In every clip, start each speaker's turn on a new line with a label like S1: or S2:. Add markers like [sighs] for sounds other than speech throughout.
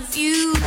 S1: confused.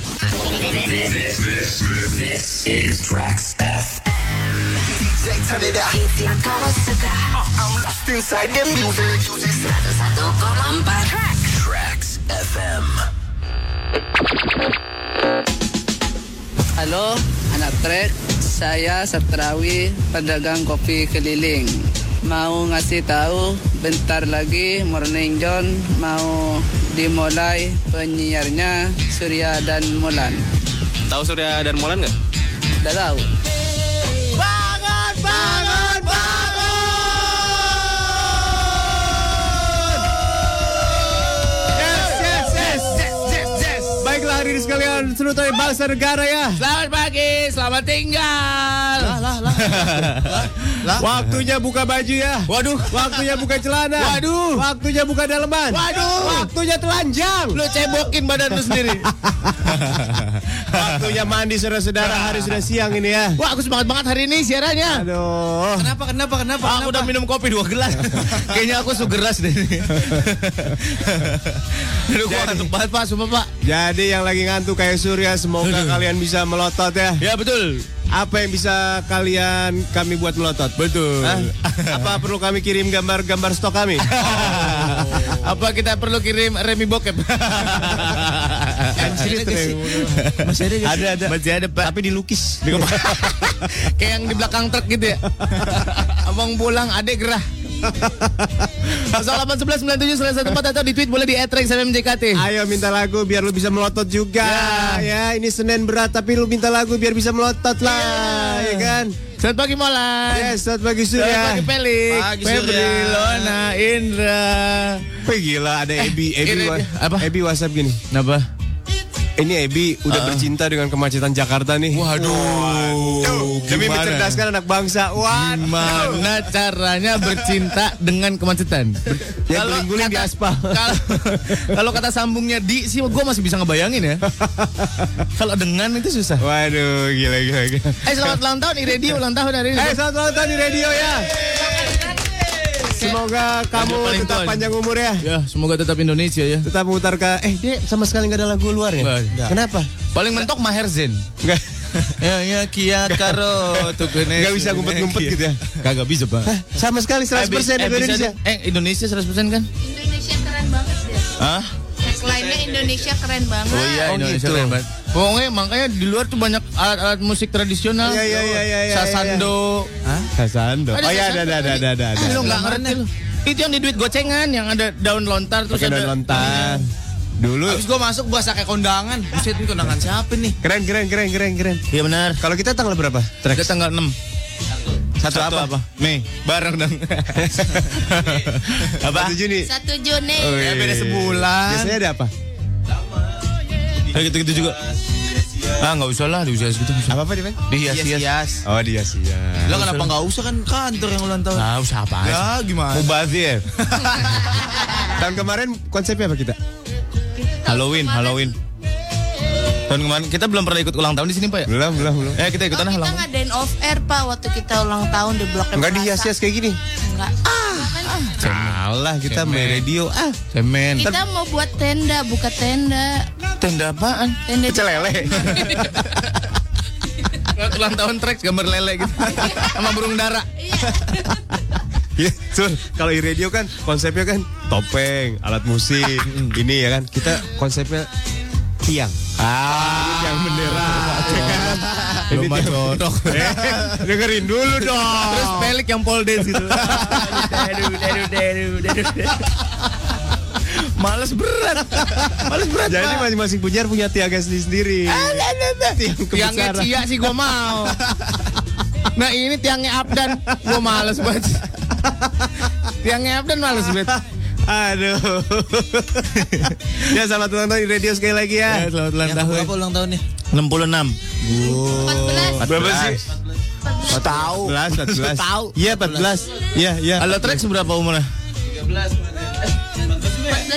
S2: This, this, this, this is Trax F. DJ, turn it up.
S1: Hits yang kau suka
S2: I'm lost inside the music.
S1: 101,4 Track
S2: Trax FM.
S3: Halo, anak trek. Saya Satrawi, pedagang kopi keliling. Mau ngasih tahu, bentar lagi Morning John mau dimulai penyiarnya Surya dan Mulan.
S4: Tahu Surya dan Molan nggak?
S3: Udah tahu?
S4: Bangun, bangun, bangun! Yes, yes, yes, yes, yes, yes.
S5: Baiklah hari ini sekalian seluruh bangsa negara ya.
S4: Selamat pagi, selamat tinggal.
S5: Waktunya buka baju ya.
S4: Waduh,
S5: Waktunya buka celana.
S4: Waduh.
S5: Waktunya buka daleman.
S4: Waduh.
S5: Waktunya telanjang.
S4: lu cebokin badan lu sendiri.
S5: [laughs] Waktunya mandi saudara-saudara. Hari sudah siang ini ya.
S4: Wah, aku semangat banget hari ini siarannya.
S5: Aduh.
S3: Kenapa, kenapa, kenapa?
S4: Aku udah minum kopi dua
S5: [laughs]
S4: gelas. Kayaknya aku sugeras deh. ini. Aduh, gua ngantuk banget, Pak. Sumpah, Pak.
S5: Jadi yang lagi ngantuk kayak Surya semoga kalian bisa melotot ya.
S4: Ya, betul.
S5: Apa yang bisa kalian kami buat melotot?
S4: Betul.
S5: Hah? Apa perlu kami kirim gambar-gambar stok
S4: [laughs]
S5: kami?
S4: Apa kita perlu kirim Remi Bokep?
S5: Anjir, Trey.
S4: Masih ada
S5: Ada, ada.
S4: Masih ada, Pak. Tapi dilukis. Kayak yang di belakang truk gitu ya. Abang pulang, adek gerah. 0811 97 914 atau di tweet boleh di @rexmjkt.
S5: Ayo minta lagu biar lu bisa melotot juga. Ya, ini Senin berat tapi lu minta lagu biar bisa melotot lah, ya kan?
S4: Selamat pagi Molan.
S5: Yes, selamat pagi Surya.
S4: Selamat pagi Pelik.
S5: Pagi,
S4: Febri,
S5: Surya.
S4: Lona, Indra.
S5: Wih, gila ada Ebi, Ebi
S4: ini
S5: wa-
S4: dia. Apa?
S5: Ebi WhatsApp gini.
S4: Kenapa?
S5: Ini Ebi udah bercinta dengan kemacetan Jakarta nih.
S4: Ah. Waduh.
S5: Waduh, Demi
S4: gimana?
S5: mencerdaskan anak bangsa. Waduh.
S4: Mana caranya bercinta dengan kemacetan?
S5: Ya, guling-guling di
S4: kata-
S5: aspal.
S4: [laughs] Kalau, kalau kata sambungnya di sih gue masih bisa [laughs] ngebayangin ya. kalau dengan itu susah.
S5: Waduh, gila gila. gila.
S4: Eh selamat ulang tahun Iredi ulang tahun hari ini.
S5: Eh, selamat ulang tahun di radio ya. Semoga kamu
S4: paling
S5: tetap
S4: tua.
S5: panjang umur ya.
S4: Ya, semoga tetap Indonesia ya.
S5: Tetap memutarkan. Eh, dia sama sekali nggak ada lagu luar ya?
S4: Nggak ada.
S5: Kenapa?
S4: Paling mentok Maher Zain.
S5: Nggak.
S4: ya ya kia karo [laughs] tukene.
S5: Nggak bisa ngumpet-ngumpet gitu ya?
S4: Kagak bisa, Pak.
S5: [laughs] Sama sekali
S4: Abis-
S5: 100%
S4: abis
S5: Indonesia.
S4: ada- Eh, Indonesia 100% kan?
S6: Indonesia keren banget deh.
S4: Hah?
S6: Tagline-nya Indonesia keren banget.
S4: Oh iya,
S5: Oh,
S4: Indonesia
S5: gitu.
S4: keren banget. Pokoknya makanya di luar tuh banyak alat-alat musik tradisional.
S5: Iya, iya, iya, iya, iya,
S4: Sasando.
S5: Hah? Sasando.
S4: Ada
S5: Oh iya,
S4: sasando
S5: ada, ada, ada,
S4: tadi.
S5: ada, ada.
S4: Ah, Lu nggak ngerti lu. Itu yang di duit gocengan yang ada daun lontar terus
S5: Pakai
S4: ada
S5: daun lontar. Dulu.
S4: Terus gua masuk gua kayak kondangan. Buset ini kondangan siapa nih?
S5: Keren, keren, keren, keren, keren.
S4: Iya benar.
S5: Kalau kita tanggal berapa?
S4: Kita tanggal 6
S5: Satu, apa?
S4: Mei bareng dong. [laughs] apa?
S5: Satu Juni.
S6: Satu Juni.
S5: Oh,
S4: Ya,
S5: iya,
S4: beda Eh, sebulan.
S5: Biasanya ada apa?
S4: Kayak gitu-gitu juga. Ah nggak usah lah di usia segitu. nggak usah.
S2: Apa apa dia, Ben?
S4: Dihias-hias.
S2: Oh, dia sih ya.
S4: Iya, Nggak
S2: Lo
S4: usah
S2: kenapa
S4: lah.
S2: nggak usah kan kantor yang ulang tahun?
S4: Ah usah apa?
S2: Ya, gimana?
S5: Mubazir. [laughs] Tahun kemarin konsepnya apa kita?
S4: Halloween, Halloween. Tahun kemarin kita belum pernah ikut ulang tahun di sini pak ya?
S5: Belum, belum, belum.
S4: Eh kita
S7: Oh,
S4: ikutan
S7: kita
S4: ulang tahun.
S7: ngadain off air pak waktu kita ulang tahun di blok Ah, M
S5: Enggak
S7: Plaza.
S5: dihias-hias kayak gini.
S7: Enggak.
S5: Alah, kita
S4: Cemen.
S5: main radio. Ah,
S4: Cemen.
S7: Kita mau buat tenda, buka tenda.
S4: Tenda apaan?
S7: Tenda di-
S5: [laughs]
S4: ulang tahun trek gambar lele
S2: [laughs]
S4: gitu. Sama burung dara.
S2: Iya.
S5: ya, Sur, kalau di radio kan konsepnya kan topeng, alat [laughs] musik, ini ya kan. Kita konsepnya tiang. Ah, yang bendera. ya kan? Ini
S4: Belum
S5: tiang-
S4: cocok.
S5: Eh, dengerin dulu dong.
S4: Terus pelik yang pole dance [laughs] gitu. Males berat. Males berat.
S5: Jadi masing-masing punya punya tiaga sendiri. Tiang
S8: Tiangnya
S5: kebesaran.
S8: Cia sih gue mau. Nah ini tiangnya Abdan, gue males banget. Tiangnya Abdan males banget.
S5: Aduh. ya selamat ulang tahun di radio sekali lagi ya.
S4: Eh, selamat ulang
S2: Yang
S4: tahun.
S2: berapa ulang tahunnya?
S4: 66.
S7: 14.
S5: Berapa sih?
S2: Tahu.
S5: 14, 14.
S2: Tahu.
S5: Iya, 14. Iya, iya.
S4: Halo trek seberapa umurnya?
S7: 14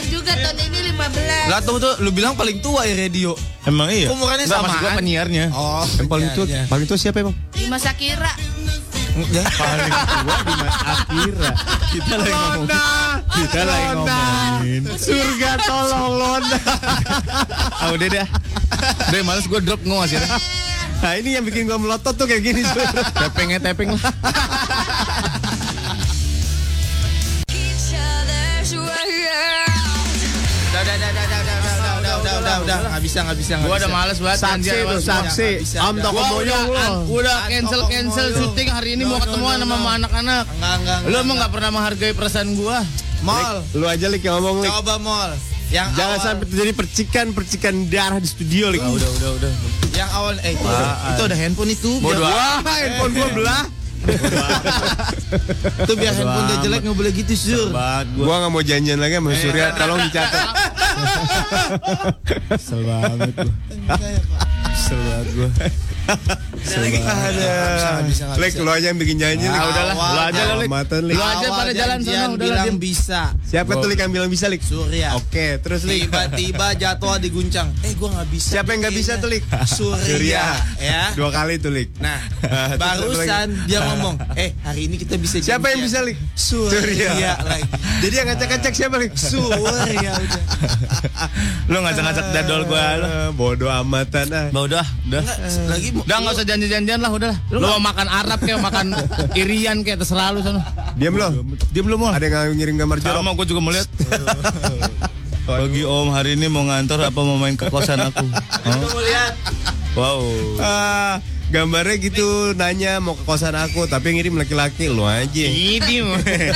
S7: juga tahun ini 15.
S2: Lah tuh tuh lu bilang paling tua ya radio.
S4: Emang iya?
S2: Umurannya
S4: Nggak, maksud
S2: samaan.
S4: gua penyiarnya.
S2: Oh,
S5: Yang paling tua, paling tua siapa emang?
S7: Bima Sakira.
S4: Paling tua di Mas Akira. [laughs] Kita lagi ngomong. Kita lagi ngomongin.
S5: Surga tolong Londa.
S4: Ah udah dah. Udah males gue drop ngomong sih.
S5: Nah ini yang bikin gua melotot tuh kayak gini. Sur.
S4: Tepengnya tepeng lah.
S6: Each other's world.
S2: Udah, udah, udah, udah, udah, udah, udah, udah, udah, udah, udah, nggak bisa, nggak bisa, nggak
S4: Gue
S2: bisa.
S4: udah males banget.
S8: Saksi
S4: anjir,
S8: tuh,
S4: males banget.
S8: saksi.
S2: bisa,
S8: Am
S2: nggak.
S8: toko
S2: Gua
S8: boyong
S2: udah-
S8: lo.
S2: udah
S8: Am
S2: cancel,
S8: toko
S2: cancel
S8: boyong.
S2: syuting
S8: hari ini mau ketemuan sama sama anak-anak.
S2: Enggak, enggak,
S8: Lo
S2: enggak,
S8: emang
S2: enggak.
S8: gak pernah menghargai perasaan gue.
S2: Mall,
S5: Lu aja lik yang ngomong lik.
S2: coba mall. Yang
S5: Jangan
S2: awal,
S5: sampai terjadi percikan-percikan darah di studio lik.
S2: Udah, udah, udah. Yang awal, eh, itu, itu ada handphone itu.
S4: Bodoh
S2: Biar-
S4: amat.
S5: Wah, handphone gua belah.
S2: Itu biar handphone dia
S4: amat.
S2: jelek nggak boleh gitu, sur.
S4: Banget gue.
S5: Gua nggak mau janjian lagi
S2: Eh,
S5: sama Surya. Tolong dicatat.
S4: Kesel banget
S2: [laughs]
S4: gue. Kesel banget gue.
S2: Ada. Bisa, nggak
S5: Lik
S2: bisa.
S5: lu aja yang bikin janji lik.
S2: Ah, udahlah.
S5: Ya, Lu aja lu lik. Amatan, lik.
S8: Lu aja
S2: Awal
S8: pada jalan
S2: janjian
S8: sana, udah lah,
S2: bilang
S8: diem.
S2: bisa.
S5: Siapa tuh lik yang bilang bisa lik?
S2: Surya.
S5: Oke, terus lik.
S2: Tiba-tiba jadwal diguncang. Eh, gua nggak bisa.
S5: Siapa yang nggak bisa tuh lik?
S2: [laughs] Surya, ya.
S5: Dua kali tuh lik. [laughs]
S2: Nah,
S5: Satu
S2: barusan
S5: lagi.
S2: dia ngomong, eh hari ini kita bisa
S5: Siapa yang bisa
S2: janjian."
S5: lik?
S2: Surya,
S5: Surya.
S2: lagi.
S5: Jadi yang ngacak-ngacak siapa lik?
S2: Surya udah.
S4: Lu ngacak-ngacak dadol gue. Lu.
S5: Eh, Bodoh amatan ah.
S4: Udah, udah.
S2: Nggak, [laughs] lagi mau-
S8: Udah gak usah janji-janjian lah, udah lah. Lo mau makan Arab kayak
S2: [laughs]
S8: makan Irian kayak terserah lu sana.
S5: Diam lo. Diam lo Ada yang ngirim gambar jorok.
S4: Sama gue juga
S2: [laughs]
S4: melihat. Bagi Om hari ini mau ngantor apa mau main ke kosan aku? Hah?
S2: Lu lihat.
S4: Wow.
S5: Ah, gambarnya gitu nanya mau ke kosan aku tapi ngirim laki-laki lu aja.
S8: Ini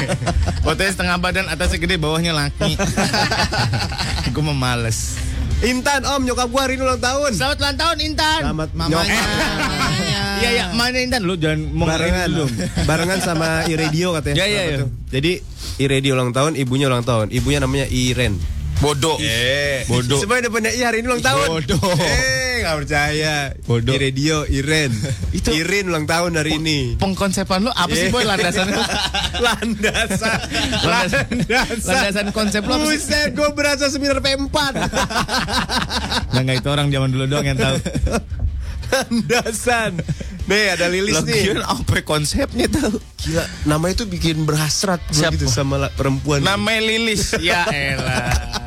S4: [laughs] Fotonya setengah badan atasnya gede bawahnya laki. [laughs] gue mau males.
S5: Intan om nyokap gua hari ini ulang tahun.
S8: Selamat ulang tahun Intan. ya.
S5: Selamat
S8: mamanya.
S4: eh.
S5: nyok-
S8: Iya iya.
S4: mana Intan lu jangan mau
S5: Eh, Barengan
S4: lu.
S5: Barengan sama Iradio katanya.
S4: Ya, ya,
S5: Apa
S4: ya.
S5: tuh? Jadi Iradio ulang tahun, ibunya ulang tahun. Ibunya namanya Iren.
S4: Bodoh. Bodoh.
S5: Eh, Semua yang depannya I hari ini ulang tahun.
S4: Bodoh.
S5: Eh, nggak percaya.
S4: Bodoh.
S5: Iradio Iren.
S4: Itu-
S5: Irin ulang tahun hari ini.
S8: Pengkonsepan lu apa sih boy
S4: [laughs]
S8: landasan lu?
S5: Landasan.
S8: Landasan- landasan konsep lu apa sih?
S5: Buset, gue berasa seminar P4.
S4: Nah, nggak itu orang zaman dulu doang yang tahu.
S5: Landasan. Nih ada Lilis nih.
S4: Lagian apa konsepnya tuh?
S5: Gila, nama itu bikin berhasrat gua gitu sama la- perempuan.
S4: Namanya Lilis. Ya elah.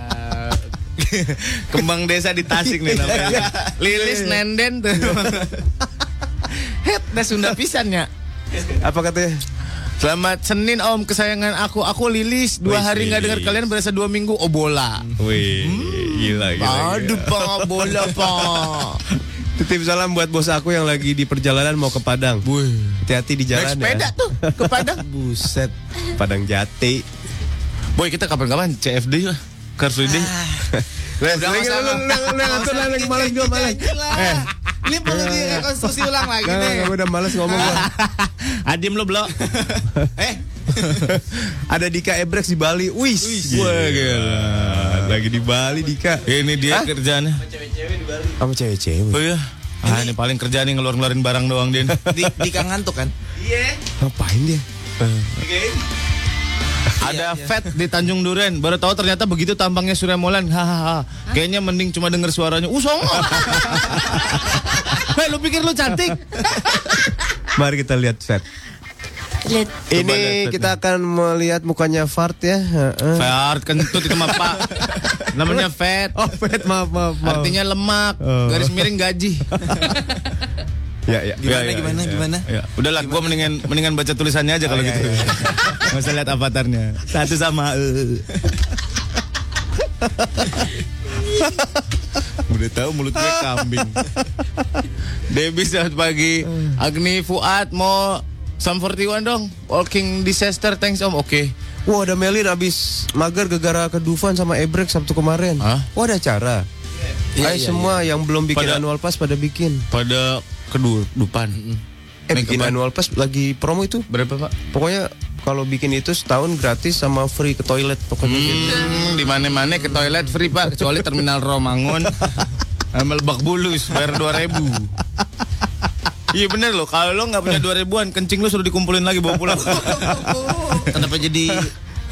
S4: Kembang desa di Tasik nih namanya. Iya,
S8: Lilis nenden tuh. Het, dah Sunda pisannya.
S4: ya.
S5: Apa katanya?
S8: Selamat Senin Om kesayangan aku. Aku Lilis dua
S4: Wih,
S8: hari nggak dengar
S4: Lilis.
S8: kalian berasa dua minggu. Oh bola.
S4: Wih, gila gila.
S8: Aduh pak bola pak.
S4: [laughs]
S5: Titip salam buat bos aku yang lagi di perjalanan mau ke Padang. Hati-hati di
S8: Naik
S5: jalan
S8: sepeda
S5: ya.
S8: tuh ke
S4: [laughs]
S8: Padang.
S5: Buset, Padang Jati.
S4: Boy kita kapan-kapan CFD lah. Car Free Day.
S8: Ah,
S5: Wes,
S2: Udah,
S5: Leng,
S2: nggak usah,
S5: lu-
S2: Bang.
S5: lu- lu- lu yang atur, lah, Leng. Males gua, males.
S2: Eh. Ini perlu
S4: Iya.
S2: direkonstruksi ulang lagi
S5: Nggak,
S2: nih.
S5: nggak, Nah, gua udah males ngomong gua.
S4: [laughs] Adim lo
S8: [laughs]
S4: blok.
S2: Eh,
S5: Ada Dika Ebrex di Bali. Wis.
S4: Wah gila.
S5: Lagi di Bali Dika.
S4: Ini dia kerjaannya.
S5: Kamu cewek-cewek.
S4: Oh iya. Ah, ini paling kerja nih ngeluar-ngeluarin barang doang, Din.
S2: Di, di Kang Ngantuk kan?
S5: Ngapain dia?
S4: Ada Fat di Tanjung Duren. Baru tahu ternyata begitu tampangnya Surya Molan. Hahaha. Kayaknya mending cuma denger suaranya. Uh, songo. [laughs] Hei, lu pikir lu cantik?
S5: Mari kita lihat Fat.
S7: Lihat.
S5: Ini kita akan melihat mukanya Fart ya. Heeh.
S4: Fat kentut itu mah, Pak. Namanya Fat.
S5: Oh, Fat maaf maaf. maaf.
S4: Artinya lemak, garis miring gaji.
S5: ya ya.
S2: Gimana
S4: Oh. [laughs] Ya, ya,
S2: gimana
S4: ya.
S2: gimana?
S4: Ya, udahlah gua mendingan mendingan baca tulisannya aja kalau gitu. [laughs] Nggak usah lihat avatarnya. Satu sama eh. Udah tahu mulut gue kambing. [laughs] Debbie selamat pagi. Agni Fuad mau Sam 41 dong. Walking disaster thanks Om. Oke.
S9: Wah ada Melin abis mager gegara ke Dufan sama Ebrek Sabtu kemarin.
S4: Hah?
S9: Wah ada acara. Ayo semua yang belum bikin
S4: Pada-
S9: annual pass pada bikin.
S4: Pada kedudupan.
S9: Eh
S4: Make
S9: bikin
S4: up.
S9: annual pass lagi promo itu.
S4: anu- Berapa Pak?
S9: Pokoknya kalau bikin itu setahun gratis sama free ke toilet pokoknya. gitu.
S4: Hmm, di mana-mana ke toilet free pak kecuali terminal Romangun sama Lebak Bulus bayar 2000 Iya bener loh, kalau lo nggak punya dua ribuan, kencing lo suruh dikumpulin lagi bawa [laughs] pulang.
S2: Kenapa jadi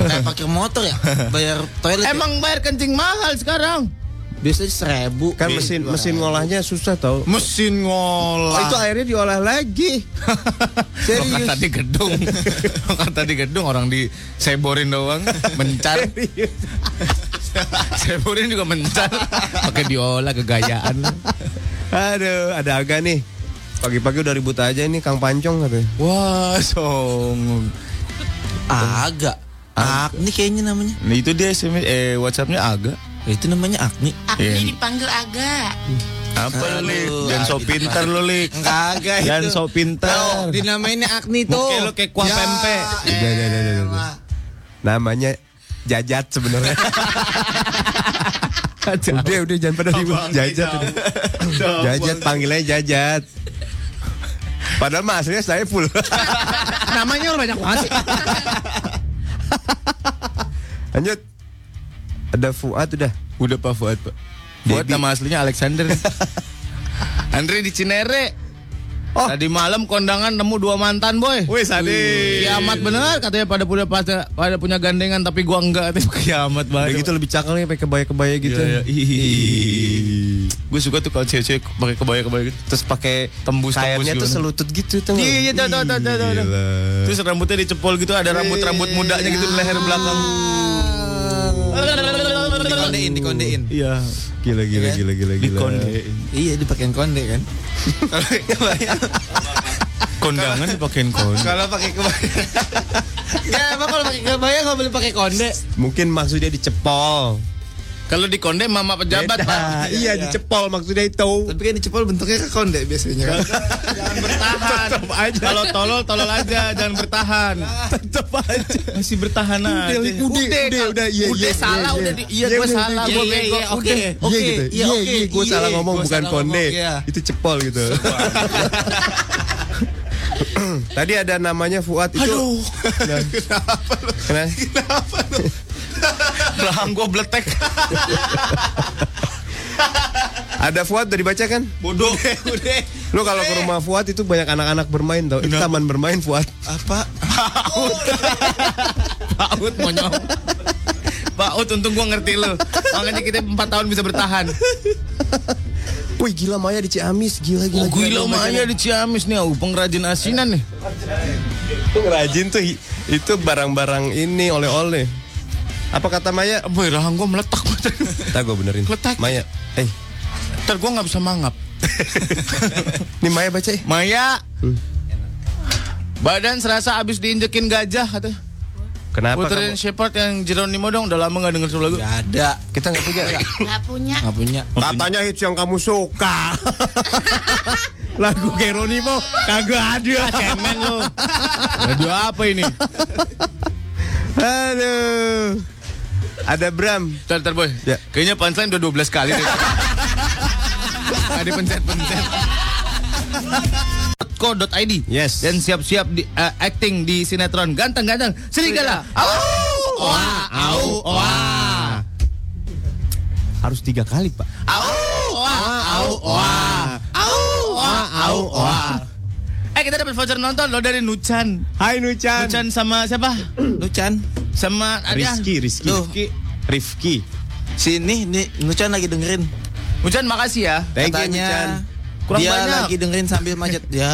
S2: kayak pakai motor ya? Bayar toilet. ya?
S4: Emang bayar kencing mahal sekarang?
S2: biasanya seribu
S9: Kan mesin mesin ngolahnya susah tau.
S4: Mesin
S9: Oh, itu
S4: ngolah.
S9: airnya diolah lagi.
S4: Lo
S9: Serius.
S4: kata di gedung, Lo kata di gedung orang di seborin doang, mencar. [laughs] seborin juga mencar, pakai diolah kegayaan.
S5: [laughs] Aduh, ada agak nih.
S9: Pagi-pagi udah ribut aja ini Kang Pancong katanya.
S4: Wah, song.
S2: agak. Agni kayaknya namanya. Ya,
S4: Nah, itu dia SMS, eh WhatsAppnya agak.
S2: Itu namanya Agni.
S4: Iya.
S7: Agni dipanggil agak.
S4: Apa lu, Lik?
S2: Aduh, ah,
S4: Jangan sok
S2: gitu,
S4: pintar lu, Lik.
S2: Kagak
S4: Jangan
S2: itu.
S4: sok pintar.
S2: Dinamainnya Agni tuh.
S4: Oke, lu kayak kuah
S2: Ya,
S4: pempek.
S5: Udah, udah, udah, udah, udah.
S2: elah.
S5: Namanya Jajat
S4: [laughs]
S5: sebenarnya. udah udah jangan pada ribut Jajat. udah. Jajat panggilannya Jajat. Padahal mah aslinya saya full. [laughs]
S8: Namanya lu banyak banget sih.
S5: Lanjut. Ada Fuad udah.
S4: Udah Pak Fuad, Pak. Fuad
S5: Dedi.
S4: nama aslinya Alexander. Andre di Cinere.
S5: Oh.
S4: Tadi malam kondangan nemu dua mantan, boy.
S5: Wih, sadis.
S4: Kiamat bener katanya pada punya pada, pada punya gandengan tapi [laughs] gua enggak. Kiamat
S5: Udah
S4: banget.
S5: gitu lebih cakep nih pakai kebaya-kebaya gitu.
S4: Iya, iya. Ih, ih, ih. Gue suka tuh kalau cewek-cewek pakai kebaya-kebaya gitu.
S5: Terus pakai
S4: Tembus-tembus
S5: kainnya
S4: gimana.
S5: tuh selutut gitu tuh.
S4: Iya, iya, tahu, tahu, tahu, tahu, tahu. Terus rambutnya dicepol gitu, ada rambut-rambut mudanya gitu di leher
S5: Iya.
S4: belakang.
S2: Dikondein, dikondein.
S4: Iya.
S5: Gila gila gila gila gila.
S4: Dikondein.
S2: Iya, dipakein konde kan.
S4: Kondangan dipakein konde.
S2: Kalau pakai kebaya. Ya, emang kalau pakai kebaya nggak boleh pakai konde.
S5: Mungkin maksudnya dicepol.
S4: Kalau di konde mama pejabat,
S5: [laughs]
S4: Pak.
S9: Nah,
S5: Beda. Iya, dicepol maksudnya itu.
S2: Tapi kan dicepol bentuknya ke konde biasanya kan.
S4: Bertahan. Kalau tolol, tolol aja, jangan bertahan. Tetap aja. Masih bertahan aja.
S5: Udah, udah, udah, udah, iya, iya,
S4: salah,
S5: iya,
S4: udah
S5: iya.
S4: di- iya,
S5: Iya,
S4: gue
S5: udah,
S4: salah,
S2: Iya,
S4: gue
S2: iya,
S4: bego.
S2: iya, oke.
S5: Iya
S2: Oke,
S5: gitu.
S2: iya,
S5: Iya,
S2: oke.
S5: iya, gue
S2: Iya,
S5: salah ngomong
S2: gua
S5: bukan
S2: salah
S5: konde.
S2: ngomong, iya.
S5: Itu cepol gitu.
S9: Tadi ada namanya Fuad itu. Nah. Aduh. Kenapa
S4: Belakang gue bletek.
S9: Ada Fuad udah dibaca kan?
S4: [laughs] Bodoh.
S9: Lu kalau
S4: Eh.
S9: ke rumah Fuad itu banyak anak-anak bermain tau. Itu taman bermain Fuad.
S2: Apa?
S4: Paut monyong. Paut untung gue ngerti lu. Makanya kita 4 tahun bisa bertahan.
S9: Wih gila Maya di Ciamis gila gila.
S4: Oh, gila Maya di Ciamis nih, oh, pengrajin asinan nih.
S9: Itu ngerajin tuh hi- itu barang-barang ini oleh-oleh. Apa kata Maya?
S4: Boy, rahang gue ya, meletak.
S9: Tak gue benerin.
S4: Letak.
S9: Maya. Eh,
S4: Ntar gue nggak bisa mangap.
S9: ini Maya baca eh.
S4: Maya,
S5: Hmm.
S4: badan serasa abis diinjekin gajah katanya.
S9: Kenapa
S4: Puterin
S9: kamu?
S4: Shepard yang Jeronimo dong, udah lama nggak denger tuh lagu.
S2: Gak ada.
S9: Kita nggak punya.
S7: Nggak punya.
S2: Gak punya.
S9: Katanya hits yang kamu [laughs] suka.
S5: Lagu Geronimo kagak ada.
S4: Cemen lu.
S5: [laughs]
S4: Lagu apa ini?
S9: Aduh. Ada Bram.
S4: Ntar, ntar boy.
S9: Ya.
S4: Kayaknya punchline udah 12 kali deh. Nggak dipencet-pencet. .co.id
S9: Yes.
S4: dan siap-siap di eh, acting di sinetron ganteng-ganteng serigala au oa au oa
S5: Harus tiga kali, Pak.
S4: au oa au oa au au oa. Eh kita dapat voucher nonton loh dari Nuchan.
S5: Hai Nuchan.
S4: Nuchan sama siapa?
S2: Nucan
S4: Sama ada.
S5: Rizky, Rizky.
S2: Duh.
S5: Rizky. Rifki.
S2: sini nih Nucan lagi dengerin
S4: Nuchan makasih ya.
S5: Thank you Nuchan.
S2: katanya
S4: Kurang
S2: dia
S4: banyak.
S2: lagi dengerin sambil macet ya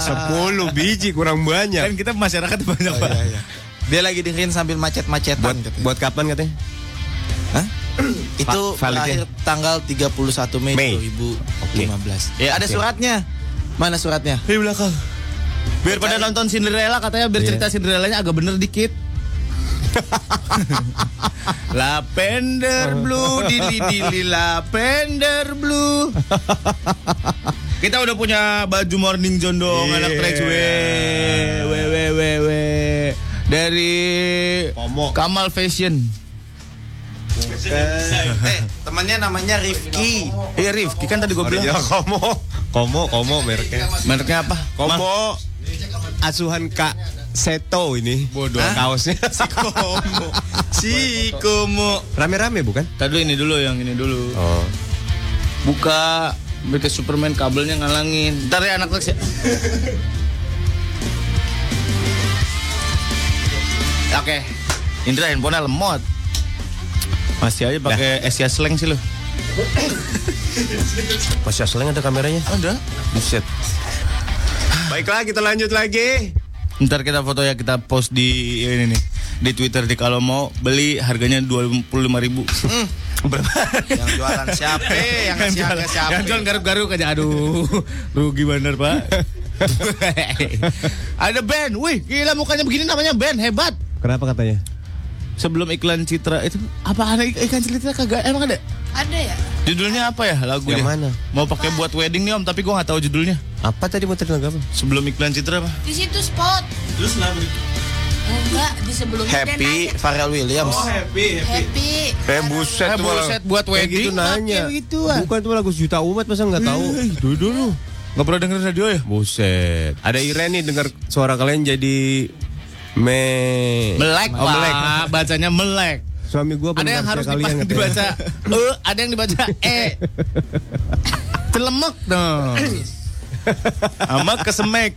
S5: 10 biji kurang
S4: Ah. Kan ya.
S5: banyak.
S4: kita masyarakat banyak banget.
S5: iya.
S2: dia lagi dengerin sambil macet-macetan
S5: Buat
S2: katanya.
S5: buat kapan katanya?
S2: itu
S5: Va- validnya?
S2: terakhir tanggal 31 Mei,
S5: Mei.
S2: 2015
S4: Ya,
S2: ada
S4: oke.
S2: suratnya mana suratnya
S4: Di belakang. Biar pada nonton Cinderella katanya biar cerita Cinderellanya agak bener [laughs] dikit. lavender blue, dili dili lavender blue. Kita udah punya baju morning john dong, anak
S5: Iya.
S4: Rage. We, we, we, we, we. Dari
S5: Pomo.
S4: Kamal Fashion.
S2: eh temannya namanya Rifki
S4: Iya Rifki kan tadi gue
S5: Original
S4: bilang.
S5: Komo. Komo, Komo mereknya.
S4: Mereknya apa?
S5: Komo. Asuhan Kak Seto ini. Bodoh. Kaosnya.
S4: Si Komo. Si Komo.
S5: Rame-rame bukan?
S4: Tadi ini dulu yang ini dulu.
S5: Oh.
S4: buka BT Superman kabelnya ngalangin. Ntar ya anak taksi. Oke, Indra handphonenya lemot. Masih aja pakai Asia Slang sih lo.
S5: Masih aslinya ada kameranya.
S4: Ada. Buset.
S5: Baiklah, kita lanjut lagi.
S4: Ntar kita foto ya kita post di ini nih di Twitter di kalau mau beli harganya dua puluh lima ribu.
S2: yang jualan siapa yang ngasih harga siapa
S4: Yang jualan garuk-garuk aja Aduh Rugi bener pak [laughs] Ada band Wih gila mukanya begini namanya band Hebat
S5: Kenapa katanya?
S4: Sebelum iklan Citra itu Apa ada ik- iklan Citra kagak Emang ada
S7: Ada ya?
S4: Judulnya apa ya lagu
S5: Yang mana?
S4: Mau pakai buat wedding nih om Tapi gua gak tahu judulnya
S5: Apa tadi mau tadi lagu apa?
S4: Sebelum iklan Citra apa
S7: Di situ spot. Terus kenapa? Enggak, di sebelumnya dia
S2: Happy
S7: nanya,
S2: Pharrell Williams
S7: Happy.
S5: Eh
S4: Eh,
S5: buset, tuh orang.
S4: buset, buat
S5: Kayak
S4: wedding
S5: gitu nanya.
S4: pakai gituan.
S5: Bukan tuh lagu juta umat masa nggak tahu.
S4: Dulu dulu Gak pernah dengerin radio ya
S5: Eh, Buset. Ada Iren nih dengar suara kalian jadi me
S4: Melek
S5: Oh, melek.
S4: pak Bacanya melek
S5: Suami
S4: Ada
S5: gua
S4: yang
S5: pendengar
S4: harus
S5: kalian
S4: dipa-
S5: katanya.
S4: dibaca E Ada yang dibaca E Celemek dong Sama kesemek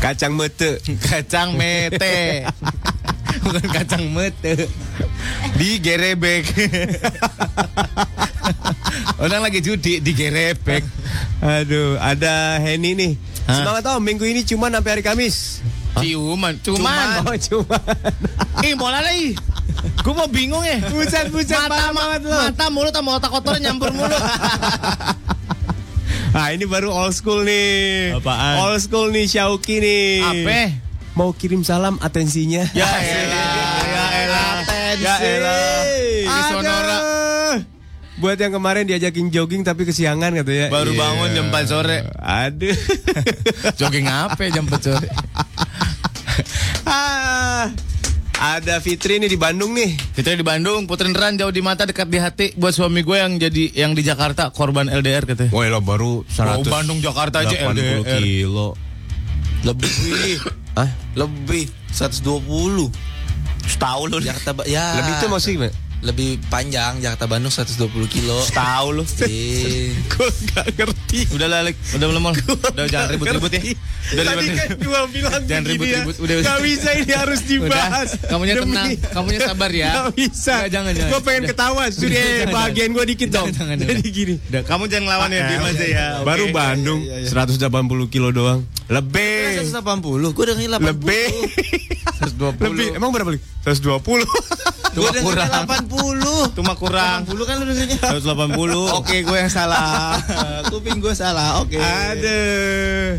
S5: Kacang mete.
S4: Kacang mete Bukan kacang mete Di gerebek Orang lagi judi di gerebek
S5: Aduh, ada Henny nih.
S4: Hah?
S5: Semangat om, minggu ini cuma sampai hari Kamis.
S4: Ciuman Cuman
S5: Oh, cuma.
S4: Ih bola lagi Gue mau bingung ya
S5: Buset, buset,
S4: Mata,
S5: parah banget lu.
S4: mata mulut sama otak kotor nyampur [laughs] mulu
S5: Nah, ini baru old school nih.
S4: Apaan?
S5: Old school nih, Syauki nih.
S4: Apa?
S5: Mau kirim salam atensinya.
S4: Iya. Ya elah, ya elah. Ya elah. Di Sonora.
S5: Buat yang kemarin diajakin jogging tapi kesiangan gitu ya.
S4: Baru
S5: Iya.
S4: bangun jam 4 sore.
S5: Aduh. [laughs]
S4: Iya. Jogging apa jam 4 sore?
S5: Ah. Ada Fitri nih di Bandung nih.
S4: Kita di Bandung, Putri Neran jauh di mata dekat di hati buat suami gue yang jadi yang di Jakarta korban LDR katanya.
S5: Woi lo baru
S4: Mau Bandung Jakarta aja LDR.
S5: kilo.
S2: lebih Ah,
S5: Hah?
S2: lebih 120 setahun lu Jakarta Ba- ya
S5: Lebih itu maksudnya gimana?
S2: lebih panjang Jakarta Bandung 120 kilo Iya.
S4: Tahu lu.
S2: Ih.
S5: Gue gak ngerti.
S4: Udah lah, Lek. udah belum Mol? Udah jangan ribut-ribut ya. Udah
S5: Tadi
S4: ribut.
S5: kan dua bilang
S4: Jangan
S5: begini
S4: ribut-ribut,
S5: ya.
S4: udah, udah.
S5: Gak bisa ini harus dibahas.
S4: Udah, kamunya
S5: Demi-
S4: tenang, kamunya sabar ya.
S5: Gak bisa.
S4: Nggak, jangan, jangan.
S5: Gue pengen
S4: Udah.
S5: ketawa. Suri eh,
S4: Jangan,
S5: bagian gue dikit dong.
S4: Jangan, jangan,
S5: Jadi
S4: jangan.
S5: gini.
S4: Udah, kamu jangan lawan ya, diem aja ya. Oke.
S5: Baru Bandung 180 kilo doang.
S2: Iya,
S5: Lebih.
S2: 180 gue dengerin 80
S5: Lebih.
S4: 120.
S5: Lebih. Emang berapa? Lik? 120.
S2: gue
S4: Cuma
S2: dengerin
S4: kurang.
S2: 80
S4: Cuma [laughs] kurang.
S2: 80 kan lu dengerin
S4: 180. Oke, gue yang salah.
S2: kuping gue salah oke
S5: Aduh.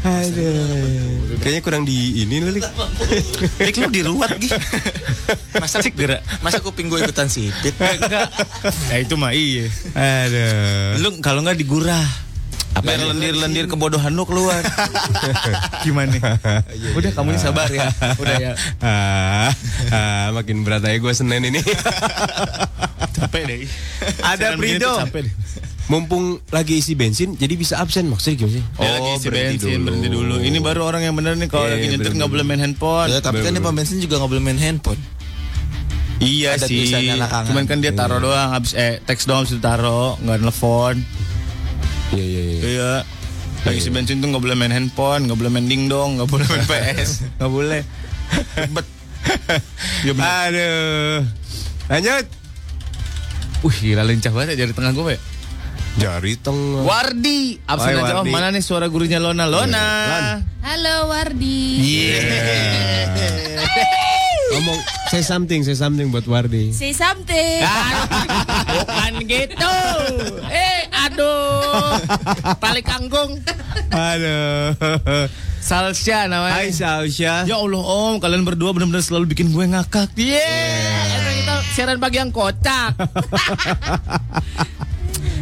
S5: Aduh. Kayaknya kurang di ini Lik.
S4: Lik lu diruat gitu.
S2: masa
S4: gerak.
S2: masa kuping gue ikutan sipit
S4: Ya itu mah iya.
S5: Aduh.
S4: Lu kalau nggak digurah. Apa
S2: ini?
S4: lendir-lendir kebodohan lu keluar. Gimana? Udah kamu sabar ya. Udah ya.
S5: [laughs] Ah, ah, makin berat aja gue Senin ini. [laughs]
S4: Capek deh.
S5: Ada
S4: Siaran begini tuh
S5: Prido.
S4: Capek deh.
S5: Mumpung lagi isi bensin, jadi bisa absen maksudnya gimana sih? Oh,
S4: Dia lagi isi bensin Oh, berhenti dulu. Ini baru orang yang bener nih kalau
S5: Iya,
S4: lagi
S5: iya,
S4: nyetir
S5: bener,
S4: nggak boleh main
S2: [laughs] ya,
S4: handphone.
S2: tapi kan di pom bensin juga nggak boleh main handphone
S4: Iya
S2: ada
S4: sih.
S2: tulisannya larangan.
S4: Cuman kan dia taruh doang habis eh teks doang sudah taruh, nggak nelfon.
S5: Iya iya iya.
S4: Iya. Lagi si bensin tuh nggak boleh main handphone, nggak boleh main dingdong, nggak boleh main PS, nggak boleh. Bet. Ya bener.
S5: Aduh. Lanjut.
S4: Wih, gila lincah banget ya jari tengah gue. ya.
S5: Jari tengah.
S4: Wardi, absen
S5: Oi,
S4: aja om.
S5: Wardi.
S4: Mana nih suara gurunya Lona? Lona.
S10: Halo Wardi.
S4: Iya. Yeah.
S5: Ngomong say something, say something buat Wardi.
S10: Say something.
S4: Bukan gitu. Eh, aduh. Tali kangkung.
S5: Aduh.
S4: Salsya namanya.
S5: Hai Sausya.
S4: Ya Allah om, kalian berdua benar-benar selalu bikin gue ngakak. Yeah. Karena kita siaran pagi yang kocak. [laughs]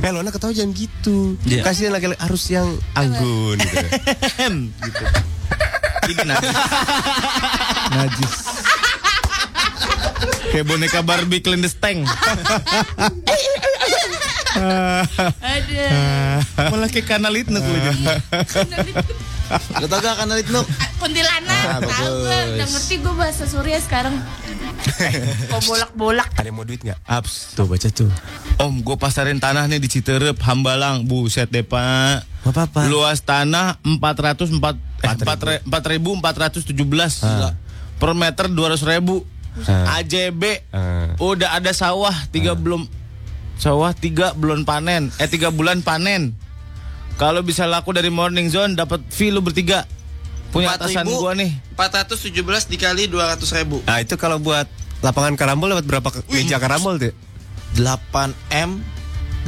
S5: Eh Lona ketawa jangan gitu.
S4: Iya.
S5: Kasihan laki-laki harus yang anggun [laughs] gitu.
S4: Ini najis. najis. Kayak boneka Barbie clandestine.
S10: Ada.
S4: [laughs] Malah kayak kanal itu nih kulitnya.
S2: Lo tau gak kan Alit Nuk? Ah,
S10: Kuntilanak. Tahu
S2: bagus.
S10: gue. Udah ngerti gue bahasa Surya sekarang. Kok bolak-bolak.
S5: Ada yang mau duit nggak?
S4: Aps.
S5: Tuh baca tuh.
S4: Om, gue pasarin tanah nih di Citerep, Hambalang. Buset deh, Pak.
S5: Gak apa-apa.
S4: Luas tanah 400 empat- Ah. eh, empat re- 4417 Gila. per meter 200 ribu. AJB
S5: Ah.
S4: udah ada sawah tiga belum sawah tiga belum panen eh tiga bulan panen. Kalau bisa laku dari morning zone dapat fee lu bertiga. Punya atasan gua nih.
S9: 417 dikali 200 ribu.
S5: Nah itu kalau buat lapangan karambol dapat berapa ke- meja karambol tuh?
S2: 8M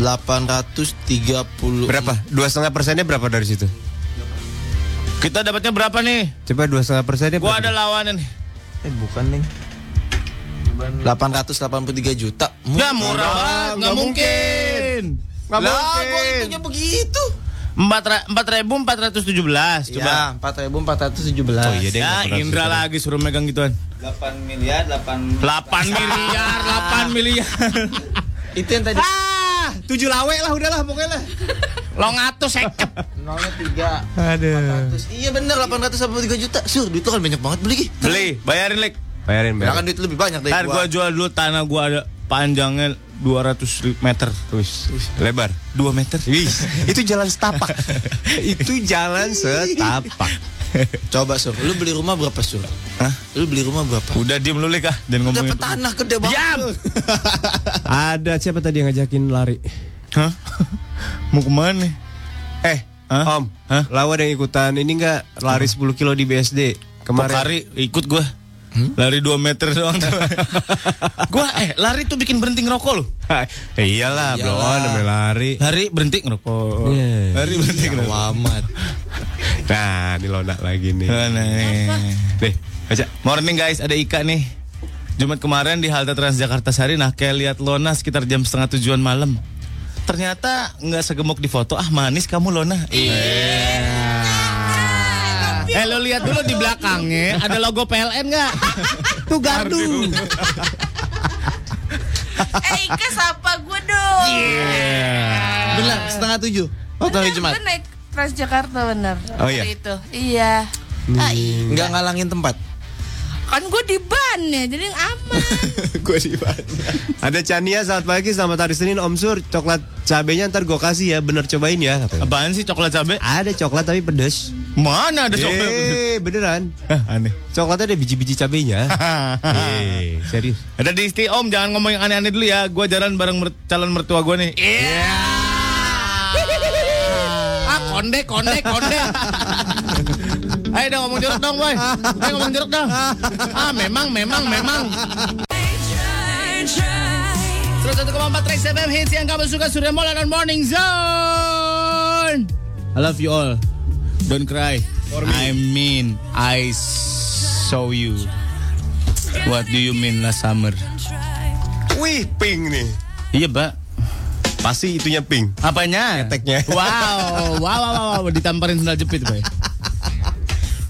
S2: 830
S5: Berapa? Dua setengah persennya berapa dari situ?
S4: Kita dapatnya berapa nih?
S5: Coba dua setengah persennya.
S4: Gua ada
S5: berapa?
S4: lawanan nih.
S2: Eh bukan nih 883 juta
S4: Ya murah banget, nggak mungkin. Nggak mungkin.
S2: hitungnya begitu
S4: Empat ra- empat ribu empat ratus tujuh belas. Coba.
S2: Coba 4417
S5: Oh iya deh.
S4: Ya, Indra lagi suruh megang gituan.
S2: 8 miliar 8
S4: 8 miliar, 8 miliar.
S2: Itu yang tadi
S4: ah,
S5: Tujuh lawe lah udahlah pokoknya lah.
S4: long atus seket.
S2: nolnya 3 400 Iya bener 883 juta Sur duit lo kan banyak banget beli Ki.
S4: Beli, bayarin lek.
S5: Bayarin
S2: Nah kan
S5: bayarin.
S2: duit lebih banyak dari
S4: Ntar gua jual dulu tanah gua ada panjangnya 200 ri- meter.
S5: Terus lebar.
S4: 2 meter.
S5: Wih, [laughs] itu jalan setapak. itu jalan setapak.
S2: [laughs] Coba Sur Lu beli rumah berapa Sur? Hah? Lu beli rumah berapa?
S4: Udah diem lu lek ah, dan ngomongin.
S2: Dapat tanah gede banget
S4: Diam.
S5: Ada siapa tadi yang ngajakin lari?
S4: Hah? [laughs] Mau kemana?
S5: Eh,
S4: Hah?
S5: Om,
S4: Hah?
S5: lawan yang ikutan ini nggak lari 10 kilo di BSD kemarin?
S4: Kemarin ikut gua. Lari 2 meter doang tuh. Hmm? [laughs] gua eh lari tuh bikin berhenti ngerokok loh.
S5: Eh, iyalah, bro, namanya lari.
S4: Lari berhenti ngerokok. Ya
S5: Iya.
S4: Lari berhenti ngerokok.
S2: Wamat
S5: Nah, ini Lona lagi nih.
S4: Mana nih?
S5: Nih, baca.
S4: Morning guys, ada Ika nih. Jumat kemarin di halte Transjakarta Sari, nah kayak lihat Lona sekitar jam setengah tujuan malam. Ternyata nggak segemuk di foto. Ah manis kamu Lona. Iya. Eh lo lihat dulu di belakangnya ada logo PLN nggak? Tuh gardu.
S10: Eh Ika sapa gue dong.
S2: Bener setengah tujuh Oh
S10: Bener,
S4: iya,
S2: tadi Jumat
S10: Gue naik Transjakarta bener.
S5: Oh, iya?
S10: Waktu Itu. Iya. Ah, iya.
S2: Nggak ngalangin tempat
S10: Kan gue di ban ya, jadi aman.
S5: Gue Ada Chania selamat pagi, selamat hari Senin Om Sur. Coklat cabenya ntar gue kasih ya, bener cobain ya. Katanya.
S4: Apaan sih coklat cabe?
S5: Ada coklat tapi pedes.
S4: Mana ada coklat?
S2: Iya.
S5: Eh, beneran.
S4: Hah, aneh. Ah,
S5: Coklatnya ada biji-biji cabenya.
S2: Iya.
S5: Eh, serius.
S4: Ada di isti om jangan ngomong yang aneh-aneh dulu ya. Gua jalan bareng mer- calon mertua gua nih. Iya. ah konde konde konde. Ayo dong ngomong jeruk dong boy. Ayo ngomong jeruk dong. Ah memang memang memang. Terus satu koma empat Trax FM hits yang kamu suka Surya Mola dan Morning Zone. I love you all. Don't cry. I mean I saw you. What do you mean last summer?
S5: Wih, pink nih.
S4: Iya, Mbak.
S5: Pasti itunya pink.
S4: Apanya?
S5: Eteknya.
S4: Wow, wow, wow, wow, wow. ditamparin sendal jepit, Bay.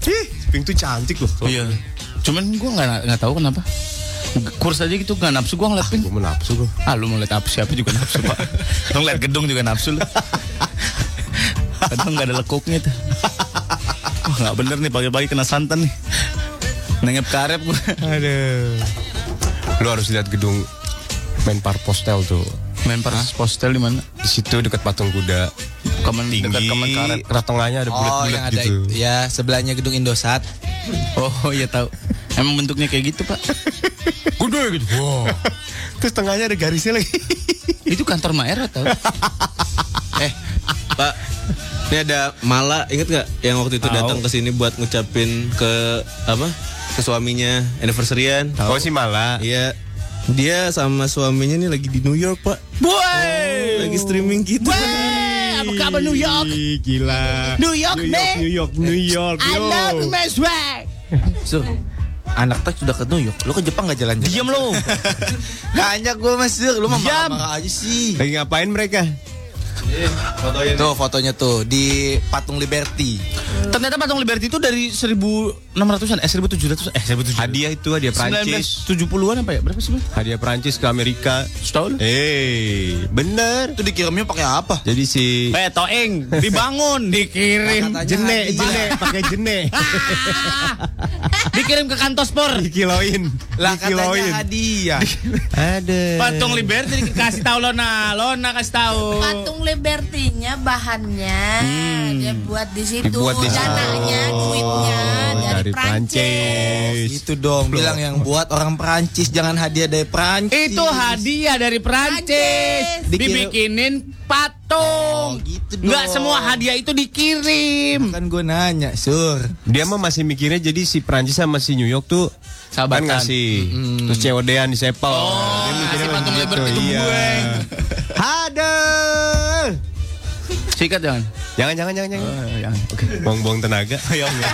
S5: Ih, pink tuh cantik loh.
S4: Iya. Cuman gua nggak nggak tahu kenapa. Kurs aja gitu nggak nafsu gua ngeliat pink.
S5: Gue menafsu gue.
S4: Ah, lu mau lihat apa siapa juga nafsu, Pak. [laughs] lu ngeliat gedung juga nafsu lu. Padahal nggak ada lekuknya tuh. Wah, nggak bener nih pagi-pagi kena santan nih. Nengep karep gua.
S5: Aduh. Lu harus lihat gedung main parpostel tuh.
S4: Mempers postel di mana?
S5: Di situ dekat patung kuda.
S4: Kemen
S5: Tinggi,
S4: dekat kemen karet.
S5: terus tengahnya ada
S11: Oh,
S5: bulat-bulat
S11: yang ada
S5: gitu.
S11: itu. ya sebelahnya gedung Indosat.
S4: Oh iya tahu. Emang bentuknya kayak gitu pak? Gede gitu. Wow.
S5: [laughs] Terus tengahnya ada garisnya lagi.
S4: Itu kantor Maera tahu?
S11: eh, [laughs] Pak. Ini ada Mala, inget nggak yang waktu itu
S5: Tahu.
S11: datang ke sini buat ngucapin ke apa? Ke suaminya anniversaryan.
S5: Oh, si Mala.
S11: Iya. Dia sama suaminya nih lagi di New York, Pak. Boy! lagi streaming gitu.
S8: apa kabar New York?
S5: Gila.
S8: New York, man.
S5: New York, New York.
S8: I
S5: yo.
S8: love my swag.
S2: Sur, anak teh sudah ke New York. Lo ke Jepang gak jalan-jalan?
S4: Diam lo.
S2: Nanya gue mas Sur,
S5: Ya,
S2: lo mah
S4: Diam.
S2: marah-marah aja sih.
S5: Lagi ngapain mereka?
S11: Tuh fotonya tuh di patung Liberty.
S4: Ternyata patung Liberty itu dari 1600-an, eh 1700 eh 1700
S5: Hadiah itu hadiah Prancis.
S4: 1970-an apa ya? Berapa sih? Bang?
S5: Hadiah Prancis ke Amerika.
S4: Setahun?
S5: Eh, bener.
S2: Itu dikirimnya pakai apa?
S5: Jadi si
S4: Eh, toeng, dibangun, dikirim,
S5: jene, jene, pakai jene.
S4: [laughs] dikirim ke kantor spor.
S5: [laughs] Dikiloin.
S2: Lah
S5: Dikiloin.
S2: katanya hadiah.
S5: Ada.
S4: Patung Liberty dikasih tahu Lona, Lona kasih tahu.
S10: Patung Liberty-nya bahannya dia buat di situ.
S5: Dibuat di situ.
S10: Dananya,
S5: Oh,
S6: Iya,
S10: duitnya dari, Prancis.
S5: Gitu.
S11: Itu dong bilang yang buat orang Perancis jangan hadiah dari Perancis.
S4: Itu hadiah dari Prancis.
S10: Prancis.
S4: Dibikinin
S11: Oh,
S4: patung.
S11: gitu dong.
S4: Nggak semua hadiah itu dikirim.
S11: Kan gue nanya, Sur.
S5: Dia mah masih mikirnya jadi si Prancis sama si New York tuh
S4: Sahabatan.
S5: kan ngasih terus COD-an di sepel. dia mikirnya
S4: ngasih patung
S5: begitu,
S4: Liberty itu
S5: iya. Ada.
S4: Sikat jangan.
S5: Jangan jangan jangan jangan.
S4: Eh,
S5: Buang-buang tenaga.
S4: Iya,
S5: ya
S4: [laughs]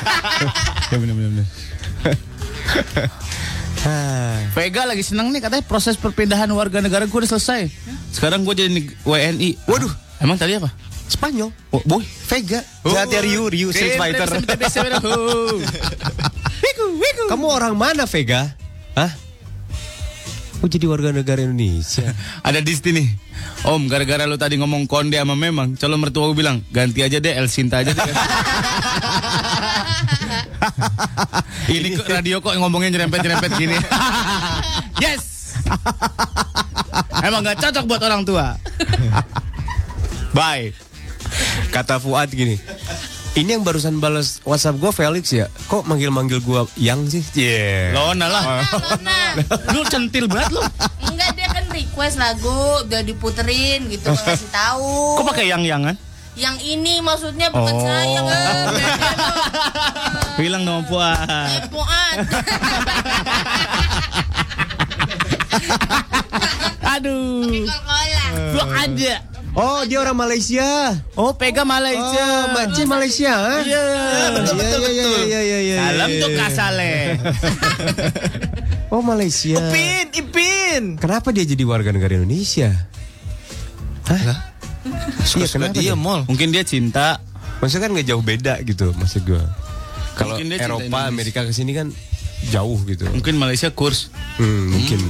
S4: Vega lagi seneng nih katanya proses perpindahan warga negara gue udah selesai. Sekarang gue jadi neg- WNI. Waduh, emang tadi apa?
S5: Spanyol. Oh, boy, Vega.
S4: Oh.
S5: Jatir Ryu, Ryu Street Fighter. Kamu orang mana, Vega? Hah? Oh, jadi warga negara
S4: [laughs]
S5: Indonesia.
S4: Ada di sini. Om, gara-gara lu tadi ngomong konde sama memang, calon mertua gue bilang ganti aja deh El Sinta aja. deh." Ini ke radio kok ngomongnya nyerempet-nyerempet gini. yes. Emang gak cocok buat orang tua.
S5: Bye. Kata Fuad gini. Ini yang barusan balas WhatsApp gue Felix ya. Kok manggil-manggil gue yang sih? Yeah.
S4: Lona lah.
S6: [laughs]
S10: Nah,
S4: Lu centil banget lu.
S10: enggak dia kan request lagu udah diputerin gitu nggak ngasih tahu.
S4: Kok pakai yang-yangan?
S10: Yang ini maksudnya bukan
S4: Oh.
S10: saya kan.
S4: Bilang dong Fuad.
S10: Eh, Kepoan.
S4: Aduh.
S10: Kol-kolan.
S4: Lu ada.
S5: Oh, dia orang Malaysia.
S4: Oh, Pega
S5: Oh,
S4: Malaysia.
S5: Mbak C Malaysia. ah?
S4: Iya.
S5: Betul, betul, betul. Iya, iya, iya.
S4: Salam tuh Kasale.
S5: Oh, Malaysia.
S2: Ipin, Ipin.
S5: Kenapa dia jadi warga negara Indonesia? Hah? Iya, kenapa dia?
S2: mall.
S4: Mungkin dia cinta.
S5: Maksudnya kan nggak jauh beda gitu, maksud gue. Kalau
S4: Mungkin dia cinta
S5: Eropa,
S4: Indonesia.
S5: Amerika ke sini kan jauh gitu.
S4: Mungkin Malaysia kurs.
S5: Hmm, mungkin.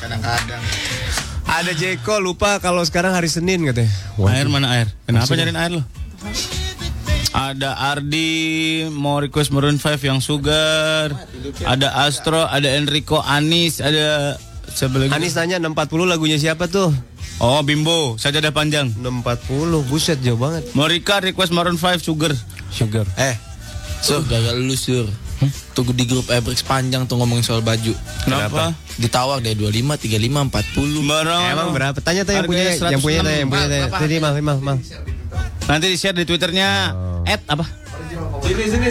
S5: Kadang-kadang. Ada Jeko lupa kalau sekarang hari Senin katanya. Waduh.
S4: Air mana air? Kenapa
S5: Maksudnya?
S4: nyariin air lo? Ada Ardi mau request Maroon 5 yang Sugar. Ada Astro, ada Enrico Anis, ada siapa lagi?
S5: Anis tanya 640 lagunya siapa tuh?
S4: Oh, Bimbo, sajadah panjang.
S5: 640, buset jauh banget.
S4: Morika request Maroon 5 Sugar.
S5: Sugar.
S11: Eh, Sur, gagal lu, Sur.
S4: Hmm?
S11: Tuh di grup Ebrex panjang tuh ngomongin soal baju.
S4: Kenapa?
S11: Ditawar dari 25, 35, 40.
S4: Barang.
S5: Emang berapa? Tanya tanya yang punya,
S4: Harganya
S5: yang punya tanya, yang punya tanya.
S4: 106.
S5: Tadi mah, mah, mah.
S4: Nanti di share di twitternya At apa?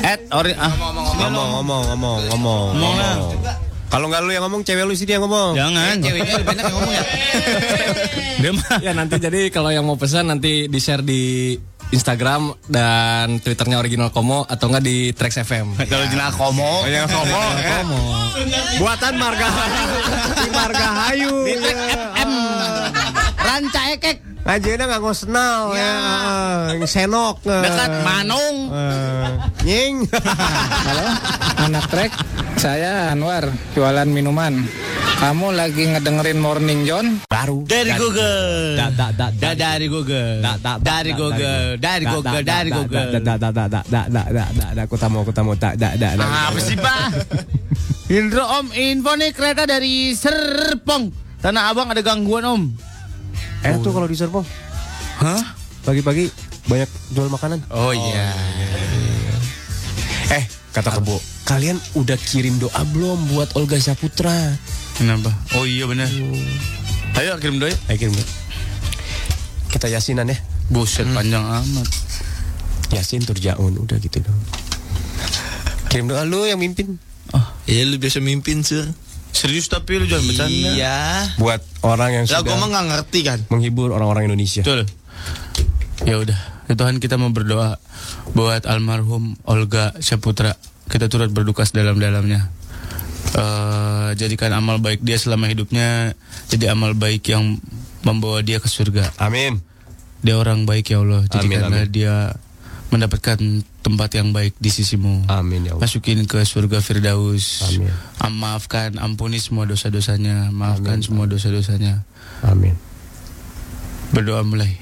S4: At ori ah.
S5: Ngomong, ngomong, ngomong, ngomong,
S4: Ngomong lah.
S5: ngomong. Kalau nggak lu yang ngomong, cewek lu sini yang ngomong.
S4: Jangan.
S11: Ceweknya lebih banyak yang ngomong
S12: [laughs]
S11: ya.
S4: Dia mah.
S12: Ya nanti jadi kalau yang mau pesan nanti di share di Instagram dan Twitternya original Komo atau enggak di Trax FM.
S4: Kalau jenah
S12: Oh,
S4: komo.
S12: iya,
S5: Yang ngomong, ya. [laughs] Buatan marga [laughs] di marga Hayu.
S4: M. Ranca ekek
S5: Aja nggak ngosnal ya, Yang senok. eh.
S4: dekat Kan Manung.
S12: Oh.
S5: Eh,
S12: [laughs]
S5: Nying.
S3: Halo, anak trek. [laughs] Saya Anwar, jualan minuman. Kamu lagi ngedengerin Morning John?
S5: Baru.
S4: Dari Google.
S12: Da- da- da-
S4: Da- dari Google.
S12: Da- da- da-
S4: Dari
S12: da-
S4: Google. Dari
S12: da- da-
S4: Google.
S12: da-
S4: Dari
S12: da-
S4: Google.
S12: da- da- da- da- da- da- da- da- da- da- kutamu kutamu tak da da da.
S4: Ah, Apa sih
S12: [laughs]
S4: pak? Indro Om, info nih kereta dari Serpong. Tanah Abang ada gangguan Om.
S5: Eh tuh kalau di Serpong. Hah? Pagi-pagi banyak jual makanan.
S4: Oh iya.
S5: Eh, kata kebo, kalian udah kirim doa belum buat Olga Saputra?
S4: Kenapa? Oh iya benar. Ayo kirim doa.
S5: Ayo Eh, kirim doa. Kita yasinan ya.
S4: Buset
S2: Hmm.
S4: panjang ah. amat.
S5: Yasin turjaun udah gitu dong. Kirim doa lu yang mimpin.
S11: Oh, iya lu biasa mimpin sih.
S4: Serius tapi lu jangan bercanda.
S11: Iya.
S5: Buat orang yang
S2: Lah
S5: sudah
S2: gua mah nggak ngerti kan.
S5: menghibur orang-orang Indonesia.
S4: Betul. Ya udah, ya Tuhan kita mau berdoa buat almarhum Olga Saputra. Kita turut berduka sedalam-dalamnya. Eh, jadikan amal baik dia selama hidupnya jadi amal baik yang membawa dia ke surga.
S5: Amin.
S4: Dia orang baik ya Allah. Jadikanlah
S5: amin.
S4: dia mendapatkan tempat yang baik di sisimu.
S5: Amin ya Allah.
S4: Masukin ke surga Firdaus. Amin. maafkan, ampuni semua dosa-dosanya. Maafkan semua dosa-dosanya.
S5: Amin.
S4: Berdoa mulai.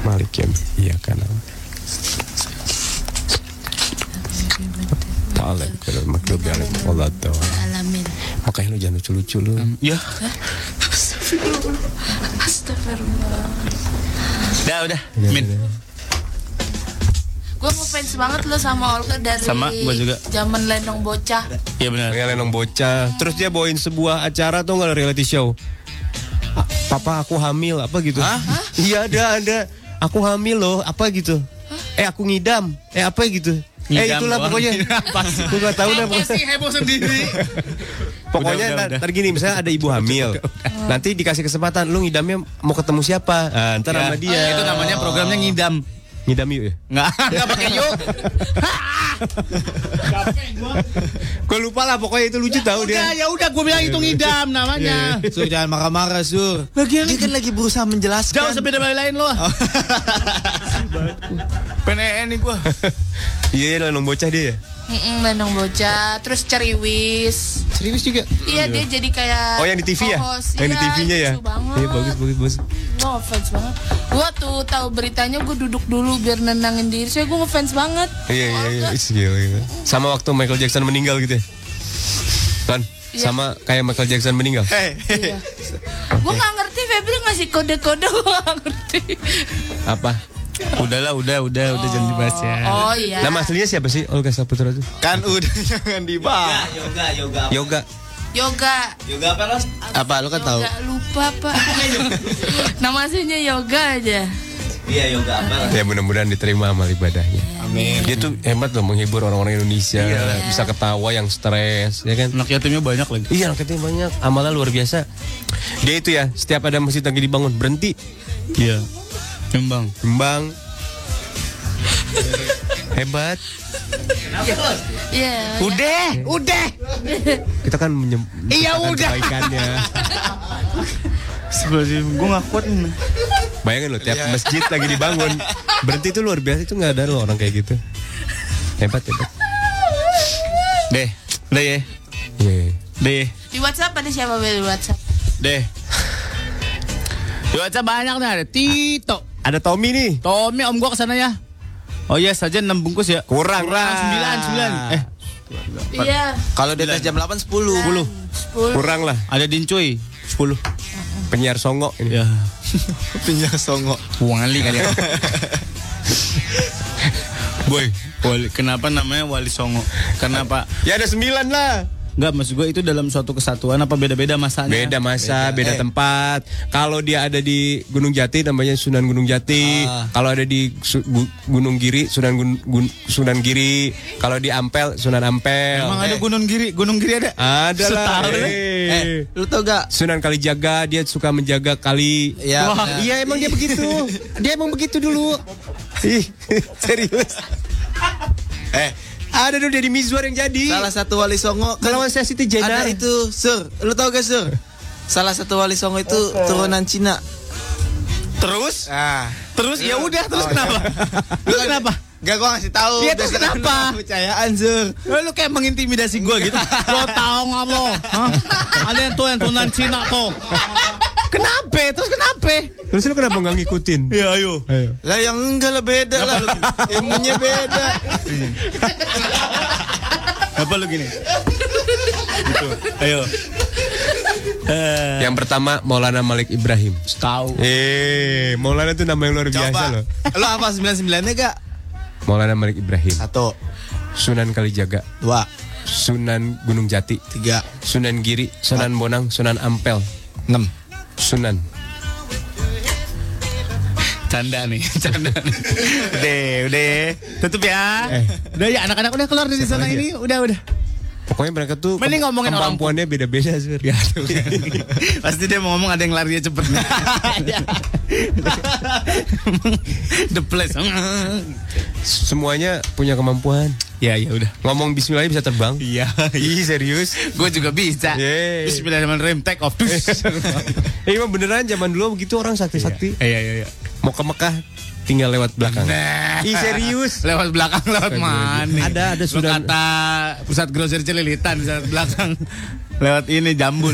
S5: Malik ya, iya kan. Ta'ala kalau maklub ya Allah tahu.
S10: Alamin.
S5: Makanya lu jangan lucu-lucu lu.
S4: Ya.
S10: Astagfirullah. Astagfirullah.
S4: Dah udah. Min.
S10: Gue ngefans banget lo sama Olga dari
S5: Sama, gua juga.
S10: zaman Lenong Bocah.
S4: Iya benar.
S5: Kayak Lenong bocah. Terus dia bawain sebuah acara tuh nggak reality show. A- Papa aku hamil apa gitu? Iya ada ada. Aku hamil loh apa gitu? Eh aku ngidam. Eh apa gitu? eh
S4: Ngidam oh.
S5: itulah
S4: doang. [laughs]
S5: pokoknya. Gue nggak tahu dah pokoknya.
S4: heboh sendiri?
S5: [laughs] Pokoknya
S4: Udah, udah,
S5: ntar, ntar gini misalnya ada
S4: [laughs]
S5: ibu hamil. Nanti dikasih kesempatan lu ngidamnya mau ketemu siapa? Nah, ntar
S4: Ya,
S5: sama dia.
S4: Itu namanya programnya ngidam.
S5: ngidam yuk ya.
S4: Nggak, nggak pakai
S2: [laughs]
S4: yuk.
S5: Gue lupa lah pokoknya itu lucu tahu dia.
S2: Ya udah gue bilang
S5: Iya,
S2: itu ngidam namanya. Sur jangan marah-marah Sur. dia kan lagi berusaha menjelaskan.
S4: Jangan sampai belain lo. PNN nih gua.
S5: [laughs] Iya, Lenong bocah dia ya.
S10: Mm-mm, Lenong Bocah, terus Ceriwis.
S2: Ceriwis juga.
S10: Iya, dia jadi kayak
S5: Oh yang di TV ya?
S10: co-host.
S5: Yang di
S10: Iya,
S5: TV-nya ya?
S10: lucu banget.
S5: Iya bagus bagus bagus.
S10: Gue ngefans banget. Gue tuh tahu beritanya gue duduk dulu biar nenangin diri. Saya gue ngefans banget.
S5: Iya iya iya. It's gila, gila. Sama waktu Michael Jackson meninggal gitu ya. Kan
S10: Iya.
S5: sama kayak Michael Jackson meninggal.
S10: Gue
S5: Iya.
S10: nggak ngerti Febri ngasih kode-kode gue nggak ngerti.
S5: Apa?
S4: Udahlah, udah, udah, udah jangan dibahas ya.
S10: Oh iya.
S5: Nama aslinya siapa sih Olga Saputra itu?
S4: Kan udah [laughs] jangan dibahas.
S2: Yoga, yoga.
S5: Yoga.
S10: Yoga.
S2: Yoga apa Ros? Apa lu kan tahu?
S10: Yoga lupa
S5: [laughs]
S10: pak. Nama aslinya Yoga aja.
S2: Iya yoga apa? Ros?
S5: Ya mudah-mudahan diterima amal ibadahnya. Amin. Dia tuh hebat loh menghibur orang-orang Indonesia.
S4: Iya.
S5: Bisa ketawa yang stres, ya kan?
S4: Anak yatimnya banyak lagi.
S5: Iya, anak yatim banyak. Amalnya luar biasa. Dia itu ya, setiap ada masjid lagi dibangun berhenti,
S4: Iya. Nyumbang. [laughs]
S5: kembang. hebat.
S10: Iya.
S2: Udah, udah.
S5: Kita kan menyem
S2: Iya,
S5: menciptakan
S2: udah.
S5: kebaikannya.
S4: [laughs] Sebelah gue nggak kuat nih.
S5: Bayangin loh, tiap masjid lagi dibangun berhenti itu luar biasa. Itu nggak ada loh orang kayak gitu. Hebat hebat.
S4: Deh, deh ya.
S5: Iya.
S4: Deh,
S10: Di WhatsApp ada siapa Bel, di WhatsApp?
S4: deh. Di WhatsApp banyak nih ada Tito.
S5: Ada Tommy nih.
S4: Tommy om gua kesana ya. Oh iya saja 6 bungkus ya.
S5: Kurang.
S4: Kurang 9, 9. Eh,
S10: Iya.
S2: Kalau di atas jam Nah. 8 10.
S4: 10.
S10: Sepuluh.
S5: Kurang lah.
S4: Ada Dincuy 10.
S5: Penyiar songo ini.
S4: [laughs] Ya.
S2: Punya songo.
S4: Wali kali ya. [laughs] Boy, wali, kenapa namanya Wali Songo? Kenapa?
S5: Ya ada sembilan lah.
S4: Enggak, maksud gue itu dalam suatu kesatuan apa beda-beda masanya?
S5: Beda masa, beda, tempat. Kalau dia ada di Gunung Jati namanya Sunan Gunung Jati. Kalau ada di Su- Gu- Gunung Giri Sunan Gun- Gun- Sunan Giri. Kalau di Ampel Sunan Ampel.
S4: Emang ada Gunung Giri, Gunung Giri ada?
S5: Ada lah.
S4: Setahun ya?
S5: Eh.
S2: Eh, lu tau gak?
S5: Sunan Kalijaga dia suka menjaga kali.
S2: Ya,
S5: Wah,
S2: benar.
S5: iya emang dia [laughs] begitu. dia emang begitu dulu. Ih, [laughs] serius.
S2: Eh,
S5: Ada dulu Deddy Mizwar yang jadi.
S2: salah satu wali songo kan
S5: Lawan saya Siti
S2: ada
S5: Jenar.
S2: itu, Sur. Lu tau gak, Sur? Salah satu wali songo itu turunan Cina.
S4: Terus?
S2: Ah.
S4: Terus ya udah terus [laughs] kenapa?
S2: Lu kenapa? Gak gua ngasih tahu.
S4: Iya, terus
S2: Biasanya
S4: kenapa?
S2: kan lu Percayaan, Sur.
S4: Eh, Lu kayak mengintimidasi gue gitu. Lo tau nggak lo? Hah? Ada yang tuh yang tunan Cina tuh. Kenapa? Terus kenapa?
S5: Terus lu kenapa nggak [laughs] ngikutin?
S4: Ya ayo.
S5: Ayo.
S2: Lah yang enggak lah beda lah. Ilmunya beda.
S4: Apa lu gini?
S5: Gitu. Ayo. Yang pertama Maulana Malik Ibrahim.
S4: Tahu.
S5: Eh, Maulana itu nama yang luar biasa loh.
S4: Lo apa 99-nya gak?
S5: Maulana Malik Ibrahim.
S4: Satu.
S5: Sunan Kalijaga.
S4: Dua.
S5: Sunan Gunung Jati.
S4: Tiga.
S5: Sunan Giri, Sunan Bonang, Sunan Ampel.
S4: Enam.
S5: Sunan.
S4: Canda nih, [laughs] canda nih. Udah, udah. Tutup ya.
S8: Udah ya anak-anak udah keluar dari sana
S5: Siapa lagi
S8: ini, udah udah.
S5: Pokoknya mereka tuh
S8: Mending ngomongin orang
S5: kemampuannya beda-beda sih.
S4: Iya. [laughs] Pasti dia mau ngomong ada yang larinya cepet [laughs] nih. Iya. The place.
S5: [laughs] Semuanya punya kemampuan.
S4: Ya, ya udah.
S5: Ngomong bismillah aja bisa terbang.
S4: Iya.
S5: Ih, serius.
S4: Gue juga bisa. Bismillahirrahmanirrahim. Take off.
S5: Eh, emang beneran zaman dulu begitu orang sakti-sakti.
S4: [laughs] Iya, iya, Nah. iya.
S5: Mau ke Mekah tinggal lewat belakang.
S4: Ih serius Lewat belakang lewat mana
S5: Ada, ada
S4: Lu
S5: Sudan.
S4: kata pusat grosir celilitan di sana belakang [laughs] Lewat ini jambul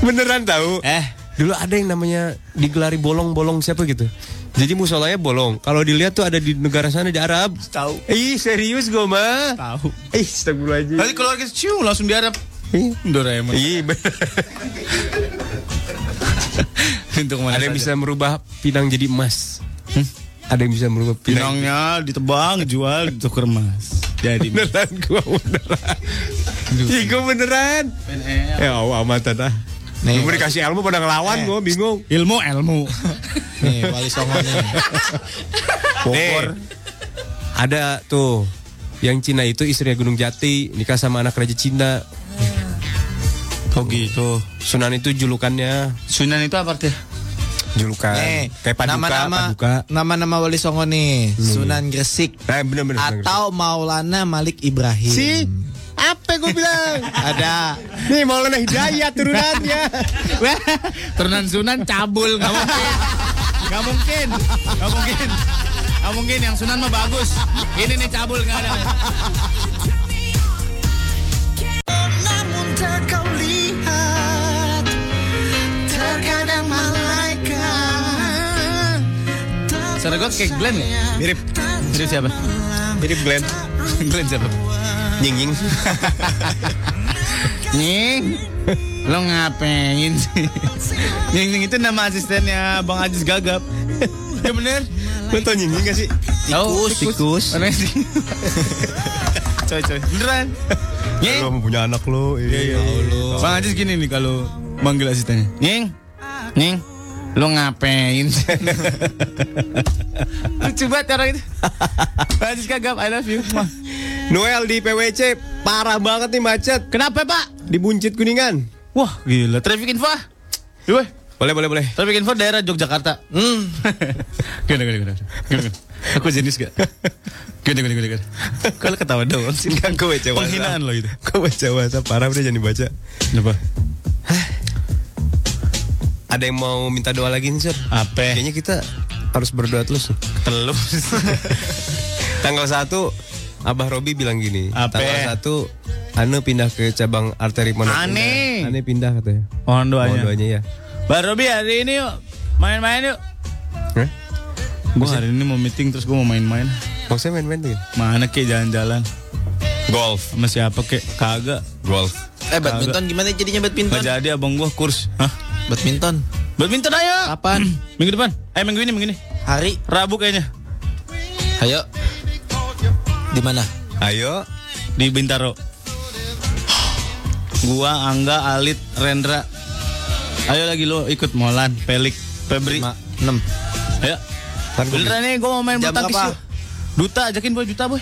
S5: Beneran tahu?
S4: [laughs] Eh,
S5: dulu ada yang namanya digelari bolong-bolong siapa gitu. Jadi musolanya bolong. Kalau dilihat tuh ada di negara sana di Arab.
S4: Tahu.
S5: Ih, serius gue mah.
S4: Tahu.
S5: Ih, astagfirullah
S4: Nanti keluar ke cium langsung diharap Doraemon
S5: Iya Ada yang bisa merubah pinang jadi emas. Ada yang bisa merubah pinang.
S4: Pinangnya ditebang, jual, ditukar emas Jadi
S5: Beneran gue beneran. Ih, gue beneran. Ya Allah amatan ah.
S4: Nih.
S5: Gue dikasih ilmu pada ngelawan gue bingung.
S4: Ilmu ilmu.
S5: Nih, Wali Songo nih. Ada tuh yang Cina itu istrinya Gunung Jati nikah sama anak Raja Cina.
S4: [laughs] Oh gitu.
S5: Sunan itu julukannya.
S4: Sunan itu apa artinya?
S5: Julukan.
S2: Nih,
S5: Kan. Kayak paduka,
S2: nama-nama
S5: paduka.
S2: nama-nama Wali Songo nih, Sunan Gresik
S5: Eh, bener-bener.
S2: atau Maulana Malik Ibrahim.
S8: Si apa gue bilang?
S2: Ada.
S8: Nih Maulana Hidayat turunannya. Wah,
S4: Turunan Sunan cabul nggak mungkin. Nggak mungkin. Nggak mungkin. Nggak mungkin yang Sunan mah bagus. Ini nih cabul nggak ada.
S13: Namun tak kau lihat Terkadang malaikat
S4: Suara gue kayak Glenn ya?
S5: Iya.
S4: Mirip. Mirip
S5: [laughs]
S4: siapa? Mirip Glenn. Glenn siapa?
S5: Nying nying.
S4: nying. Lo ngapain
S5: [laughs]
S4: sih? Nying nying itu nama asistennya Bang Ajis Gagap. ya bener.
S5: Lo tau nying nying gak sih?
S4: Tahu,
S5: tikus.
S4: Mana sih? [laughs] coy coy. Ya, Beneran. Nying.
S5: Lo punya anak lo. Iya, iya.
S4: Bang Ajis gini nih kalau manggil asistennya. Nying. Nying. Lo ngapain [laughs] sih? Lucu banget orang [laughs] itu. Bang Ajis Gagap, I love you. Mwah.
S5: Noel di PWC parah banget nih macet.
S4: Kenapa pak?
S5: Di Buncit Kuningan.
S4: Wah gila Traffic info ah. Yoi.
S5: Boleh boleh boleh.
S4: Traffic info daerah Yogyakarta [laughs] Hmm Gimana gimana gimana Gimana gimana Aku jenis [laughs] gak? Gimana gimana gimana gimana Kalau ketawa doang sih
S5: Kan gue baca WhatsApp.
S4: Penghinaan lo itu
S5: Gue baca WhatsApp parah udah jangan dibaca.
S4: Kenapa?
S5: Ada yang mau minta doa lagi nih, Sur?
S4: Apa?
S5: Kayaknya kita harus berdoa terus. nih.
S4: Telus
S5: Tanggal 1 Abah Robi bilang gini.
S4: Apa?
S5: Tanggal 1 Ane pindah ke cabang arteri Pondok
S4: Ane.
S5: Indah. Ane pindah katanya.
S4: Mohon doanya
S5: Mohon doanya ya.
S4: Bang Robi hari ini yuk Main-main yuk
S5: Hah?
S4: Gue hari ini mau meeting terus gue mau main-main
S5: Maksudnya main-main tuh ya?
S4: Mana kek jalan-jalan
S5: Golf.
S4: Sama siapa kek? Kagak
S5: Golf.
S2: Eh badminton gimana jadinya badminton?
S4: Gak jadi abang gue kurs Hah?
S2: Badminton.
S4: Badminton ayo
S2: Kapan?
S4: Minggu depan Eh minggu ini minggu ini
S2: Hari?
S4: Rabu kayaknya
S2: Ayo. Di mana?
S5: Ayo.
S4: di Bintaro. Gua Angga, Alit, Rendra. Ayo lagi lo ikut Molan, Pelik, Febri.
S2: 6.
S4: Ayo.
S5: Ntar gua-
S4: Beneran nih gua mau main bulu
S2: Jam
S4: tangkis
S2: berapa?
S4: yuk. Duta ajakin boy Duta boy.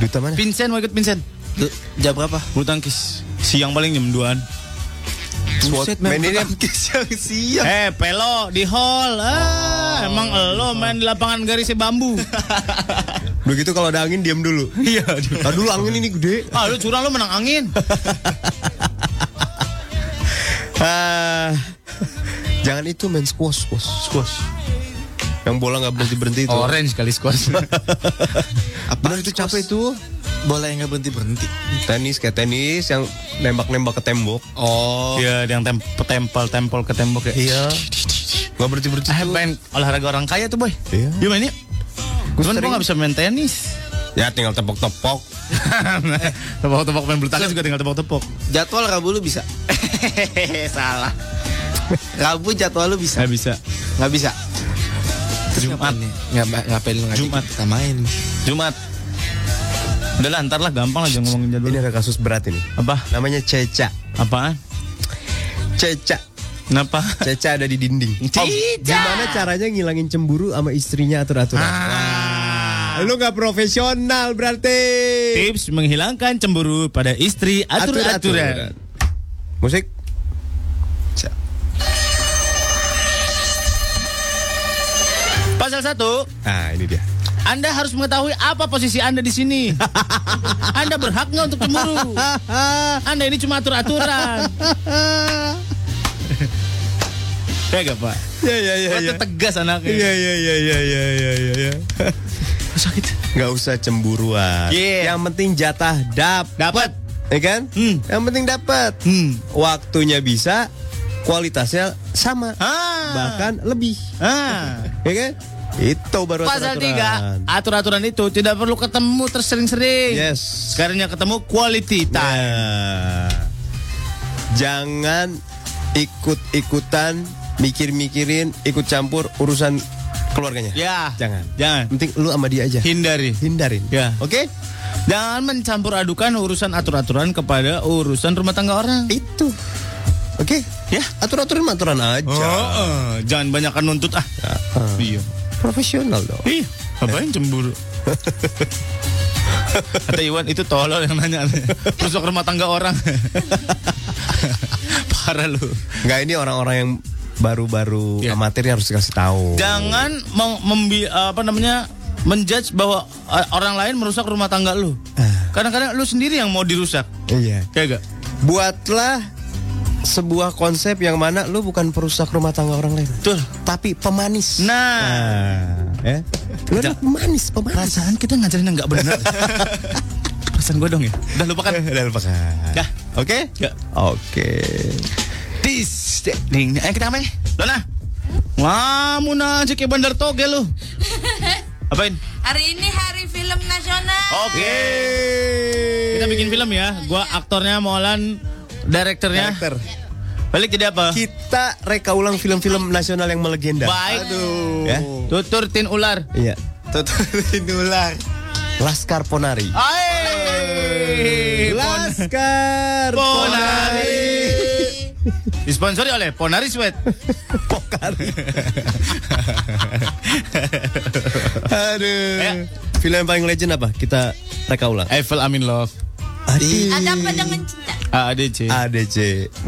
S5: Duta mana?
S4: Vincent mau ikut Vincent.
S2: Du- jam berapa?
S4: Bulu tangkis. Siang paling jam 2-an.
S5: Swat. Main ini ya?
S2: [laughs] siang.
S4: Eh, Pelo di hall. Ah, emang lo main di lapangan garis bambu. [laughs]
S5: Udah gitu kalau ada angin diam [laughs] dulu.
S4: Iya.
S5: Tadi dulu angin ini gede.
S4: ah, lu curang lo menang angin.
S5: Ah, jangan itu main squash, squash, squash. Yang bola nggak berhenti berhenti itu.
S4: Orange kali [laughs] squash.
S2: Eh,
S5: Bener itu capek itu.
S2: Bola yang nggak berhenti berhenti.
S5: Tenis kayak tenis yang nembak-nembak ke tembok.
S2: Oh.
S4: Iya, yang tem tempel-tempel ke tembok ya.
S5: Nggak berhenti berhenti.
S4: Ah, main olahraga orang kaya tuh boy.
S5: Iya.
S4: Yuk main yuk. Cuman [laughs] gue
S5: sering-
S4: gak bisa main tenis.
S5: Ya tinggal tepok-tepok.
S4: Tepok-tepok main bulu tangkis juga tinggal tepok-tepok.
S2: Jadwal Rabu lu bisa. [laughs] Salah. Rabu jadwal lu bisa.
S4: Nggak bisa.
S2: Nggak bisa.
S4: Jumat nih.
S2: Nggak ngapain lu ngaji?
S4: Jumat.
S2: Kita main.
S4: Jumat. Udah lah, ntar lah gampang lah jangan ngomongin jadwal.
S5: Ini ada kasus berat ini.
S4: Apa?
S5: Namanya Ceca.
S4: Apaan?
S5: Ceca.
S4: Kenapa? [laughs]
S5: Ceca ada di dinding.
S4: Ceca!
S5: gimana caranya ngilangin cemburu sama istrinya atur-aturan? Lu nggak profesional berarti.
S4: Tips menghilangkan cemburu pada istri atur-aturan.
S5: Musik.
S4: Pasal 1,
S5: Nah, ini dia.
S4: Anda harus mengetahui apa posisi Anda di sini. Anda berhak nggak untuk cemburu? Anda ini cuma atur-aturan. Ya gak pak?
S5: Ya ya ya.
S4: Kata
S5: ya.
S4: tegas anaknya.
S5: Iya iya iya iya iya iya iya. [laughs] Ya.
S4: Sakit.
S5: Gak usah cemburuan.
S4: Yeah.
S5: Yang penting jatah dap.
S4: Dapat.
S5: Ya kan? Yang penting dapat. Waktunya bisa, kualitasnya sama.
S4: Ah.
S5: Bahkan lebih. [laughs] Ya kan? Itu baru
S4: Pasal
S5: aturan-aturan.
S4: 3 Atur-aturan itu tidak perlu ketemu tersering-sering
S5: Yes.
S4: Sekarang yang ketemu quality time
S5: Nah, jangan ikut-ikutan mikir-mikirin ikut campur urusan keluarganya.
S4: Ya
S5: Jangan.
S4: Jangan
S5: Penting lu sama dia aja.
S4: Hindari
S5: Hindarin.
S4: Ya
S5: Oke?
S4: Jangan mencampur adukan urusan atur-aturan kepada urusan rumah tangga orang
S5: Itu Oke?
S4: Ya
S5: Atur-aturan mah aturan aja.
S4: Oh, eh, Jangan banyakkan nuntut ah Iya
S5: Profesional dong.
S4: Ih, ngapain cemburu? Kata Iwan itu tolol yang nanya Rusuk rumah tangga orang [laughs] Parah lu
S5: Enggak ini orang-orang yang baru-baru
S4: Iya.
S5: amatir yang harus dikasih tahu.
S4: Jangan mem- membi apa namanya menjudge bahwa eh, orang lain merusak rumah tangga lu. Kadang-kadang lu sendiri yang mau dirusak.
S5: Iya.
S4: Ya gak?
S5: Buatlah sebuah konsep yang mana lu bukan perusak rumah tangga orang lain,
S4: Betul.
S5: tapi pemanis.
S4: Nah,
S5: ya. Lu adalah pemanis, pemanis.
S4: perasaan kita ngajarin yang nggak benar. perasaan gue dong ya. Udah lupakan.
S5: Udah lupakan.
S4: Dah.
S5: Oke?
S4: Ya.
S5: Oke.
S4: Tis. Ding. Eh kita apa ya? Lona. Ngamun aja kayak bandar toge lu. Apain?
S6: Hari ini hari film nasional.
S4: Oke. Kita bikin film ya. Gua aktornya Molan, direkturnya.
S5: Karakter.
S4: Balik jadi apa?
S5: Kita reka ulang film-film nasional yang melegenda.
S4: Baik.
S5: Ya.
S4: Tutur tin ular.
S5: Iya.
S2: Tuturin ular.
S5: Laskar Ponari.
S4: Hai.
S5: Laskar
S4: Ponari. Disponsori oleh Ponari Sweat.
S5: [laughs] Pokari. Aduh.
S4: Ya.
S5: Eh, Film yang paling legend apa? Kita reka ulang.
S4: Eiffel Amin Love.
S6: Ada apa dengan cinta?
S4: AADC.
S5: ADC.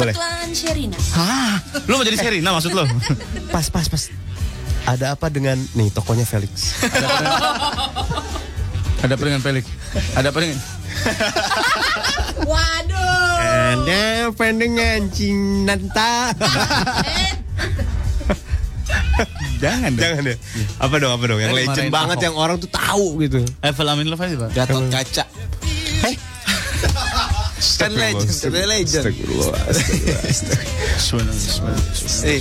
S5: Boleh.
S6: Iklan Sherina.
S4: Hah? Lu mau jadi Serina maksud lu?
S5: Pas, pas, pas. Ada apa dengan nih tokonya Felix?
S4: Ada apa dengan Felix? Ada apa dengan?
S6: Waduh.
S5: Ada apa dengan Cinanta?
S4: Jangan dong.
S5: [laughs] Jangan deh. Apa dong, apa dong? Yang
S4: Jangan
S5: legend
S4: dimarahin
S5: banget
S4: Ahok.
S5: yang orang tuh tahu gitu.
S4: Eiffel Amin Love aja, Pak.
S2: Gatot kaca. Eh? Kan legend, kan legend. Eh,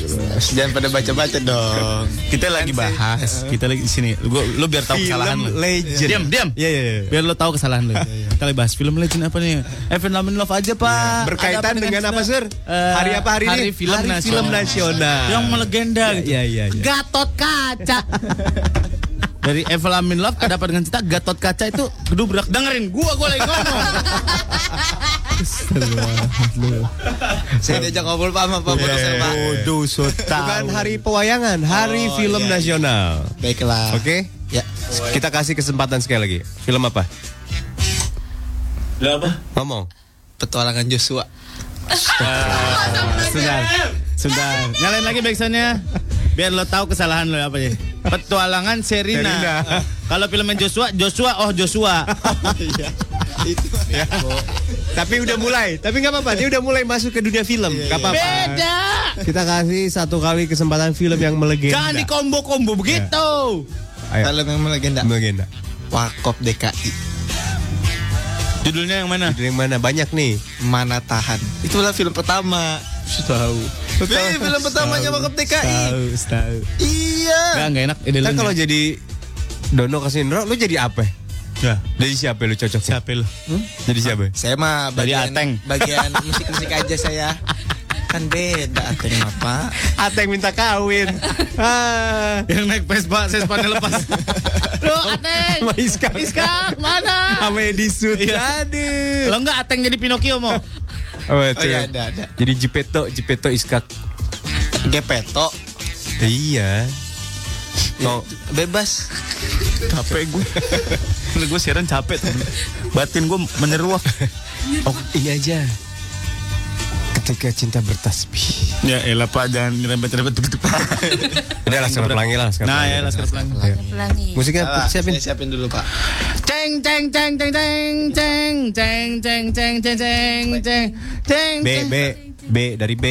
S2: jangan pada baca-baca dong.
S4: Kita lagi bahas. Kita lagi di sini. Gua lu biar tahu kesalahan lu.
S5: Eh. legend.
S4: Diam, diam.
S5: Iya, iya, iya.
S4: Biar lu tahu kesalahan lu. Kita lagi bahas film legend apa nih? Eiffel Amin Love aja, Pak. Ada
S5: Iya. Berkaitan dengan apa, Sir?
S4: Eh,
S5: hari apa hari,
S4: hari
S5: ini?
S4: film
S5: hari
S4: nasional.
S5: film nasional.
S4: Yang melegenda gitu.
S5: Iya, iya, iya.
S4: Gatot
S5: [laughs]
S4: Kaca. Dari Evil Amin Love ada apa dengan cinta Gatot Kaca itu gedubrak. Dengerin gua gua lagi ngomong.
S2: [laughs] Saya diajak ngobrol Pak sama Pak produser Pak.
S5: Waduh, so Bukan hari pewayangan, hari
S4: Oh, iya,
S5: film nasional.
S2: Baiklah.
S5: Oke?
S2: Ya.
S5: Kita kasih kesempatan sekali lagi. Film apa?
S14: Udah apa?
S5: Ngomong.
S2: Petualangan Joshua.
S4: Sebentar. Sebentar. Nyalain lagi backsoundnya. Biar lo tahu kesalahan lo apa ya. Petualangan Serina.
S5: Serina.
S4: Kalau filmnya Joshua, Joshua oh
S5: [laughs]
S4: Joshua.
S5: Iya. Ya. Tapi udah mulai, tapi nggak apa-apa. Dia udah mulai masuk ke dunia film,
S4: Iya,
S5: nggak apa-apa.
S4: Beda.
S5: Kita kasih satu kali kesempatan film yang melegenda.
S4: Jangan di combo-combo
S5: Iya.
S4: begitu.
S5: Ayo.
S2: Kalau memang legenda.
S5: Melegenda.
S2: Wakop DKI.
S4: Judulnya yang mana?
S5: Dari mana banyak nih?
S2: Mana tahan. Itulah film pertama.
S4: Tahu.
S2: Ih, film pertamanya Wakop DKI.
S4: Tahu, tahu.
S2: Iya.
S4: Enggak, enggak enak. Ide lu
S5: Kan
S4: nih.
S5: kalau jadi Dono Kasindro, lu jadi apa? Ya. Jadi siapa lu cocok? Siapa lu? Jadi siapa?
S2: Saya mah
S5: Dari
S2: bagian,
S5: Ateng.
S2: bagian musik-musik aja saya. Kan beda Ateng apa?
S5: Ateng minta kawin.
S4: Yang naik Vespa, Vespa-nya lepas.
S10: Lu Ateng.
S4: Sama Iska.
S10: Iska mana?
S5: Sama Edisut.
S4: Aduh. [laughs] Iya. Lo enggak Ateng jadi Pinocchio mau?
S5: Oh,
S4: Oh, iya,
S5: ada,
S4: ada,
S5: ada.
S4: ada.
S5: Jadi Jepeto, Jepeto Iskak.
S2: Gepeto.
S5: Iya.
S2: Mau bebas.
S4: capek gue. Bener gue siaran capek tuh. Batin gue meneruak.
S5: Oh, ini aja. Ketika cinta bertasbih.
S4: Ya elah pak jangan nyerempet-nyerempet
S5: [laughs] Udah laskar pelangi lah. Laskar
S4: Nah
S5: Pelangi.
S4: ya laskar pelangi
S10: Pelangi.
S5: Musiknya
S2: Salah,
S5: siapin.
S2: saya siapin dulu pak.
S10: Ceng ceng ceng ceng ceng ceng ceng ceng ceng ceng ceng ceng ceng.
S5: B B B dari B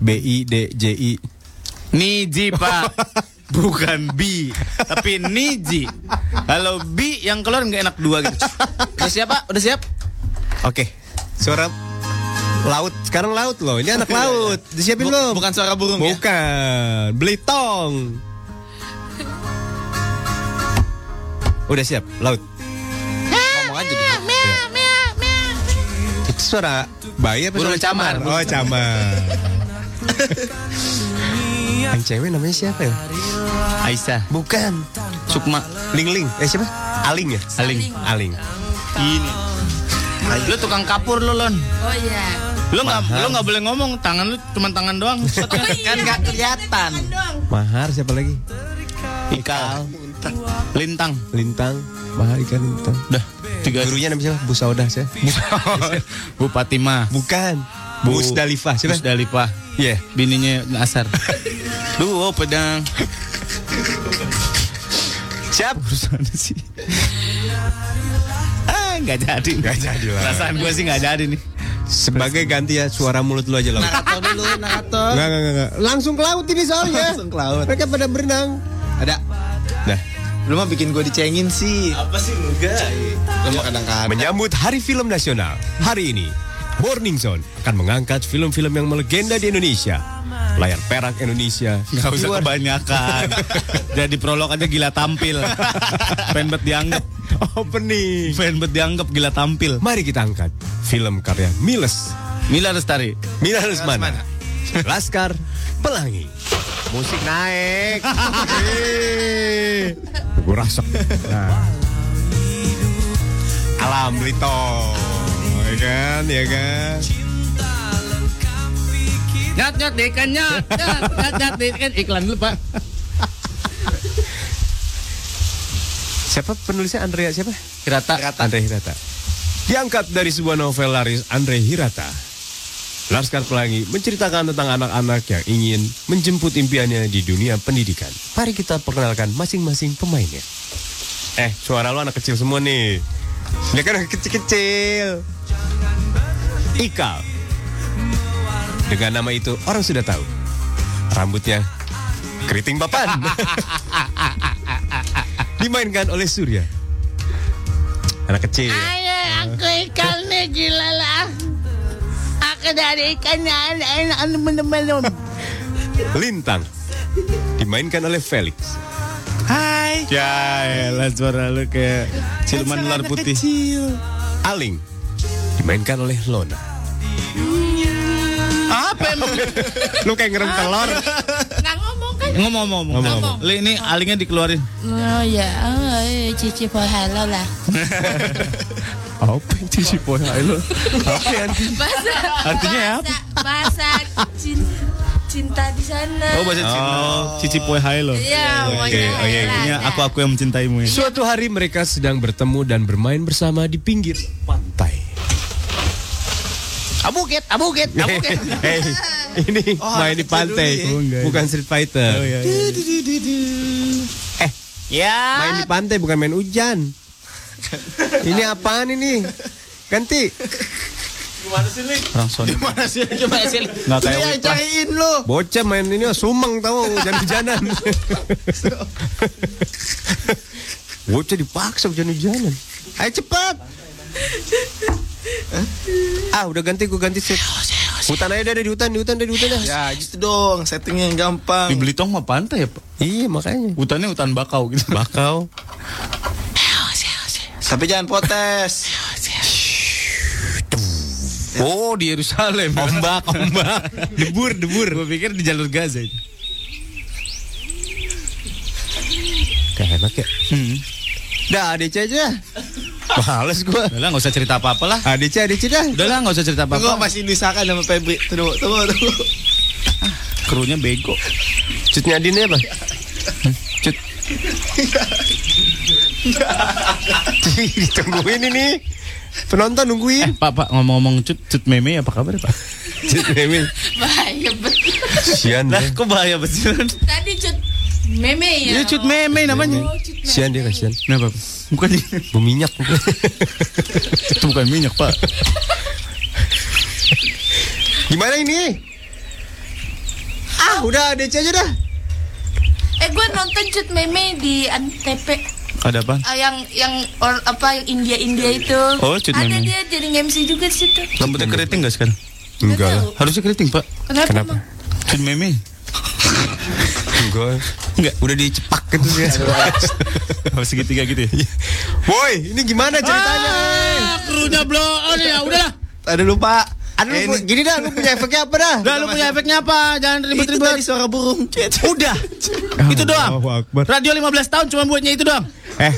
S5: B I D J I.
S4: [laughs] Niji pak Bukan B Tapi Niji Kalau B yang keluar nggak enak dua gitu Udah siap pak? Udah siap?
S5: Oke. Suara laut sekarang laut loh. Ini anak laut. Disiapin
S4: Bu-
S5: belum?
S4: Bukan suara burung ya?
S5: Bukan. Belitong. Udah siap. Laut. gitu.
S2: Ngomong aja dulu.
S5: Iya. Itu suara bayi apa
S4: Burung
S5: suara
S4: camar.
S5: Oh,
S4: [laughs]
S5: camar. Yang cewek namanya siapa ya?
S4: Aisyah
S5: Bukan.
S4: Sukma
S5: Ling Ling. Eh siapa? Aling ya?
S4: Aling.
S5: Aling.
S4: Ini Lu tukang kapur lu Lon
S6: Oh iya. Oh,
S4: Lu nggak
S5: Mahal.
S4: lu nggak boleh ngomong Tangan lu cuma tangan doang
S6: iya.
S2: Kan nggak kelihatan.
S5: Mahar siapa lagi?
S4: Ikal Lintang
S5: Lintang. Mahar ikan lintang.
S4: Dah Tiga
S5: [laughs] Gurunya namanya siapa? Bu Saudah siapa?
S4: Bupati mah
S5: Bukan. Bu Musdalifah siapa?
S4: Musdalifah
S5: Iya.
S4: Bininya
S5: [laughs]
S4: Asar Duo pedang
S5: Siap.
S4: urusan
S5: [laughs]
S4: sih ah nggak jadi
S5: Nggak jadi lah.
S4: perasaan gue sih nggak jadi nih
S5: Sebagai ganti ya suara mulut lu aja lah.
S2: Narato
S4: [laughs]
S2: dulu, Narato.
S5: Enggak, enggak, enggak. Langsung ke laut Nah, ini
S4: Iya.
S5: soalnya.
S2: Langsung ke laut.
S5: Mereka pada berenang.
S2: Ada.
S5: Dah.
S2: Lu mah bikin gue dicengin sih.
S4: apa sih enggak
S2: Lu mah kadang-kadang.
S5: Menyambut Hari Film Nasional hari ini, Morning Zone akan mengangkat film-film yang melegenda di Indonesia. Layar perak Indonesia.
S4: nggak usah
S2: [laughs]
S5: Keluar-
S4: kebanyakan jadi prolog aja gila tampil pengen bet dianggap
S5: Opening.
S4: pengen bet dianggap gila tampil
S5: Mari kita angkat film karya Miles
S4: Mila Lestari
S5: Mila Lesmana Laskar Pelangi Musik naik [laughs] Gue rasak Nah. Alam Blitong Ya kan, ya kan
S3: Nyat nyat ikan nyat nyat nyat nyat ikan iklan dulu pak.
S5: Siapa penulisnya Andrea siapa?
S4: Kirata
S5: Andre Hirata. Diangkat dari sebuah novel laris Andre Hirata. Laskar Pelangi menceritakan tentang anak-anak yang ingin menjemput impiannya di dunia pendidikan. Mari kita perkenalkan masing-masing pemainnya. Eh, suara lu anak kecil semua nih. Dia kan anak kecil-kecil. Ikal. Dengan nama itu orang sudah tahu. Rambutnya keriting papan. Dimainkan oleh Surya. Anak kecil.
S10: Ayo aku ikan nih gila lah. Aku dari ikan yang enak
S13: anu
S10: teman-teman.
S5: Lintang dimainkan oleh Felix.
S4: Hai ya elah suara lu kayak siluman ular putih
S5: Aling dimainkan oleh Lona.
S4: apa emang
S5: Lu kayak ngerem telur.
S10: Nggak ngomong kan?
S4: Eh, ngomong ngomong ngomong Li, ini alingnya dikeluarin
S10: Oh ya, oh, eh, cici pohalo lah.
S4: apa yang cici poin lo
S10: Bahasa.
S4: Artinya ya,
S10: bahasa, Bahasa cin- cinta di sana.
S4: Oh bahasa Cina.
S5: Oh.
S4: Cici Poe Hai lo.
S10: Iya,
S6: Ya,
S10: pokoknya
S5: oke, oke.
S10: lah,
S4: Ini
S10: dah.
S4: aku aku yang mencintaimu ya.
S5: Suatu hari mereka sedang bertemu dan bermain bersama di pinggir pantai.
S4: Abuget, abuget,
S3: Ya,
S4: abuget.
S5: Hey, ini main di pantai,
S4: Oh,
S5: bukan Street Fighter.
S4: iya,
S5: Eh, main
S4: ya.
S5: di pantai bukan main hujan. ini apaan ini? Ganti.
S4: Orang [laughs] Sony.
S2: Mana sih coba sih?
S4: Nggak kayak
S2: Dia
S4: Wipra.
S2: cariin lu.
S5: Bocah main ini mah sumeng
S2: [laughs]
S5: tau hujan-hujanan. Bocah dipaksa hujan-hujanan. Ayo cepat. ah udah ganti gue ganti set. Hutan aja dari hutan, di hutan dari hutan dah.
S2: Ya gitu dong, settingnya yang
S4: Di
S2: gampang.
S4: Belitung mah pantai ya, Pak.
S5: Iya makanya.
S4: Hutannya hutan bakau gitu.
S5: Bakau.
S2: Tapi jangan
S4: [laughs]
S2: potes.
S4: Oh di Yerusalem Ombak Ombak Debur Debur Gue pikir di jalur Gaza itu
S15: Kayak enak ya
S4: Dah ADC aja Males gue Udah lah gak usah cerita apa-apa lah ADC ADC dah Udah lah gak usah cerita
S2: Gue
S4: apa-apa
S2: masih disahkan sama Febri. Tunggu, tunggu, tunggu.
S4: Krunya bego
S5: Cut nyadinnya apa?
S2: [laughs]
S4: Cut
S5: Ditungguin ini Penonton
S4: Eh,
S5: nungguin
S4: Pak pak ngomong-ngomong cut Cut meme apa kabar ya, pak
S5: Cut meme
S6: Bahaya betul.
S5: Sian
S4: Lah kok bahaya betul
S6: Tadi cut meme ya.
S4: Iya cut meme namanya
S6: Oh, cut meme.
S5: Sian dia kasihan
S4: Kenapa? Nah, Bukan
S5: Berminyak
S4: Itu bukan minyak pak
S5: Gimana ini? Ah udah ADC aja dah
S6: Eh gue nonton cut meme di Antep.
S4: Ada apa?
S6: Ah, yang yang or, apa yang India India itu.
S4: Oh, Cut
S6: Ada
S4: Meme.
S6: dia jadi MC juga di situ.
S4: Rambutnya keriting gak sekarang?
S6: Enggak lah.
S4: Harusnya keriting pak
S6: Kenapa? Kenapa?
S4: Cut meme
S5: Enggak
S4: Enggak
S5: Udah dicepak gitu sih
S4: Harus segitiga gitu ya
S5: Woi ini gimana ceritanya?
S3: Ah, Krunya blow on ya, udahlah.
S5: Ada Ah. lupa Ada
S3: Eh,
S5: lupa
S3: ini-
S5: Gini dah lu punya efeknya apa dah?
S3: Dah lu punya efeknya apa? Jangan ribet-ribet. Itu suara burung. Udah.
S4: Ah,
S3: itu doang. Radio 15 tahun cuma buatnya itu doang.
S5: Eh,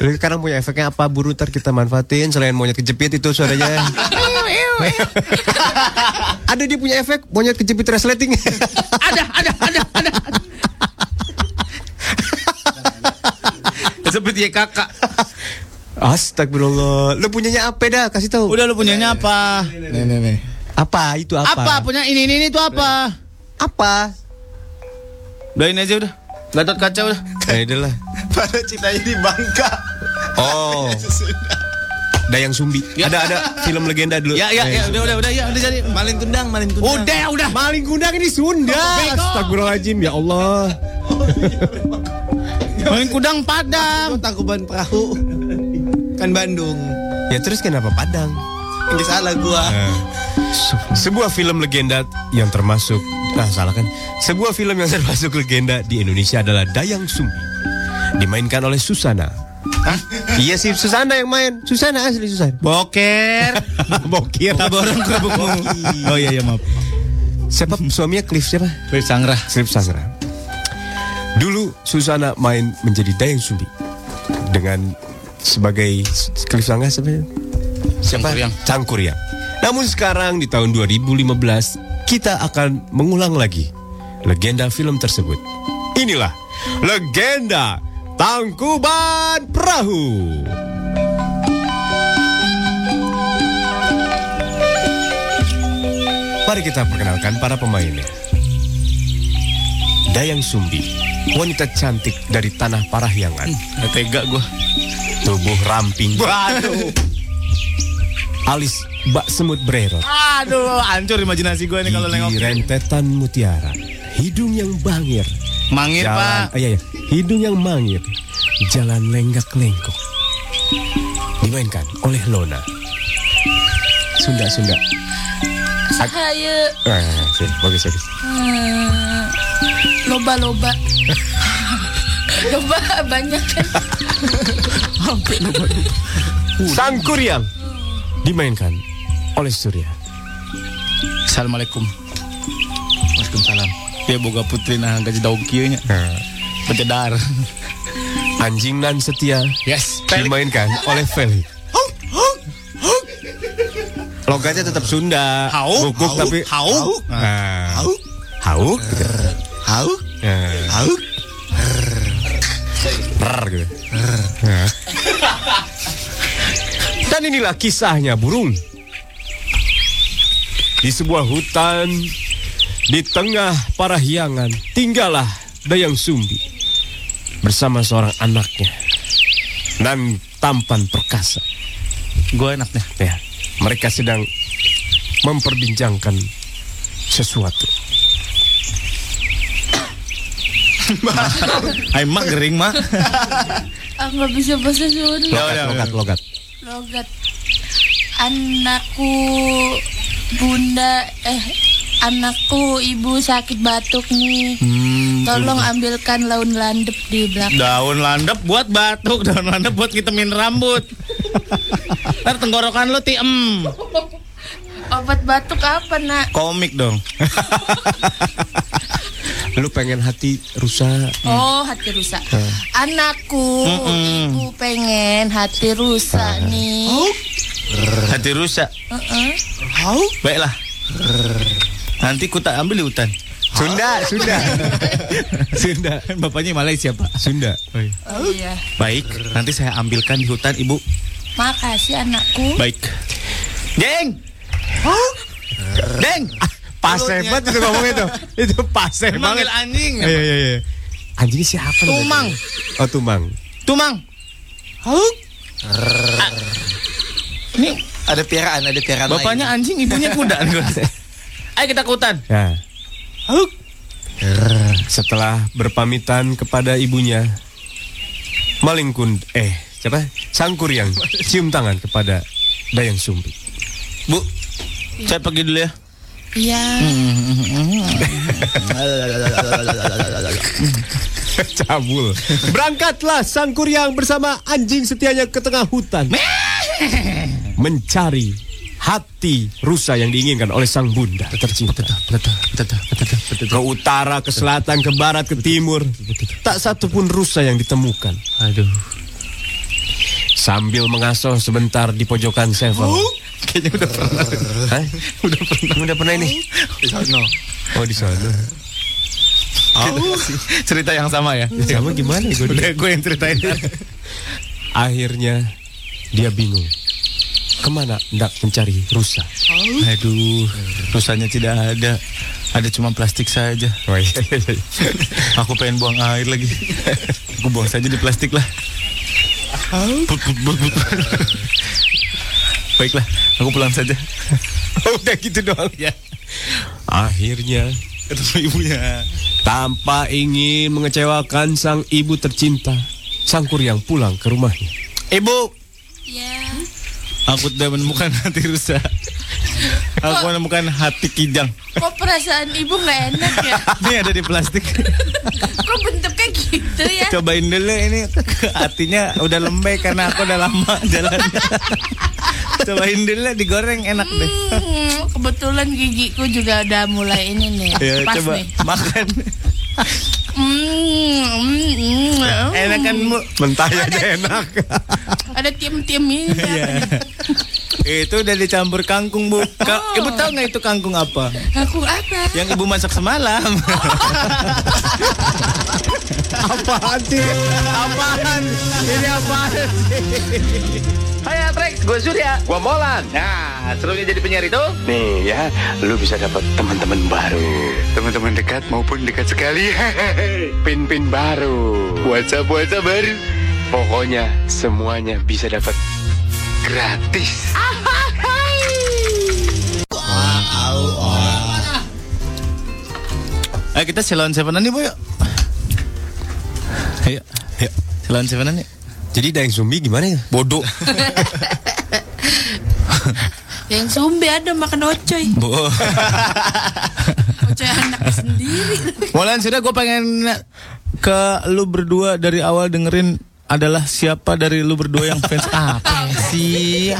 S5: lu sekarang punya efeknya apa buru ntar kita manfaatin selain monyet kejepit itu [laughs] suaranya. [laughs] ada dia punya efek monyet kejepit resleting.
S3: Ada, ada, ada, ada.
S4: Seperti ya, kakak
S5: [laughs] Astagfirullah. Lu punyanya apa dah? Kasih tahu.
S4: Udah lu punyanya apa? Nih nih nih
S5: Apa itu apa?
S3: Apa punya ini ini ini itu apa?
S5: Apa?
S4: Udah ini aja udah Gatot kaca udah
S5: Ya udah lah.
S2: Pada cintanya di Bangka.
S5: Oh. Dayang Sumbi. Ada ada film legenda dulu. Eh.
S4: Ya ya ya udah udah udah ya udah jadi Maling kundang maling kundang
S3: Udah, udah.
S5: Maling kundang ini Sunda. Astagfirullahaladzim ya Allah.
S3: Main kudang Padang.
S2: Tangkuban perahu. Kan Bandung.
S5: Ya terus kenapa Padang? Eh.
S2: Ini salah gua.
S5: Sebuah film legenda yang termasuk Nah salah kan Sebuah film yang termasuk legenda di Indonesia adalah Dayang Sumbi Dimainkan oleh Susana Iya sih Susana yang main Susana asli Susana
S4: Boker
S5: Bokir
S4: Taborong kerupukmu Oh iya iya maaf
S5: Siapa suaminya Cliff siapa?
S4: Cliff Sangra
S5: Cliff Sangra Dulu Susana main menjadi Dayang Sumbi Dengan sebagai Cliff Sangra sebenarnya Siapa? Cangkuryang. Namun sekarang di tahun 2015 kita akan mengulang lagi legenda film tersebut. Inilah legenda Tangkuban Perahu. Mari kita perkenalkan para pemainnya. Dayang Sumbi, wanita cantik dari tanah Parahyangan.
S4: Hmm. Tega gue.
S5: Tubuh ramping. Waduh. Alis bak semut bererot.
S4: Aduh, hancur imajinasi gue nih kalau nengok.
S5: Gigi rentetan mutiara Hidung yang bangir
S4: Mangir,
S5: Jalan- Ah, iya, iya. Hidung yang mangir Jalan lenggak-lenggok Dimainkan oleh Lona Sunda-Sunda
S6: Saya
S5: ah, sih, Bagus,
S6: eh,
S5: bagus
S6: loba-loba. [laughs] loba banyak kan.
S5: Sang Kuryang Dimainkan oleh Surya
S4: Assalamualaikum. Waalaikumsalam. Dia boga putri nah gaji daun kieu nya.
S5: Eh.
S4: Pecedar.
S5: Anjing nan setia
S4: Yes.
S5: Dimainkan oleh Feli Logatnya tetap Sunda
S4: Hau,
S5: Guguk
S4: hau,
S5: tapi
S4: hau.
S5: Ah. Hau gitu.
S2: Hau?
S5: Ah.
S2: Hau?
S5: Rrrr, gitu. Nah. Dan inilah kisahnya burung. Di sebuah hutan di tengah para hiangan tinggallah Dayang Sumbi bersama seorang anaknya dan tampan perkasa.
S4: Gue enaknya.
S5: Ya, mereka sedang memperbincangkan sesuatu.
S4: Ay mak gering
S5: [laughs]
S4: mak.
S6: Ah nggak bisa bahasa Sunda.
S5: Logat, logat, logat.
S6: Logat. Anakku bunda eh anakku ibu sakit batuk nih.
S4: Hmm,
S6: Tolong ambilkan laun landep di belakang.
S4: Daun landep buat batuk, daun landep buat ngitemin rambut. Ntar tenggorokan lu tiem.
S6: Obat batuk apa nak?
S4: Komik [laughs] dong.
S5: Lu pengen hati rusak.
S6: Oh hati rusak.
S5: Eh.
S6: Anakku,
S4: Mm-mm.
S6: ibu pengen hati rusak nih.
S4: Hati rusak.
S6: Uh-uh.
S4: Baiklah. Nanti ku tak ambil di hutan. Sunda, Sunda. [laughs] Sunda. Kan bapaknya Malaysia, Pak. Sunda.
S6: Oh, iya.
S4: Baik, nanti saya ambilkan di hutan, Ibu.
S6: Makasih anakku.
S4: Baik. Deng. Deng.
S5: Pasai
S4: Mulutnya.
S5: banget itu ngomongnya tuh. Itu pasai
S4: Dia
S5: banget.
S4: manggil anjing.
S5: Iya iya iya. Anjingnya siapa? nih?
S4: Tumang.
S5: Oh Tumang.
S4: Tumang. Hau. Ah. Ini
S16: Ada piaraan, ada piaraan
S4: bapaknya
S16: lain.
S4: anjing, ibunya [laughs] kuda. Ayo kita ke hutan.
S5: Ya. Rrr. Setelah berpamitan kepada ibunya, Maling Kun eh siapa? Sangkuriang cium tangan kepada Dayang Sumpi.
S4: Bu, saya pergi dulu ya.
S6: Iya.
S5: Cabul. Berangkatlah Sangkuriang bersama anjing setianya ke tengah hutan. Mencari hati rusa yang diinginkan oleh sang bunda tercinta. Ke utara, ke selatan, ke barat, ke timur. Tak satu pun rusa yang ditemukan. Aduh. Sambil mengasoh sebentar di pojokan Sevel.
S4: Kayaknya udah pernah.
S5: Hah? Udah pernah. Udah pernah ini.
S4: Di sana.
S5: Oh di sana.
S4: Cerita yang sama ya.
S5: Sama gimana ya?
S4: [laughs] Udah gue yang ceritain.
S5: Akhirnya dia bingung. Kemana hendak mencari rusa?
S4: Aduh, rusanya tidak ada. Ada cuma plastik [laughs] saja.
S5: Oh, iya.
S4: Aku pengen buang air lagi. Aku buang saja di plastik [laughs] lah. Put, put, put, put. Baiklah, aku pulang saja. [laughs] Udah gitu doang ya.
S5: Akhirnya
S4: Ketemu ibunya.
S5: Tanpa ingin mengecewakan sang ibu tercinta, sang kuryang pulang ke rumahnya.
S4: Ibu,
S6: Iya.
S4: aku sudah menemukan hati rusa. Aku menemukan hati kijang.
S6: Kok perasaan ibu nggak enak ya?
S4: [laughs] Ini ada di plastik.
S6: Kok bentuknya gitu ya?
S4: Cobain dulu ini [laughs] hatinya udah lembek karena aku udah lama [laughs] jalan. Cobain dulu digoreng enak deh.
S6: Hmm, kebetulan gigiku juga udah mulai ini nih.
S4: Ya,
S6: Hmm. Pas
S4: coba
S6: nih.
S4: makan.
S6: Hmm, hmm, hmm, hmm.
S4: Enak kan, Bu?
S5: Mentah aja enak.
S6: Ada tim-tim ini.
S4: [laughs] itu udah dicampur kangkung, Bu. Ka-
S6: Oh.
S4: Ibu tahu nggak itu kangkung apa?
S6: Aku apa?
S4: Yang Ibu masak semalam.
S5: [laughs] Apaan sih?
S4: Apaan? Ini apaan Hai Atrek, gue Surya Gue Molan Nah, serunya jadi penyiar itu
S17: Nih ya, [laughs] lu bisa dapat teman-teman baru, teman-teman dekat maupun dekat sekali, [laughs] pin-pin baru, WhatsApp WhatsApp baru, pokoknya semuanya bisa dapat gratis.
S4: Ayo kita Ceylon Sevenan nih, Bu yuk Ayo, ayo Ceylon Sevenan nih
S5: Jadi Dayang Sumbi gimana ya?
S4: Bodoh [laughs]
S6: Yang sumbi ada makan ocoy.
S4: [laughs] Bu
S6: Ocoy anaknya sendiri.
S4: Molan, sudah gue pengen ke lu berdua dari awal dengerin adalah siapa dari lu berdua yang [laughs] fans apa sih?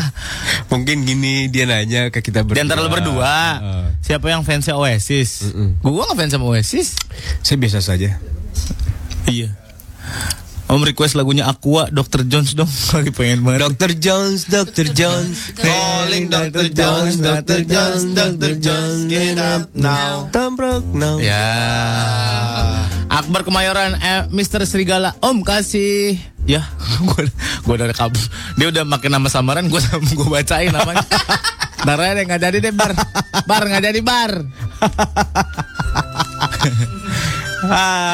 S5: Mungkin gini dia nanya ke kita berdua.
S4: Di antara lu berdua,
S5: Eh,
S4: siapa yang fansnya Oasis? Gua nggak fans sama Oasis.
S5: saya biasa saja.
S4: Iya. Om request lagunya Aqua, Dr. Jones dong. [laughs] Lagi pengen banget.
S5: Dr. Jones, Dr. Jones.
S4: Calling Dr. Jones, Dr. Jones, Dr. Jones, get up now.
S5: Tambrok now.
S4: Ya. Akbar Kemayoran, eh, Mr. Serigala, Om kasih. Ya, [laughs] gua gua dari kabur. Dia udah makin nama samaran, gua [laughs] gua bacain namanya. [laughs] Ntar aja deh, nggak jadi deh bar, bar nggak jadi [laughs] bar.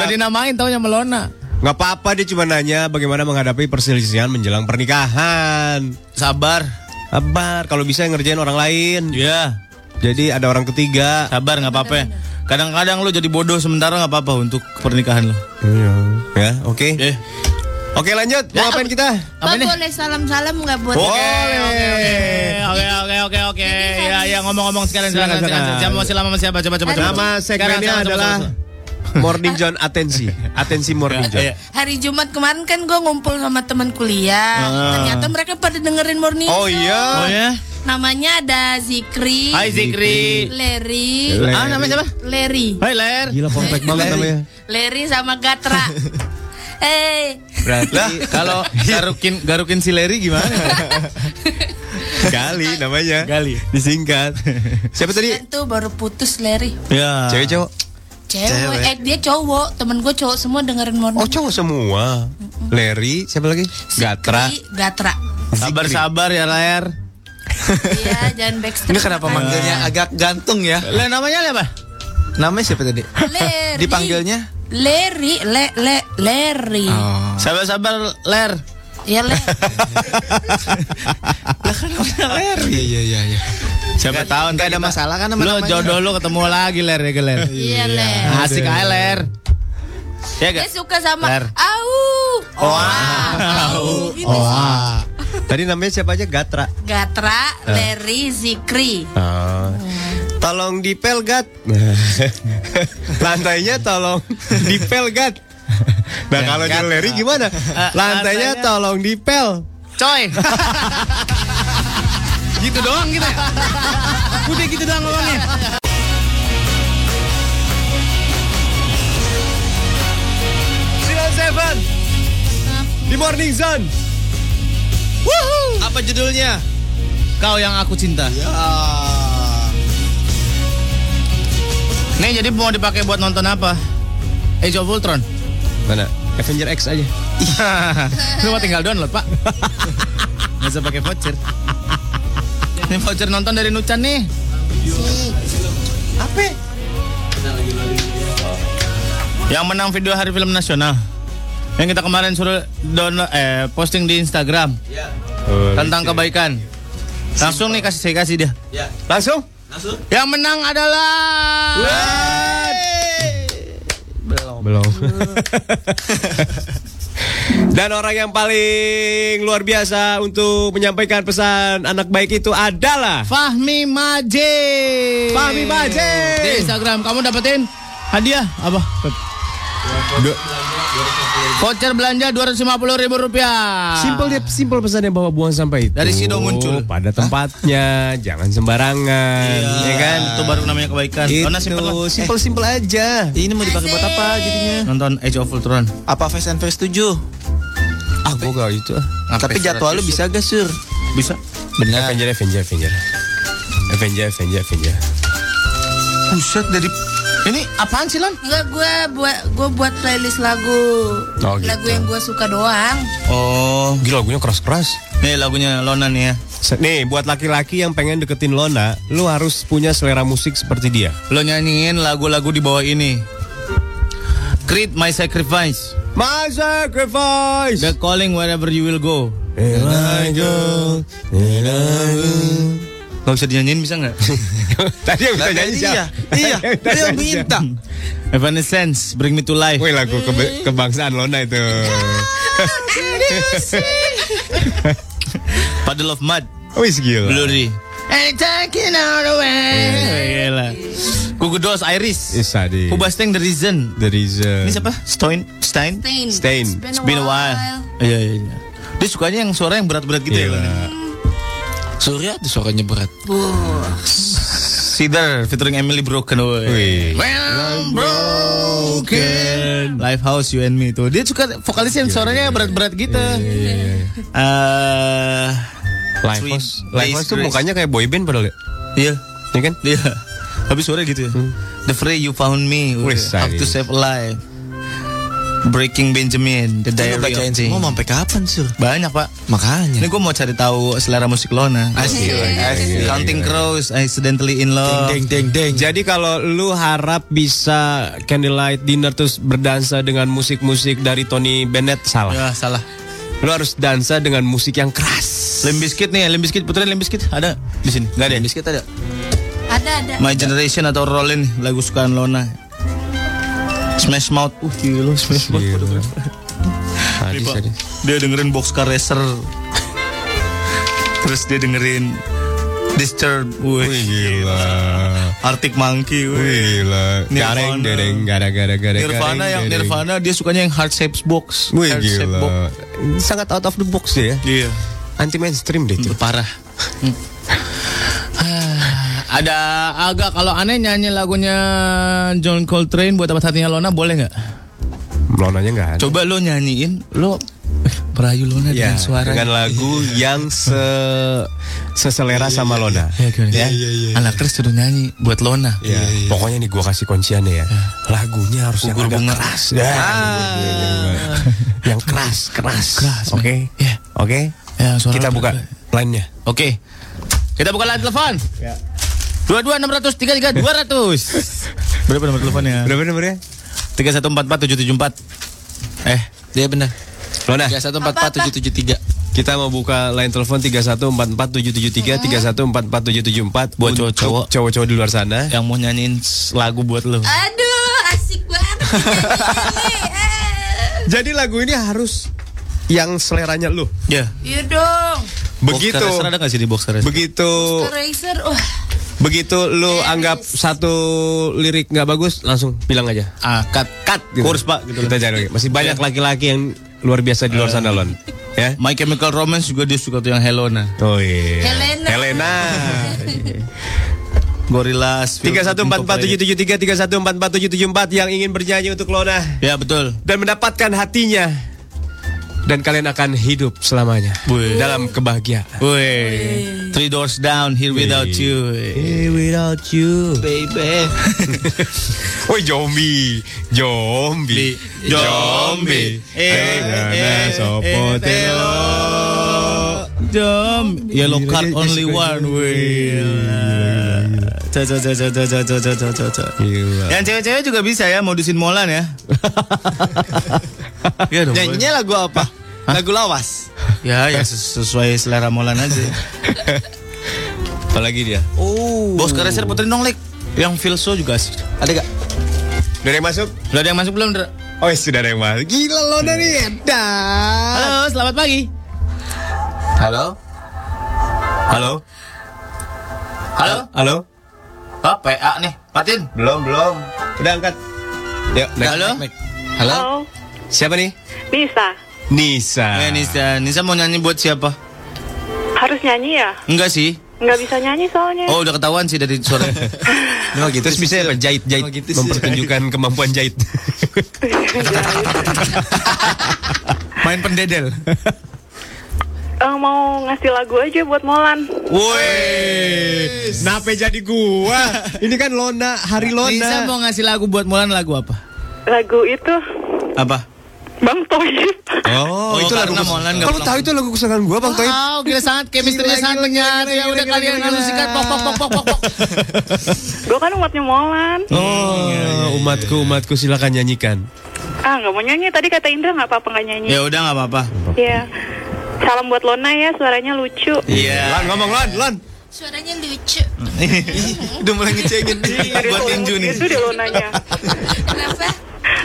S4: Jadi namain taunya Melona.
S5: Nggak apa-apa dia cuma nanya bagaimana menghadapi perselisihan menjelang pernikahan.
S4: Sabar.
S5: Sabar kalau bisa yang ngerjain orang lain.
S4: Ya,
S5: Jadi ada orang ketiga.
S4: sabar nggak apa-apa. ya. Kadang-kadang lu jadi bodoh sementara nggak apa-apa untuk pernikahan lo.
S5: Iya. Ya, oke.
S4: Eh,
S5: Oke, lanjut.
S4: Ya.
S5: Mau ngapain kita?
S4: apa
S6: Bang
S4: nih?
S6: boleh salam-salam nggak buat
S4: Oke oke oke oke. Ya ya ngomong-ngomong sekarang
S5: Silakan,
S4: silakan silakan.
S5: silakan.
S4: Siapa mau silam sama siapa? Coba coba coba.
S5: Nama
S4: Sekarang,
S5: segmennya
S4: silakan, coba, Iya.
S5: adalah
S4: coba, coba.
S5: Morning John atensi, atensi Morning John.
S6: Hari Jumat kemarin kan gue ngumpul sama teman kuliah.
S5: Ah.
S6: Ternyata mereka pada dengerin Morning
S5: Oh iya.
S6: Show.
S5: Oh iya.
S6: Namanya ada Zikri.
S4: Hai, Zikri.
S6: Leri.
S4: Leri. Ah, namanya siapa?
S6: Leri.
S4: Hai Ler. Gila komplek banget namanya.
S6: Leri sama Gatra. Eh,
S4: Berarti kalau garukin garukin si Leri gimana?
S5: Gali namanya. Gali. Disingkat. Siapa tadi?
S6: itu kan baru putus Leri.
S4: Ah.
S5: Ya. Cewek cowok.
S6: Cewek.
S5: Cewek.
S6: Eh dia cowok. Temen gue cowok semua dengerin Morning.
S5: Oh cowok semua. Larry, siapa lagi? Gatra.
S6: Show. Gatra.
S4: Sabar-sabar ya Ler.
S6: Iya, jangan backstreet.
S2: manggilnya agak gantung ya?
S4: Ah. Lah namanya apa?
S2: Namanya siapa tadi?
S6: Leri.
S2: Dipanggilnya?
S6: Leri, le, le, Leri.
S4: Oh. Sabar-sabar Ler.
S6: Ya le.
S4: Ler. Iya iya iya. Siapa tahu nggak ada masalah kan sama Lo jodoh lo ketemu lagi Ler ya Ler.
S6: Iya, Ler.
S4: Asik aja Ler. Ya
S6: Dia
S4: gak?
S6: suka sama
S4: Ler.
S6: Au. Au. Gitu.
S5: Tadi namanya siapa aja? Gatra.
S6: Gatra,
S5: Eh.
S6: Leri, Zikri.
S5: Ah. Tolong dipel [laughs] gat. Lantainya tolong dipel gat. Nah kalau di Larry gimana? Eh, Lantainya tolong dipel.
S4: Coy.
S3: [laughs]
S4: gitu doang gitu ya? Udah gitu doang ngomongnya. Seven di Morning Zone. Apa judulnya? Kau yang aku cinta.
S5: Ya.
S4: Nih jadi mau dipakai buat nonton apa? Age of Ultron.
S5: Mana? Avenger X
S4: [laughs]
S5: aja.
S4: Cuma tinggal download pak. Nggak usah pakai voucher. Ini voucher nonton dari Nucan nih. Apa? Yang menang video Hari Film Nasional. Yang kita kemarin suruh download eh posting di Instagram tentang kebaikan. Langsung nih kasih saya kasih dia.
S18: Ya.
S4: Langsung?
S18: Langsung.
S4: Yang menang adalah
S5: Belum. Belum. [laughs] Dan orang yang paling luar biasa untuk menyampaikan pesan anak baik itu adalah
S4: Fahmi Maje.
S5: Fahmi Maje.
S4: Di Instagram kamu dapetin hadiah apa? Pep? Voucher belanja dua ratus lima puluh ribu rupiah.
S5: Simpel dia, simpel pesannya bahwa buang sampah itu. Oh,
S4: Dari Sido muncul.
S5: Pada tempatnya, jangan sembarangan, ya kan?
S4: Iya Itu baru namanya kebaikan.
S5: Itu,
S4: Dona simpen lah.
S5: simpel simpel aja.
S2: Ini mau dipakai buat apa jadinya?
S4: Nonton Age of Ultron.
S2: Apa Fast and Fast 7?
S5: Ah, gua gak itu.
S2: Tapi jadwal lu bisa gak, Sur?
S4: Bisa.
S5: Benar. Avenger, Avenger, Avenger. Avenger, Avenger, Avenger.
S2: Buset dari
S4: Ini apaan sih Lan?
S6: Enggak gue buat gue buat playlist lagu
S5: Oh, gitu.
S6: lagu yang gue suka doang.
S4: Oh,
S5: gila lagunya keras-keras.
S4: Nih lagunya Lona nih ya.
S5: Se- Nih, buat laki-laki yang pengen deketin Lona, lu harus punya selera musik seperti dia.
S4: Lo nyanyiin lagu-lagu di bawah ini. Creed My Sacrifice.
S5: My Sacrifice.
S4: The Calling Wherever You Will Go. Gak bisa dinyanyiin bisa [laughs] nggak?
S5: [laughs] Tadi yang bisa
S2: Lah,
S5: nyanyi
S2: iya.
S5: siapa?
S4: [laughs]
S2: Iya,
S5: Tadi
S2: dia
S5: yang bisa
S2: minta.
S5: nyanyi.
S4: Evanescence, Bring Me To Life.
S5: Wih lagu kebe- kebangsaan Lona itu. Iya.
S4: Puddle of Mud.
S5: Wih gila.
S4: Blurry. And taking all away. Gila. Kugudos Iris.
S5: Is tadi.
S4: Kubasteng The Reason.
S5: The Reason.
S4: Ini siapa? Stein? Stein?
S6: Stain.
S5: Stain.
S4: It's been a while. Iya, iya, iya. Dia sukanya yang suara yang berat-berat gitu
S5: Gila.
S4: ya.
S2: Surya tuh suaranya berat.
S6: Buh.
S4: Cedar featuring Emily Broken away.
S5: Wih.
S4: I'm broken. Lifehouse You and Me tuh. Dia suka vokalis yang suaranya berat-berat gitu.
S5: iya,
S4: Eh,
S5: Lifehouse.
S4: Sweet
S5: Lifehouse tuh
S4: Grace.
S5: mukanya kayak boyband padahal ya.
S4: Iya,
S5: Iya kan?
S4: iya. Tapi suaranya gitu ya. The Fray You Found Me,
S5: Wih,
S4: How to
S5: say.
S4: Save a Life. Breaking Benjamin, The
S2: Lu
S4: Diary
S2: bacain
S4: of Jane.
S2: semua sampai kapan, Sur?
S4: Banyak pak. Ini
S2: Makanya.
S4: gue mau cari tahu selera musik Lona.
S2: Asik.
S5: Iya,
S4: iya,
S2: Asik.
S4: Counting Crows, Accidentally in Love.
S2: Deng deng deng.
S5: Jadi kalau lu harap bisa candlelight dinner terus berdansa dengan musik-musik dari Tony Bennett salah.
S4: Ya salah.
S5: Lu harus dansa dengan musik yang keras.
S4: Limbiskit nih, Limbiskit putra Limbiskit ada di sini. Gak ada.
S2: Biskuit ada.
S6: Ada ada.
S4: My Generation atau Rollin lagu sukaan Lona. Smash Mouth. Uh, gila Smash Mouth.
S5: Iya,
S4: Nih, Pak. Dia dengerin Boxcar Racer. Terus dia dengerin Disturbed Wih gila Arctic Monkey Wih gila
S5: Gareng, dereng, gara gara gara
S4: Nirvana yang Nirvana dia sukanya yang hard shapes box
S5: Wih
S4: Heart shape box.
S5: gila Sangat out of the box ya
S4: Iya
S5: Anti mainstream deh itu
S4: Parah [sighs] Ada agak kalau aneh nyanyi lagunya John Coltrane buat tempat hatinya Lona boleh nggak? Hmm.
S5: Melonanya nggak ada
S4: Coba lo nyanyiin, lo merayu Lona
S5: Ya,
S4: dengan suara Iya,
S5: dengan Iya, lagu yang se seselera sama Lona. Iya,
S4: ya. Anak terus suruh nyanyi buat Lona.
S5: Ya, Pokoknya nih gua kasih kunciannya ya. Lagunya harus yang agak keras. Ya. [laughs] yang keras, iya. keras. Iya. Oke. Oke.
S4: Iya,
S5: Kita buka lainnya.
S4: Oke. Kita buka line telepon.
S5: Ya.
S4: 22 600 33 200. Berapa nomor teleponnya?
S5: Berapa nomornya?
S4: 3144774. Eh, dia benar.
S5: Lona.
S4: 3144773.
S5: Kita mau buka line telepon 3144773 3144774 buat cowok-cowok Ya. cowok-cowok di luar sana
S4: yang mau nyanyiin lagu buat lo.
S6: Aduh, asik banget. [laughs]
S5: Jadi lagu ini harus yang seleranya lu.
S4: Ya.
S6: Iya dong.
S5: Begitu.
S4: Boxer Racer ada nggak sih di boxer Racer?
S5: Begitu
S4: Oh.
S6: Racer, wah.
S5: begitu lu anggap satu lirik nggak bagus langsung bilang aja.
S4: Ah, cut, cut. Kurs, Pak, gitu.
S5: Kita jangan lagi. Masih banyak laki-laki yang luar biasa di luar sana lon. Ya.
S4: My Chemical Romance juga dia suka tuh yang Nah. Helena.
S5: Oh iya.
S6: Helena.
S5: Helena.
S4: Gorillas.
S5: 3144773 3144774 yang ingin bernyanyi untuk Lona
S4: Ya betul.
S5: dan mendapatkan hatinya dan kalian akan hidup selamanya
S4: Wih.
S5: dalam kebahagiaan.
S4: Wih. Three Doors Down, Here Without You. Here Without You, baby.
S5: Woi zombie, zombie, zombie. Eh, sopo telo.
S4: Jom, yellow card Ya, only one. Wih. Cok, cok, cok, cok, cok, cok, cok, cok, cok, cok. Yang cewek-cewek juga bisa ya modusin molan ya. ya dong. boleh.
S2: Nyanyinya lagu apa? Lagu lawas.
S4: [laughs] Ya, ya ses- sesuai selera molan aja.
S5: Apalagi dia.
S4: Oh. Bos Kareser Putri Nonglek. Yang Filso juga asik. Ada gak?
S5: Udah ada yang masuk?
S4: Udah ada yang masuk belum, Dra?
S5: Oh, ya sudah ada yang masuk. Hmm. Gila lo dari edan.
S4: Halo, selamat pagi.
S5: Halo. Halo.
S4: Halo.
S5: Halo.
S4: Oh, PA nih. Patin.
S5: Belum, belum. Udah angkat. Yuk, naik,
S4: Halo.
S5: naik, naik. Halo. Siapa nih?
S19: Bisa.
S5: Nisa.
S4: Eh, Nisa. Nisa mau nyanyi buat siapa?
S19: Harus nyanyi ya?
S4: Enggak sih.
S19: Nggak bisa nyanyi soalnya.
S4: Oh, udah ketahuan sih dari
S5: [laughs]
S4: suara.
S5: gitu Terus bisa apa? Jahit,
S4: Oh,
S5: jahit.
S4: gitu.
S5: Mempertunjukkan kemampuan [laughs] jahit.
S4: Main pendedel.
S19: Eh, mau ngasih lagu aja buat Molan.
S5: Woi, nape jadi gua? Ini kan Lona, hari Lona.
S4: Nisa mau ngasih lagu buat Molan lagu apa?
S19: Lagu itu
S4: Apa?
S19: Bang Toyib. [laughs]
S5: Oh,
S4: itu lagu
S5: karena
S4: kes-
S5: Molan
S4: Kalau tahu
S5: itu lagu kesayangan gua Bang Toib.
S4: Wow, gila sangat chemistry-nya sangat
S5: lengan.
S4: Ya udah kalian langsung
S5: Oh,
S4: sikat pok pok pok pok pok.
S19: Gue kan umatnya Molan.
S5: Oh, umatku, umatku silakan nyanyikan.
S19: Ah, nggak mau nyanyi. Tadi kata Indra nggak apa-apa nggak nyanyi.
S4: Ya udah nggak apa-apa.
S19: Iya. Salam buat Lona ya, suaranya lucu.
S4: Iya. Lan ngomong Lan, Lan.
S6: Suaranya lucu.
S4: udah mulai ngecengin
S5: Iya,
S4: buat tinju nih.
S19: Itu gitu deh
S4: [laughs]
S19: Lonanya.
S6: Kenapa?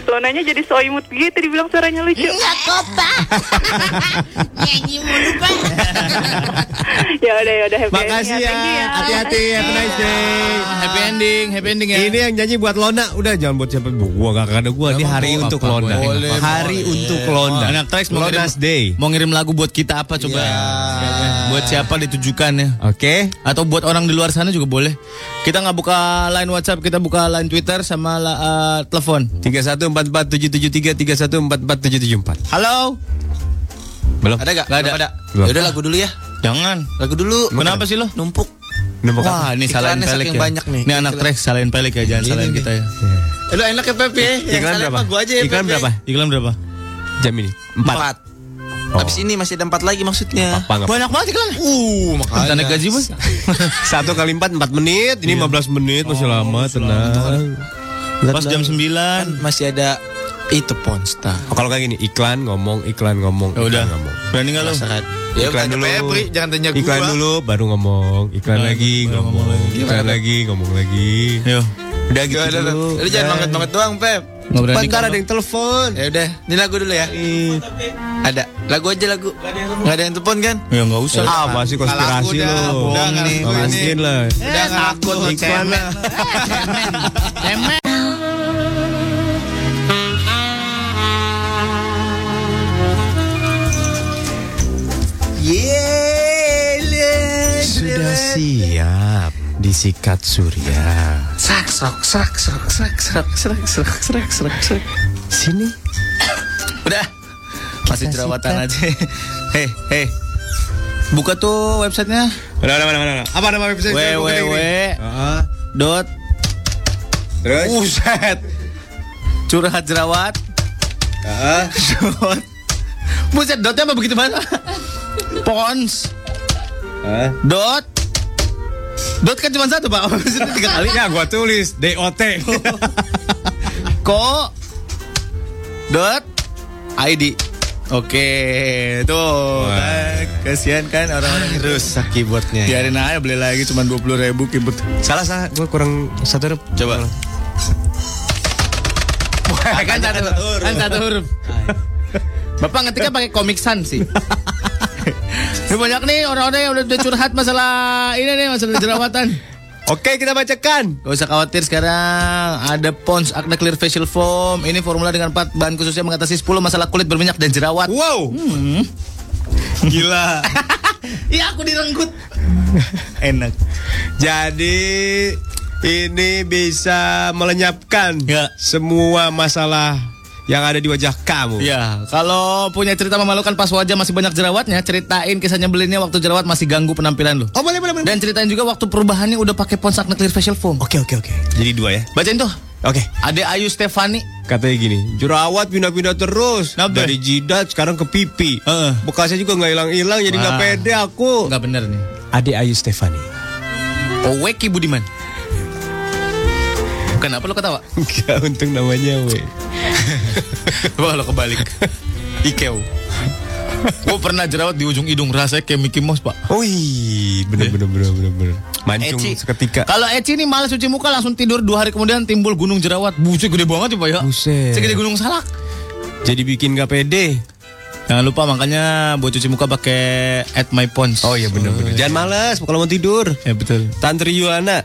S19: Lonanya jadi so imut gitu dibilang suaranya
S4: Iya.
S19: lucu.
S6: Enggak kok, Pak. [laughs] Nyanyi mulu, Pak.
S19: ya udah ya udah happy
S5: Makasih
S19: ending
S5: ya.
S19: Thank you
S5: Hati-hati, have a nice day.
S4: ya. Ah, Happy ending, happy ending ya.
S5: Ini yang nyanyi buat Lona. Udah jangan buat siapa. Gua gak ada gua. Ini hari
S4: mau
S5: untuk
S4: apa,
S5: Lona.
S4: boleh,
S5: Hari
S4: boleh.
S5: untuk Lona.
S4: Anak Trax mau ngirim,
S5: Lona's Day. Iya.
S4: mau ngirim lagu buat kita apa coba? Buat siapa ditujukan ya?
S5: Oke.
S4: Atau buat orang di luar sana juga boleh. Kita nggak buka line WhatsApp, kita buka line Twitter sama la- eh, telepon.
S5: 3144773 3144774.
S4: Halo.
S5: Belum.
S2: Ada gak?
S4: Nggak ada.
S2: ada.
S5: Belum.
S2: Yaudah lagu dulu ya.
S4: Jangan.
S2: Lagu dulu.
S4: Kenapa sih lo?
S2: Numpuk.
S5: Nembak
S4: Wah,
S5: apa?
S4: ini salahin
S2: Iklannya
S4: pelek
S2: saking
S4: ya.
S2: banyak nih.
S4: Ini anak
S2: Iklan.
S4: Trax salahin pelek ya, jangan salahin kita ya.
S2: Eh, Lu enak ya Pepe.
S4: Iya,
S2: Yang
S5: Iklan
S2: salah
S5: berapa?
S2: apa gua aja ya
S5: Iklan
S2: Pepe.
S5: berapa?
S4: Iklan berapa?
S5: Jam ini. Empat.
S2: Empat.
S4: Oh.
S2: Abis ini masih ada empat lagi maksudnya.
S5: Apa, nggak apa.
S4: Banyak banget iklan.
S2: Uh,
S4: Kita naik gaji, Bos.
S5: Satu kali empat empat menit. Ini 15 menit masih lama tenang.
S4: Pas jam 9.
S2: Kan masih ada itu Ponsta.
S5: Oh, kalau kayak gini iklan ngomong iklan ngomong.
S2: Kan
S4: Ya udah.
S5: iklan ngomong.
S4: Berani enggak lo?
S2: Ya,
S5: Iklan
S2: tanya
S5: dulu.
S2: Febri, jangan tanya gua.
S5: Iklan dulu baru ngomong. Iklan lagi ngomong. Iklan lagi ngomong lagi.
S4: Yo.
S5: Udah gitu
S2: Udah, udah,
S5: dulu.
S2: udah. Lu jangan
S5: Udah.
S2: banget banget doang, Pep.
S4: Nggak berani
S2: Cepat, ntar ada
S4: kalau-
S2: yang telepon. Ya udah, ini lagu dulu ya. Ada lagu aja lagu. Nggak ada yang telepon kan?
S4: Ya nggak usah.
S2: Ya,
S4: Ah, masih konspirasi
S2: Kalau aku udah,
S4: lu.
S2: udah nggak
S4: Nggak
S2: laku ini.
S4: mungkin lah.
S2: Udah ngaku lu cemen.
S5: Sudah siap disikat surya.
S2: Serak, serak, serak, serak, serak, serak, serak, serak, serak, serak, serak.
S5: Sini.
S2: Udah.
S4: Masih
S2: Kita sikat.
S4: jerawatan aja. Hei, hei. Buka tuh websitenya.
S20: Mana mana mana. mana. Apa nama website?
S4: www dot
S20: Terus?
S4: Buset. curhat jerawat dot buset dotnya apa begitu banget pons dot dot kan cuma satu pak maksudnya tiga kali
S20: Ya gua tulis DOT.
S4: ko dot id oke tuh kan. kasihan kan orang-orang rusak keyboardnya
S5: Iya.
S4: biarin aja beli lagi cuma dua puluh ribu keyboard
S5: Salah salah, gue kurang satu huruf. Coba.
S4: kan satu huruf. Kan satu huruf. Bapak ngetiknya pakai Comic Sans sih. [laughs] Ini banyak nih orang-orang yang udah, udah curhat masalah ini nih masalah jerawatan. Oke kita bacakan Gak usah khawatir sekarang Ada Pons Acne Clear Facial Foam Ini formula dengan 4 bahan khususnya mengatasi 10 masalah kulit berminyak dan jerawat Wow
S5: Hmm.
S4: Gila Iya aku direnggut
S20: Enak. Jadi ini bisa melenyapkan
S5: Iya.
S20: semua masalah yang ada di wajah kamu.
S4: Ya,
S5: Iya.
S4: kalau punya cerita memalukan pas wajah masih banyak jerawatnya, ceritain kisah nyebelinnya waktu jerawat masih ganggu penampilan lu. Oh, boleh, boleh, Dan ceritain juga waktu perubahannya udah pakai Pons Acne Clear Facial Foam. Oke, oke, oke.
S5: Jadi dua ya.
S4: Bacain tuh.
S5: Oke.
S4: Ade Ayu Stefani.
S5: Katanya gini, jerawat pindah-pindah terus dari jidat sekarang ke pipi. Bekasnya juga nggak hilang-hilang, jadi nggak
S4: Wah.
S5: pede aku.
S4: Nggak bener nih.
S5: Ade Ayu Stefani.
S4: Oweki Budiman. Kenapa lu ketawa? [laughs]
S5: Enggak, untung namanya we.
S4: Wah, lo kebalik. Ikeo. Gue pernah jerawat di ujung hidung rasanya kayak Mickey Mouse, Pak.
S5: Ui, bener bener bener bener bener. Mancung
S4: Eci.
S5: seketika.
S4: Kalau Eci ini malas cuci muka langsung tidur dua hari kemudian timbul gunung jerawat. Buset gede banget ya, Pak ya.
S5: Buset.
S4: Segede gunung salak.
S5: Jadi bikin gak pede.
S4: Jangan lupa makanya buat cuci muka pakai at my pons. Oh iya benar benar.
S5: Jangan males kalau mau tidur.
S4: Ya betul.
S5: Tantri Yuana.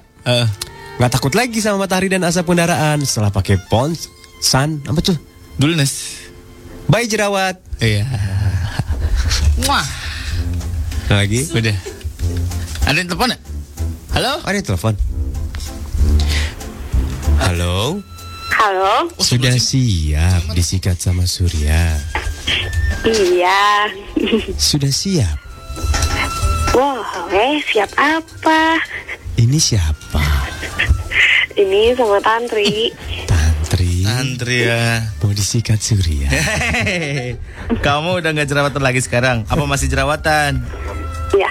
S5: Nggak takut lagi sama matahari dan asap kendaraan setelah pakai pons, sun, apa tuh?
S4: Dulness.
S5: Bye jerawat.
S4: Iya. Wah.
S5: Lagi.
S4: Udah. Ada yang telepon ya? Halo?
S5: Oh, Ada yang telepon. Halo.
S19: Halo,
S5: Sudah siap disikat sama Surya.
S19: iya. [laughs]
S5: Sudah siap.
S19: Wah, eh siap apa?
S5: Ini siapa?
S19: Ini sama Tantri.
S5: Tri.
S4: Andrea.
S5: Mau disikat Surya.
S4: Hehehe. Kamu udah nggak jerawatan lagi sekarang? Apa masih jerawatan?
S19: Iya.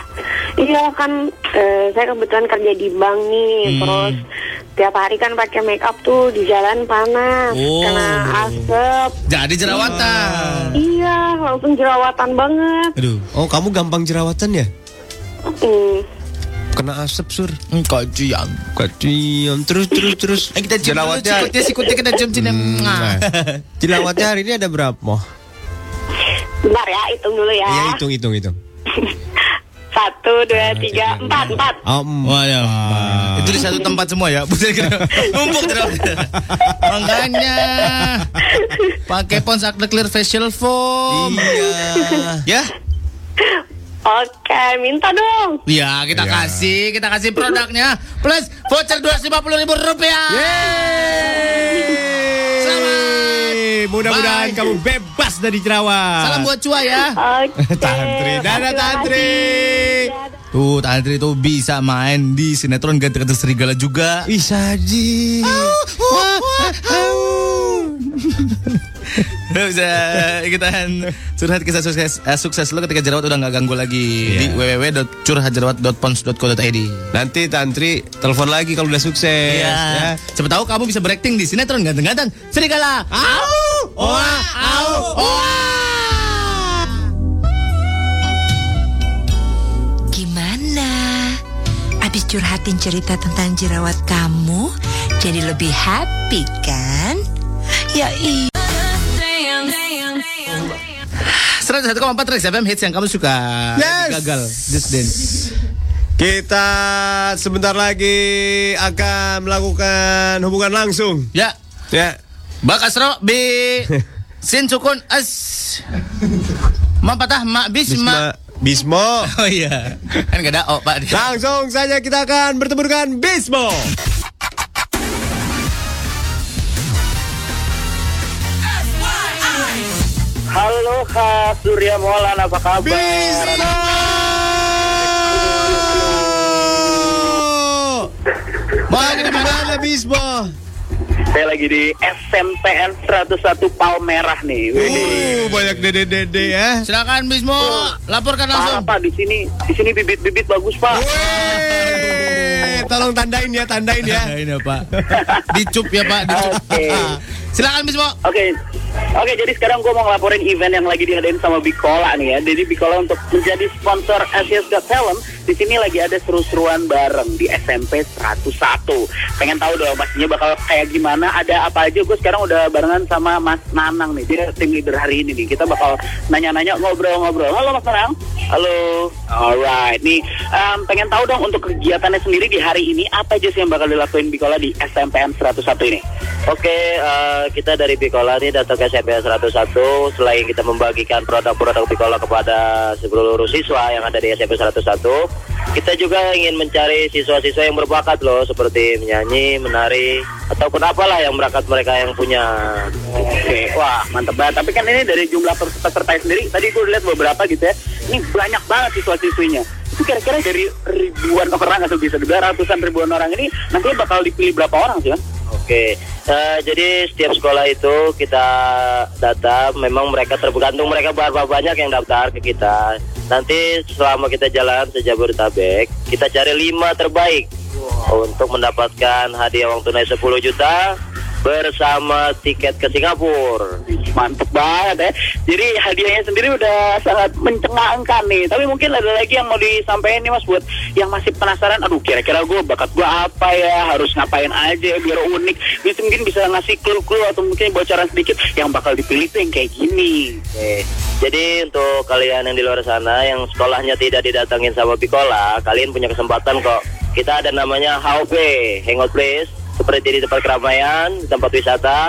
S19: Iya kan eh, saya kebetulan kerja di bank nih, terus tiap hari kan pakai make up tuh di jalan panas
S4: Oh.
S19: kena asap.
S4: Jadi jerawatan.
S19: Iya, langsung jerawatan banget.
S5: Aduh. Oh, kamu gampang jerawatan ya?
S19: Hmm.
S5: Kena asap, Sur.
S4: Kajian.
S5: Kajian. Terus, terus, terus.
S4: Eh, kita cium dulu sikutnya, sikutnya kita cium cium. Nah.
S5: Jerawatnya hari [laughs] ini ada berapa?
S19: Bentar ya, hitung dulu ya.
S5: Iya, hitung, hitung, hitung.
S19: [laughs] Satu, dua, tiga, empat, empat.
S4: Wah, ya. Itu di satu tempat semua ya. [laughs] Buset kira- Numpuk jerawatan. Makanya pakai Pons Acne Clear Facial Foam.
S5: [laughs]
S4: Iya. Ya.
S19: Oke, minta dong.
S4: Ya, kita
S19: Iya.
S4: kasih, kita kasih produknya plus voucher 250 ribu rupiah.
S20: Yeay. Mudah-mudahan
S4: Bye.
S20: kamu bebas dari jerawat.
S4: Salam buat Cua ya.
S20: Tantri. Dadah Tantri.
S4: Tuh, Tantri tuh bisa main di sinetron Ganti-Ganti Serigala juga. [laughs]
S5: Bisa di.
S4: bisa ikutan curhat kisah sukses, eh, sukses lo ketika jerawat udah nggak ganggu lagi di www.curhatjerawat.pons.co.id.
S5: Nanti Tantri telepon lagi kalau udah sukses.
S4: Iya.
S5: ya.
S4: Siapa tahu kamu bisa berakting di sinetron ganteng-ganteng Serigala. Au! Oa! Au! Oa!
S6: Gimana? Abis curhatin cerita tentang jerawat kamu, jadi lebih happy kan?
S21: Ya iya.
S4: 101,4 Trax FM hits yang kamu suka.
S5: Yes.
S4: Gagal. Just dance.
S5: Kita sebentar lagi akan melakukan hubungan langsung.
S4: Ya.
S5: Ya.
S4: Bak Asro [laughs] bi sin sukun as ma patah ma bisma.
S5: Bismo.
S4: Oh iya. Kan gak ada o Pak.
S5: Langsung saja kita akan bertemu dengan Bismo.
S19: Halo Kak Surya Molan, apa kabar?
S5: Bang, di mana Bismo?
S19: Saya lagi di SMPN 101 Palmerah nih.
S5: Uh, banyak dede-dede ya.
S4: Silakan Bismo laporkan
S19: langsung. Pak, di sini di sini bibit-bibit bagus, Pak.
S5: Eh, tolong tandain ya, tandain ya.
S4: Tandain ya Pak. Dicup ya Pak. Dicup. [laughs] Silakan Bismo.
S19: Oke. Oke, jadi sekarang gue mau ngelaporin event yang lagi diadain sama Bikola nih ya. Jadi Bikola untuk menjadi sponsor Asia's Got Talent, di sini lagi ada seru-seruan bareng di SMP 101. Pengen tahu dong pastinya bakal kayak gimana, ada apa aja. Gue sekarang udah barengan sama Mas Nanang nih, dia tim leader hari ini nih. Kita bakal nanya-nanya, ngobrol-ngobrol. Halo Mas Nanang. Halo. Alright, nih em, pengen tahu dong untuk kegiatannya sendiri di hari ini, apa aja sih yang bakal dilakuin Bikola di SMPN 101 ini?
S22: Oke, eh, kita dari Bicola ini datang ke SMP 101 selain kita membagikan produk-produk Bicola kepada seluruh siswa yang ada di SMP 101, kita juga ingin mencari siswa-siswa yang berbakat loh seperti menyanyi, menari ataupun apalah yang berbakat mereka yang punya.
S19: Oke, wah mantep banget. Tapi kan ini dari jumlah pers- peserta sendiri, tadi gue lihat beberapa gitu ya. Ini banyak banget siswa-siswinya. Itu kira-kira dari ribuan orang atau bisa juga ratusan ribuan orang ini nantinya bakal dipilih berapa orang sih? Mas?
S22: Oke, eh, jadi setiap sekolah itu kita data, memang mereka tergantung mereka berapa banyak yang daftar ke kita. Nanti selama kita jalan sejak Jabodetabek, kita cari lima terbaik untuk mendapatkan hadiah uang tunai 10 juta bersama tiket ke Singapura.
S19: Mantep banget ya. Jadi hadiahnya sendiri udah sangat mencengangkan nih. Tapi mungkin ada lagi yang mau disampaikan nih mas buat yang masih penasaran. Aduh kira-kira gue bakat gue apa ya? Harus ngapain aja ya biar unik? Bisa mungkin bisa ngasih clue-clue atau mungkin bocoran sedikit yang bakal dipilih tuh yang kayak gini.
S22: Oke. Jadi untuk kalian yang di luar sana yang sekolahnya tidak didatangin sama Pikola, kalian punya kesempatan kok. Kita ada namanya HOP, Hangout Place, seperti di tempat keramaian, di tempat wisata.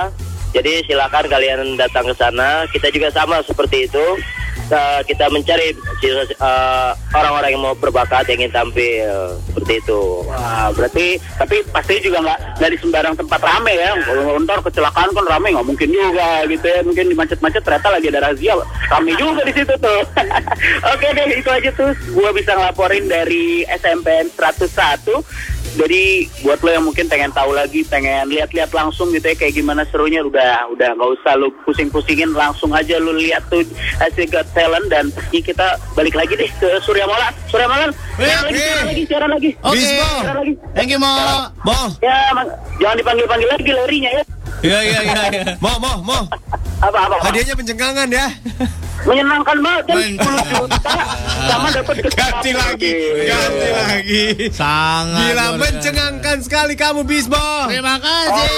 S22: Jadi silakan kalian datang ke sana. Kita juga sama seperti itu. Kita- kita mencari siswa- eh, orang-orang yang mau berbakat yang ingin tampil seperti itu.
S19: Wah, berarti tapi pasti juga nggak dari sembarang tempat rame ya. Kalau ntar kecelakaan kan rame nggak mungkin juga gitu ya. Mungkin di macet-macet ternyata lagi ada razia. Rame juga di situ tuh. [laughs] Oke deh, itu aja tuh. Gua bisa ngelaporin dari SMPN 101. Jadi buat lo yang mungkin pengen tahu lagi, pengen lihat-lihat langsung gitu ya kayak gimana serunya, udah udah nggak usah lo pusing-pusingin, langsung aja lo lihat tuh hasil Got Talent dan ini kita balik lagi deh ke Surya Molan. Surya Molan, siaran lagi, siaran lagi, siaran lagi.
S4: Oke.
S5: Oh.
S19: Siaran lagi.
S4: Thank you [laughs] Mo. Mo.
S19: Ya, Mang- jangan dipanggil-panggil lagi larinya ya.
S4: Iya iya iya. iya.
S5: Mo, mo, mo.
S19: Apa-apa?
S5: Hadiahnya pencengkangan ya.
S19: Menyenangkan banget kan 10 juta sama dapat ganti lagi.
S5: Ganti
S4: Iya.
S5: lagi.
S4: Sangat. luar
S5: Gila
S4: biasa.
S5: mencengangkan sekali kamu Bismo.
S4: Terima kasih.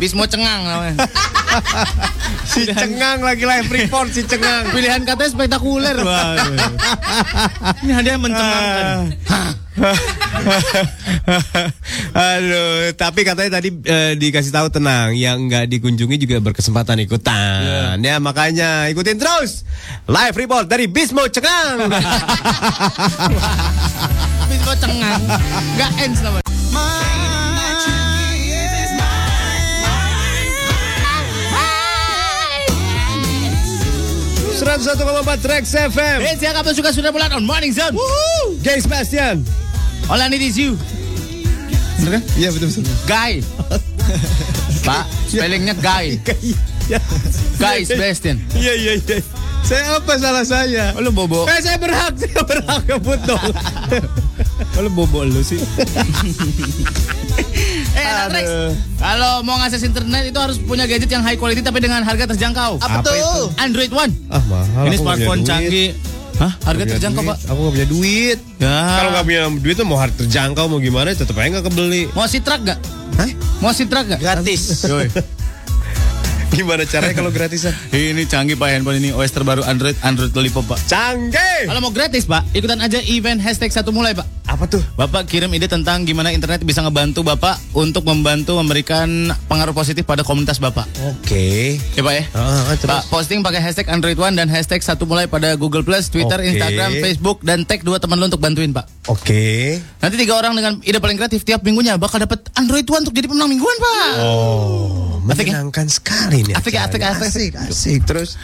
S4: Bismo cengang namanya.
S5: si cengang lagi live report si cengang.
S4: Pilihan katanya spektakuler. Ini hadiah mencengangkan.
S5: Aduh, tapi katanya tadi eh, dikasih tahu tenang, yang nggak dikunjungi juga berkesempatan ikutan. Ya makanya ikutin terus live report dari Bismo [laughs] Cengang.
S4: Bismo cengang. Gak ends namanya.
S5: Seratus satu Trax FM.
S4: Hey, Eh, siapa kamu suka sudah bulan on Morning Zone. Woohoo.
S5: Gay Sebastian.
S4: All I need is you.
S5: Bener kan? Iya betul betul. [laughs]
S4: Guy. Pak, spellingnya Guy. Guy Sebastian.
S5: Iya iya iya. Saya apa salah saya?
S4: Lu bobo.
S5: Eh saya berhak, [laughs] saya berhak ngebut dong.
S4: Lu bobo lu
S5: [laughs]
S4: sih. Eh, anak Rex, kalau mau ngakses internet itu harus punya gadget yang high quality tapi dengan harga terjangkau.
S5: Apa Apa tuh? itu?
S4: Android One.
S5: Ah mahal.
S4: Ini
S5: aku nggak punya
S4: smartphone
S5: duit.
S4: canggih. Hah? Harga
S5: Nggak punya
S4: terjangkau,
S5: duit.
S4: Pak. Ya.
S5: Aku gak punya duit. Kalau gak punya duit tuh mau harga terjangkau mau gimana tetep aja gak kebeli.
S4: Mau sitrak gak? Hah? Mau sitrak gak? Gratis.
S5: Gimana caranya kalau gratisan?
S4: ini canggih pak handphone ini OS terbaru Android Android Lollipop pak.
S5: Canggih.
S4: Kalau mau gratis pak, ikutan aja event hashtag satu mulai pak.
S5: Apa tuh?
S4: Bapak kirim ide tentang gimana internet bisa ngebantu bapak untuk membantu memberikan pengaruh positif pada komunitas bapak.
S5: Oke. Ah,
S4: Ya pak ya. Pak posting pakai hashtag Android One dan hashtag satu mulai pada Google Plus, Twitter,
S5: Oke.
S4: Instagram, Facebook dan tag dua teman lu untuk bantuin pak.
S5: Oke.
S4: Nanti tiga orang dengan ide paling kreatif tiap minggunya bakal dapat Android One untuk jadi pemenang mingguan pak.
S5: Oh, menyenangkan sekali nih.
S4: Asik, asik,
S5: acaranya.
S4: asik.
S5: ya, asik. Terus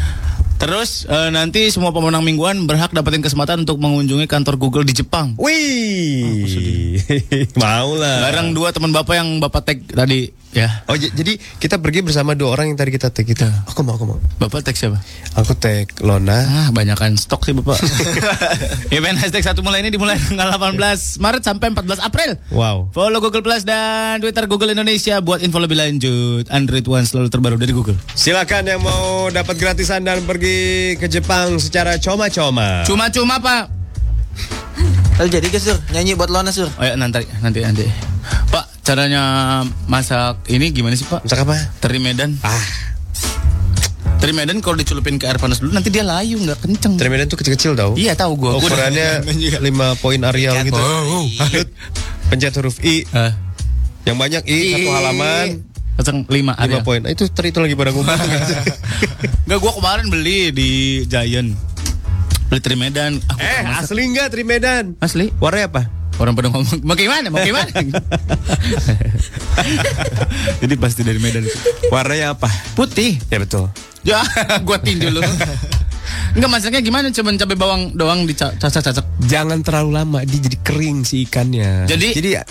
S4: Terus eh, nanti semua pemenang mingguan berhak dapetin kesempatan untuk mengunjungi kantor Google di Jepang.
S5: [laughs] Wih, Oh, mau lah.
S4: Bareng dua teman bapak yang bapak tag tadi ya.
S5: Oh, j- jadi kita pergi bersama dua orang yang tadi kita tag kita. Aku mau, aku mau.
S4: Bapak tag siapa?
S5: Aku tag Lona.
S4: Ah, banyakan stok sih [laughs] bapak. Event Ya, hashtag satu mulai ini dimulai tanggal 18 Maret sampai 14 April.
S5: Wow.
S4: Follow Google Plus dan Twitter Google Indonesia buat info lebih lanjut. Android One selalu terbaru dari Google.
S5: Silakan yang mau dapat gratisan dan pergi ke Jepang secara
S4: Ah.
S5: coma-coma.
S4: Cuma-cuma pak.
S2: Lalu jadi ke sur, nyanyi buat Lona sur.
S4: Oh ya, nanti nanti nanti. Pak, caranya masak ini gimana sih, Pak?
S5: Masak apa?
S4: Teri Medan. Ah. Teri Medan kalau dicelupin ke air panas dulu nanti dia layu nggak kenceng.
S5: Teri Medan tuh kecil-kecil tau.
S4: Iya, tahu gua. Gua
S5: Ukurannya
S4: udah-
S5: 5 poin Arial gitu.
S4: Oh, oh.
S5: Lanjut. Pencet huruf I.
S4: Ah.
S5: Yang banyak I, satu
S4: I.
S5: halaman.
S4: Kenceng 5
S5: 5 poin.
S4: [laughs]
S5: Nah, itu teri itu lagi pada ngumpul.
S4: Enggak gua kemarin beli di Giant. Beli Ah, Teri Medan. Aku
S5: [laughs] eh, asli enggak Teri Medan?
S4: Asli.
S5: Warnanya apa?
S4: Orang pada ngomong, mau gimana, mau [laughs] gimana? Jadi pasti dari Medan.
S5: Warnanya apa?
S4: Putih.
S5: Ya betul.
S4: Ya, gua tinju lu. Enggak masaknya gimana? Cuman cabai bawang doang dicacak-cacak.
S5: Jangan terlalu lama, dia jadi kering si ikannya.
S4: Jadi-
S5: eh,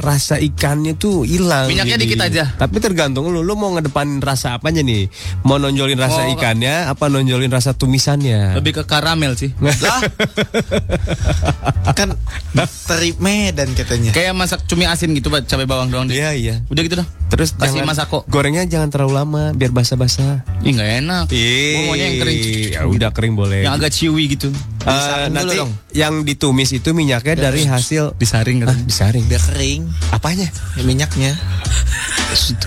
S5: rasa ikannya tuh hilang.
S4: Minyaknya
S5: jadi.
S4: dikit aja.
S5: Tapi tergantung lu, lu mau ngedepanin rasa apanya nih? Mau nonjolin rasa
S4: Mau-
S5: ikannya, apa nonjolin rasa tumisannya?
S4: Lebih ke karamel sih.
S2: kan teri Medan katanya.
S4: Kayak masak cumi asin gitu, Pak, cabai bawang doang. Iya,
S5: [laughs] iya.
S4: Udah gitu dah.
S5: Terus
S4: kasih
S5: jangan-
S4: masako.
S5: Gorengnya jangan terlalu lama, biar basah-basah.
S4: Ih, enggak enak. Gua maunya yang kering.
S5: Ya udah kering boleh.
S4: Yang agak ciwi gitu.
S5: Eh, nanti yang ditumis itu minyaknya dari hasil
S4: disaring
S5: kan? disaring.
S2: Biar kering.
S5: Apanya?
S2: Ya, minyaknya.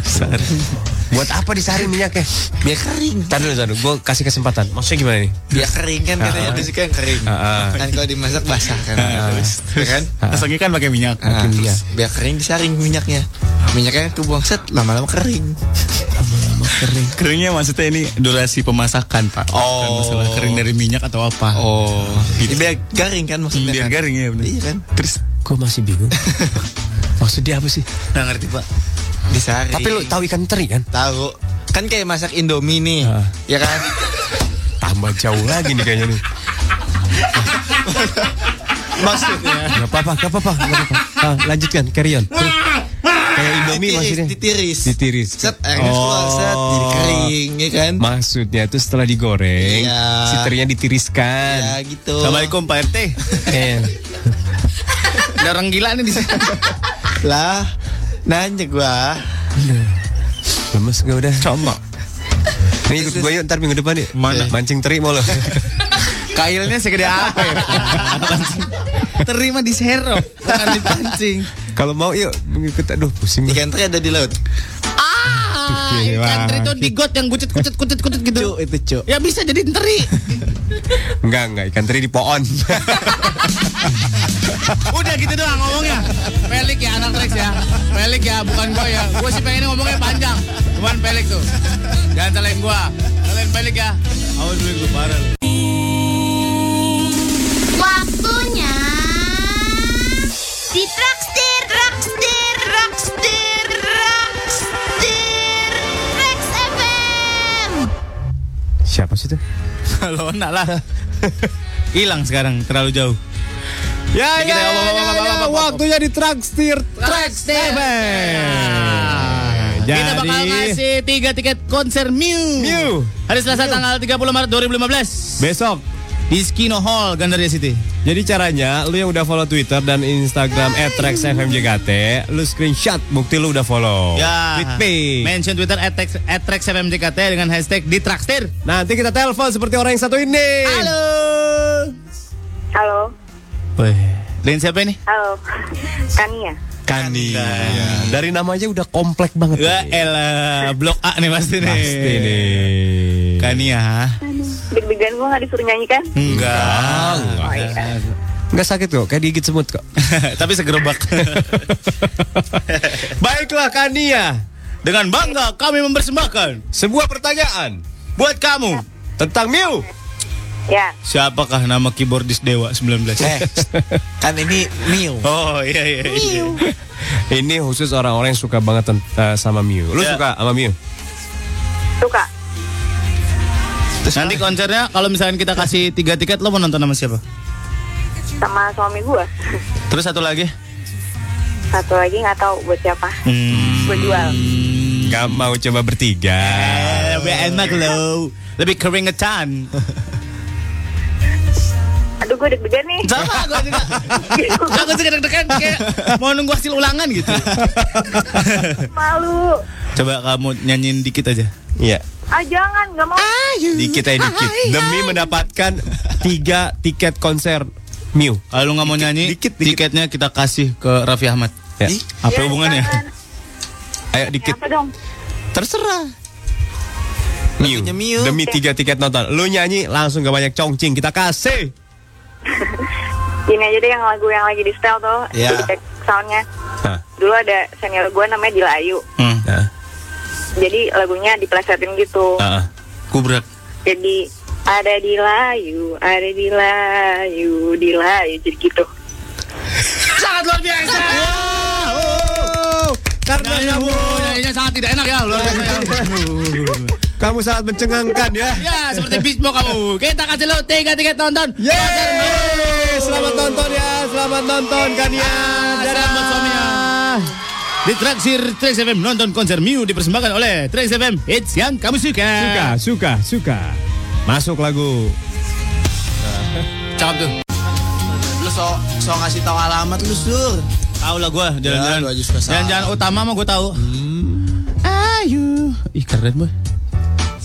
S5: Disaring. Buat apa disaring minyaknya?
S2: Biar kering.
S5: Tadi dulu, tadi gue kasih kesempatan. Maksudnya gimana nih?
S2: Biar kering kan katanya
S5: Ah.
S2: ada suka yang kering.
S5: Ah.
S2: Kan kalau dimasak basah kan. Ya kan?
S4: Masaknya kan pakai minyak.
S2: Ah, Biar kering disaring minyaknya. Minyaknya kebuang set lama-lama kering.
S4: Kering. Keringnya maksudnya ini durasi pemasakan, Pak. Bukan masalah kering dari minyak atau apa. Oh. Gitu.
S2: Oh. Biar garing kan maksudnya.
S4: Biar
S2: kan?
S4: garing ya, bener.
S2: Iya kan?
S4: Terus
S5: Gue masih [laughs] bingung. Maksudnya apa sih?
S4: nggak ngerti, Pak.
S2: Disaring.
S5: Tapi lu tahu ikan teri kan?
S2: tahu kan kayak masak Indomie nih. Ya kan?
S5: Tambah jauh lagi nih kayaknya nih.
S2: [laughs] Maksudnya
S5: Gak apa-apa, gak apa-apa, gak apa-apa. Ah, lanjutkan, carry on. Terus, Kayak Indomie
S2: Ditiris,
S5: maksudnya.
S2: ditiris.
S5: Ditiris.
S2: set airnya keluar set jadi kering ya kan?
S5: Maksudnya itu setelah digoreng,
S2: Iya.
S5: si terinya ditiriskan.
S2: Ya gitu.
S4: Assalamualaikum Pak RT.
S5: Eh,
S4: Ada orang gila nih di sini.
S2: Lah, nanya gua.
S5: lemes gak udah? Cuma. Nih ikut gue yuk ntar minggu depan ya. Mana? Mancing teri mau lo. [laughs]
S4: Kailnya segede apa ya? Terima di serok, bukan dipancing.
S5: Kalau mau yuk ikut. Aduh pusing gue.
S2: Ikan teri ada di laut.
S4: Ah, ikan teri itu digot yang kucet kucet kucet kucet gitu.
S2: Cuk itu cuk.
S4: Ya bisa jadi teri.
S5: Enggak enggak ikan teri di pohon.
S4: [laughs] Udah gitu doang ngomongnya. Pelik ya anak Rex ya. Pelik ya bukan gua ya. Gua sih pengen ngomongnya panjang. Cuman pelik tuh. Jangan salahin gua. Kalian pelik ya. Awas dulu gua parah.
S17: Waktunya di Trakstir, Trakstir, Trakstir, Trakstir, Trax FM.
S5: [laughs] Siapa sih tuh?
S4: Lo enak lah. Hilang sekarang terlalu jauh. Ya, ya, ya,
S5: Waktunya di Trakstir Trax TV.
S4: Kita bakal ngasih tiga tiket konser Mew.
S5: Mew.
S4: Hari Selasa tanggal 30 Maret 2015.
S5: Besok
S4: Di Skino Hall, Gandaria City.
S5: Jadi caranya lu yang udah follow Twitter dan Instagram @traxfmjkt, lu screenshot bukti lu udah follow.
S4: Ya.
S5: Tweet me.
S4: Mention Twitter @traxfmjkt dengan hashtag di Trakstir.
S5: Nanti kita telepon seperti orang yang satu ini.
S4: Halo.
S19: Halo,
S4: Weh. Dengan siapa ini?
S19: halo. Kan ya? Kania.
S5: Kani. Ya. Dari namanya udah komplek banget.
S4: Wah, Ya, elah, blok A nih pasti nih. ya?
S5: Pasti nih.
S4: Kania.
S19: Deg-degan gue gak disuruh nyanyi kan?
S4: Enggak.
S5: Nggak sakit kok, kayak digigit semut kok.
S4: [laughs] Tapi segerobak. [laughs] Baiklah
S5: [laughs]
S4: Kania, dengan bangga kami mempersembahkan sebuah pertanyaan buat kamu tentang Miu.
S19: Ya.
S4: Siapakah nama keyboardis Dewa 19? kan ini Miu. Oh iya iya. iya.
S5: Ini khusus orang-orang yang suka banget tent- eh, sama Miu. Lu
S4: Ya.
S5: suka sama Miu?
S19: Suka.
S4: Terus nanti konsernya kalau misalkan kita kasih tiga tiket lo mau nonton sama siapa?
S19: Sama suami gue.
S4: Terus satu lagi?
S19: Satu lagi gak tahu buat siapa. Gue jual.
S5: Gak mau coba bertiga.
S4: Eh, Lebih enak lo. Lebih keringetan.
S19: Aduh, gue deg-degan nih.
S4: Sama, gue juga. Aku juga deg-degan kayak mau nunggu hasil ulangan gitu.
S19: Malu.
S4: Coba kamu nyanyiin dikit aja.
S5: Iya.
S19: Ah, jangan. Gak mau.
S5: Dikit aja dikit.
S4: Ah, iya.
S5: Demi mendapatkan tiga tiket konser Miu.
S4: Kalau lu nggak mau nyanyi, tiketnya kita kasih ke Raffi Ahmad. Ih, Apa
S19: Ya,
S4: hubungannya?
S19: jangan.
S5: Ayo dikit.
S19: Apa dong?
S4: Terserah.
S5: Miu. Demi tiga tiket nonton. Lu nyanyi langsung gak banyak congcing. Kita kasih.
S19: Gini aja deh yang lagu yang lagi di setel tuh.
S5: Ya.
S19: Cek Soundnya.
S5: Hah.
S19: Dulu ada senior gue namanya Dila Ayu.
S5: Nah.
S19: Jadi lagunya diplesetin gitu.
S4: Kubrak.
S19: Jadi ada di layu, ada di layu, di layu, jadi gitu.
S4: Sangat luar biasa. Ah,
S5: Karena
S4: ya, Bu, nyanyinya sangat tidak enak ya, luar biasa. ya.
S5: [laughs] Kamu sangat mencengangkan ya.
S4: Ya, seperti bismo kamu. Kita kasih lo tiga tiket nonton.
S5: Yeay! Selamat nonton ya, selamat nonton kan ya. Dadah
S4: Ah, buat ya. suaminya. Di Traksir Trax FM nonton konser Miu dipersembahkan oleh Trax FM Hits yang kamu suka.
S5: Suka, suka, suka. Masuk lagu.
S4: Cakep tuh.
S3: Lu so, so ngasih tahu alamat lu sur.
S4: Tahu lah gua jalan-jalan.
S3: Ya, lu aja suka salah.
S4: Jalan-jalan utama mah gua tahu. Ayu. Ih keren boy.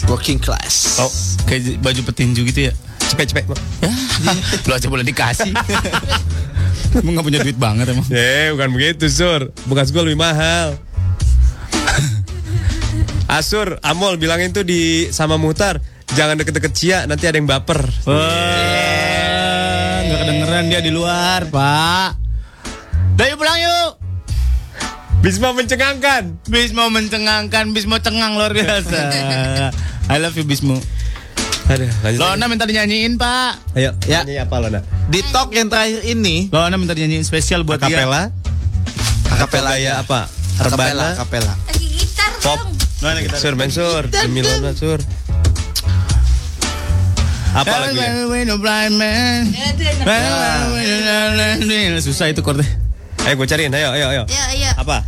S3: Working class.
S4: Oh, kayak baju petinju gitu ya.
S5: Cepet-cepet.
S4: [laughs] Lu aja boleh dikasih. Emang gak punya duit banget emang.
S5: Eh, bukan begitu, Sur. Bukan gue lebih mahal. [laughs] Asur, Amol bilangin tuh di sama Muhtar, jangan deket-deket Cia, nanti ada yang baper.
S4: Nggak kedengeran dia di luar, Pak. Dayu pulang yuk.
S5: Bisma mencengangkan.
S4: Bismo mencengangkan, Bismo cengang luar biasa. I love you Bismo.
S5: Aduh, lanjut.
S4: Lona minta dinyanyiin, Pak.
S5: Ayo, ya. ini apa Lona?
S3: Di talk yang terakhir ini,
S4: Lona minta dinyanyiin spesial buat
S5: Akapela,
S3: akapela
S2: ya.
S5: gaya apa?
S3: Akapela,
S5: Rebana,
S3: akapela.
S5: pop.
S4: dia. Lona kita.
S5: Sur, men Sur, demi Lona Sur. Apa ya? lagunya?
S4: Susah itu chordnya.
S5: Ayo gue cariin, ayo, ayo, ayo.
S6: Ya, ya.
S5: Apa?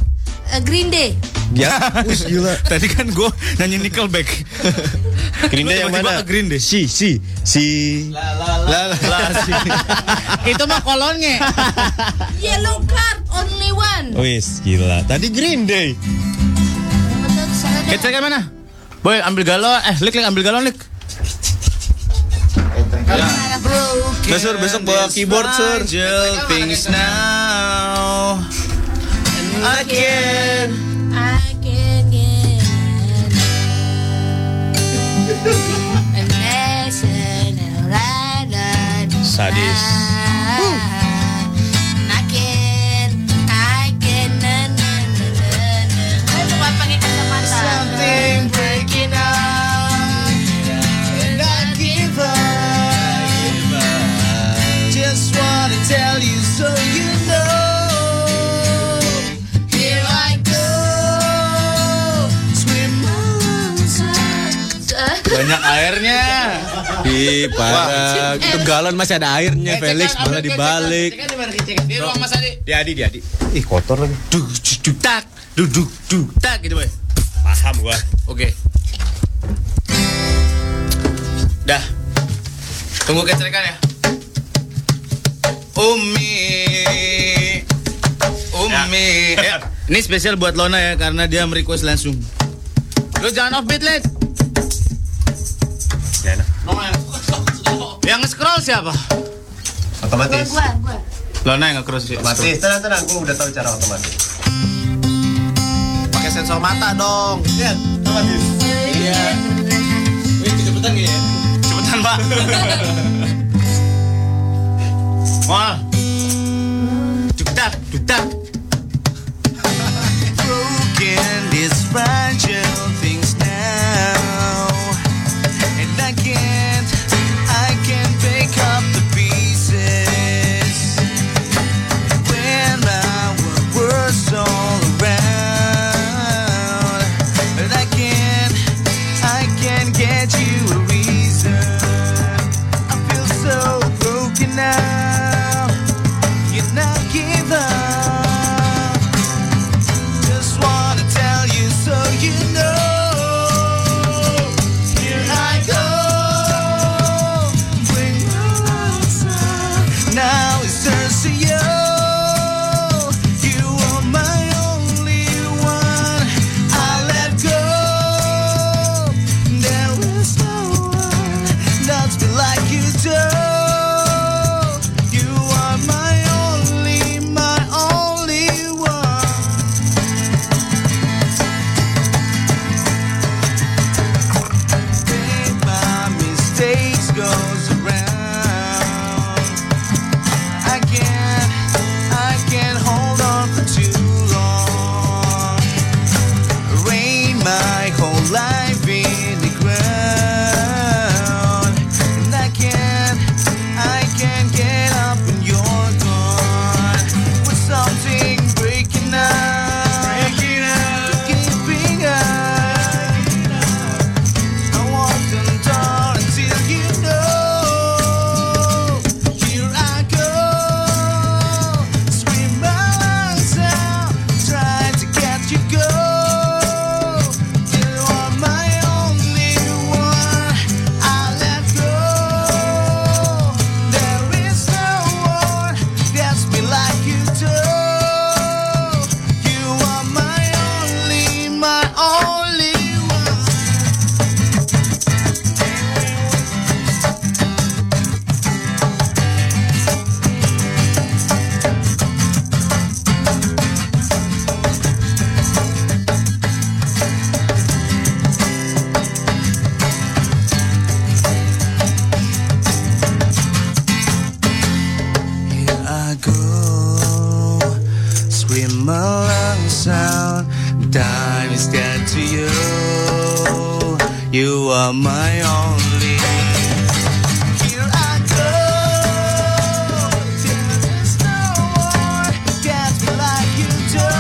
S6: Eh, Green Day.
S5: Ya, [laughs] us, gila.
S4: Tadi kan gue nyanyi Nickelback.
S5: Green Day
S4: Lu
S5: yang
S4: tiba-tiba
S5: mana?
S4: ke Green Day.
S5: Si, si, si.
S4: Lah, lah, sih. [laughs] itu mah kolonnya.
S6: Yellow card only one.
S5: Wis, gila. Tadi Green Day.
S6: Betul, salah deh.
S4: Keceknya mana? Boy, ambil galon. Eh, lik, lik, ambil galon, lik.
S3: Besok besok bawa keyboard sur.
S4: things now. Again.
S6: I can get a national island.
S5: Sadis.
S6: I can, I can, na, na, na, na, na. Ayo, coba pakai kacamata.
S3: Just wanna tell you so you know. Here I go. Swim
S4: Banyak airnya.
S23: Di para itu galon masih ada
S5: Eh,
S23: airnya Felix malah dibalik.
S4: Di ruang Mas Adi.
S5: Di Adi, di Adi. Ih, kotor lagi.
S4: Duk, duk, duk, tak. Duk, duk, duk, tak gitu, Boy.
S5: Paham gua.
S4: Oke. Dah. Tunggu kecerikan ya. Umi. Umi.
S5: Ya.
S4: Eh, ini spesial buat Lona ya karena dia merequest langsung. Lu jangan off beat, Let.
S5: Ya enak.
S4: Yang scroll siapa?
S24: Otomatis.
S25: Gua, gua,
S24: Lona yang nge-cruise sih.
S3: Otomatis. Tenang, tenang. Gue udah tahu cara otomatis. Pakai sensor mata dong. Iya. Otomatis. Iya.
S24: Wih, cepetan ya. Cepetan,
S4: [laughs]
S24: Pak. Mal. Dukdak, dukdak.
S4: [laughs] broken these fragile things now and I can't I can pick up the pieces when our world's all around but I can I can get you a reason I feel so broken now you not give up just wanna tell you so you know. Here I go. When all else are- now it turns to you. You are my only one. I let go. There is no one that's been like you do. You are my only, my only one. my mistakes goes around. I can't, I can't hold on for too long. Rain my whole life in the ground, and I can't, I can't get up when you're gone. With something breaking out, breaking out, keeping up. I walked and down until you know. Here I go, scream my lungs out, trying to get you go. You are my only one. I let go. There is no one that's me like you do. You are my only, my only one. Here I go, swim my lungs out. Time is dead to you. You are my only. Here I go, there's no one gets me like you do.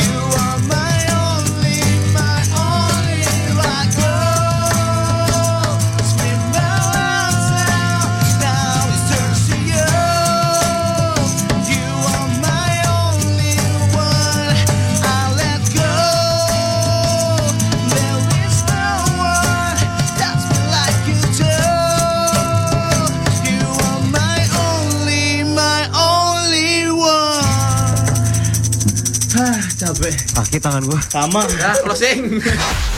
S4: You are my only, my only. Here I go, swim my lungs out. Now it turns to you. You are my only one. I let go. There is no one that's me like you do. You are my only, my only one.
S3: Capek.
S26: Sakit tangan gua.
S24: Sama.
S3: Ya, closing.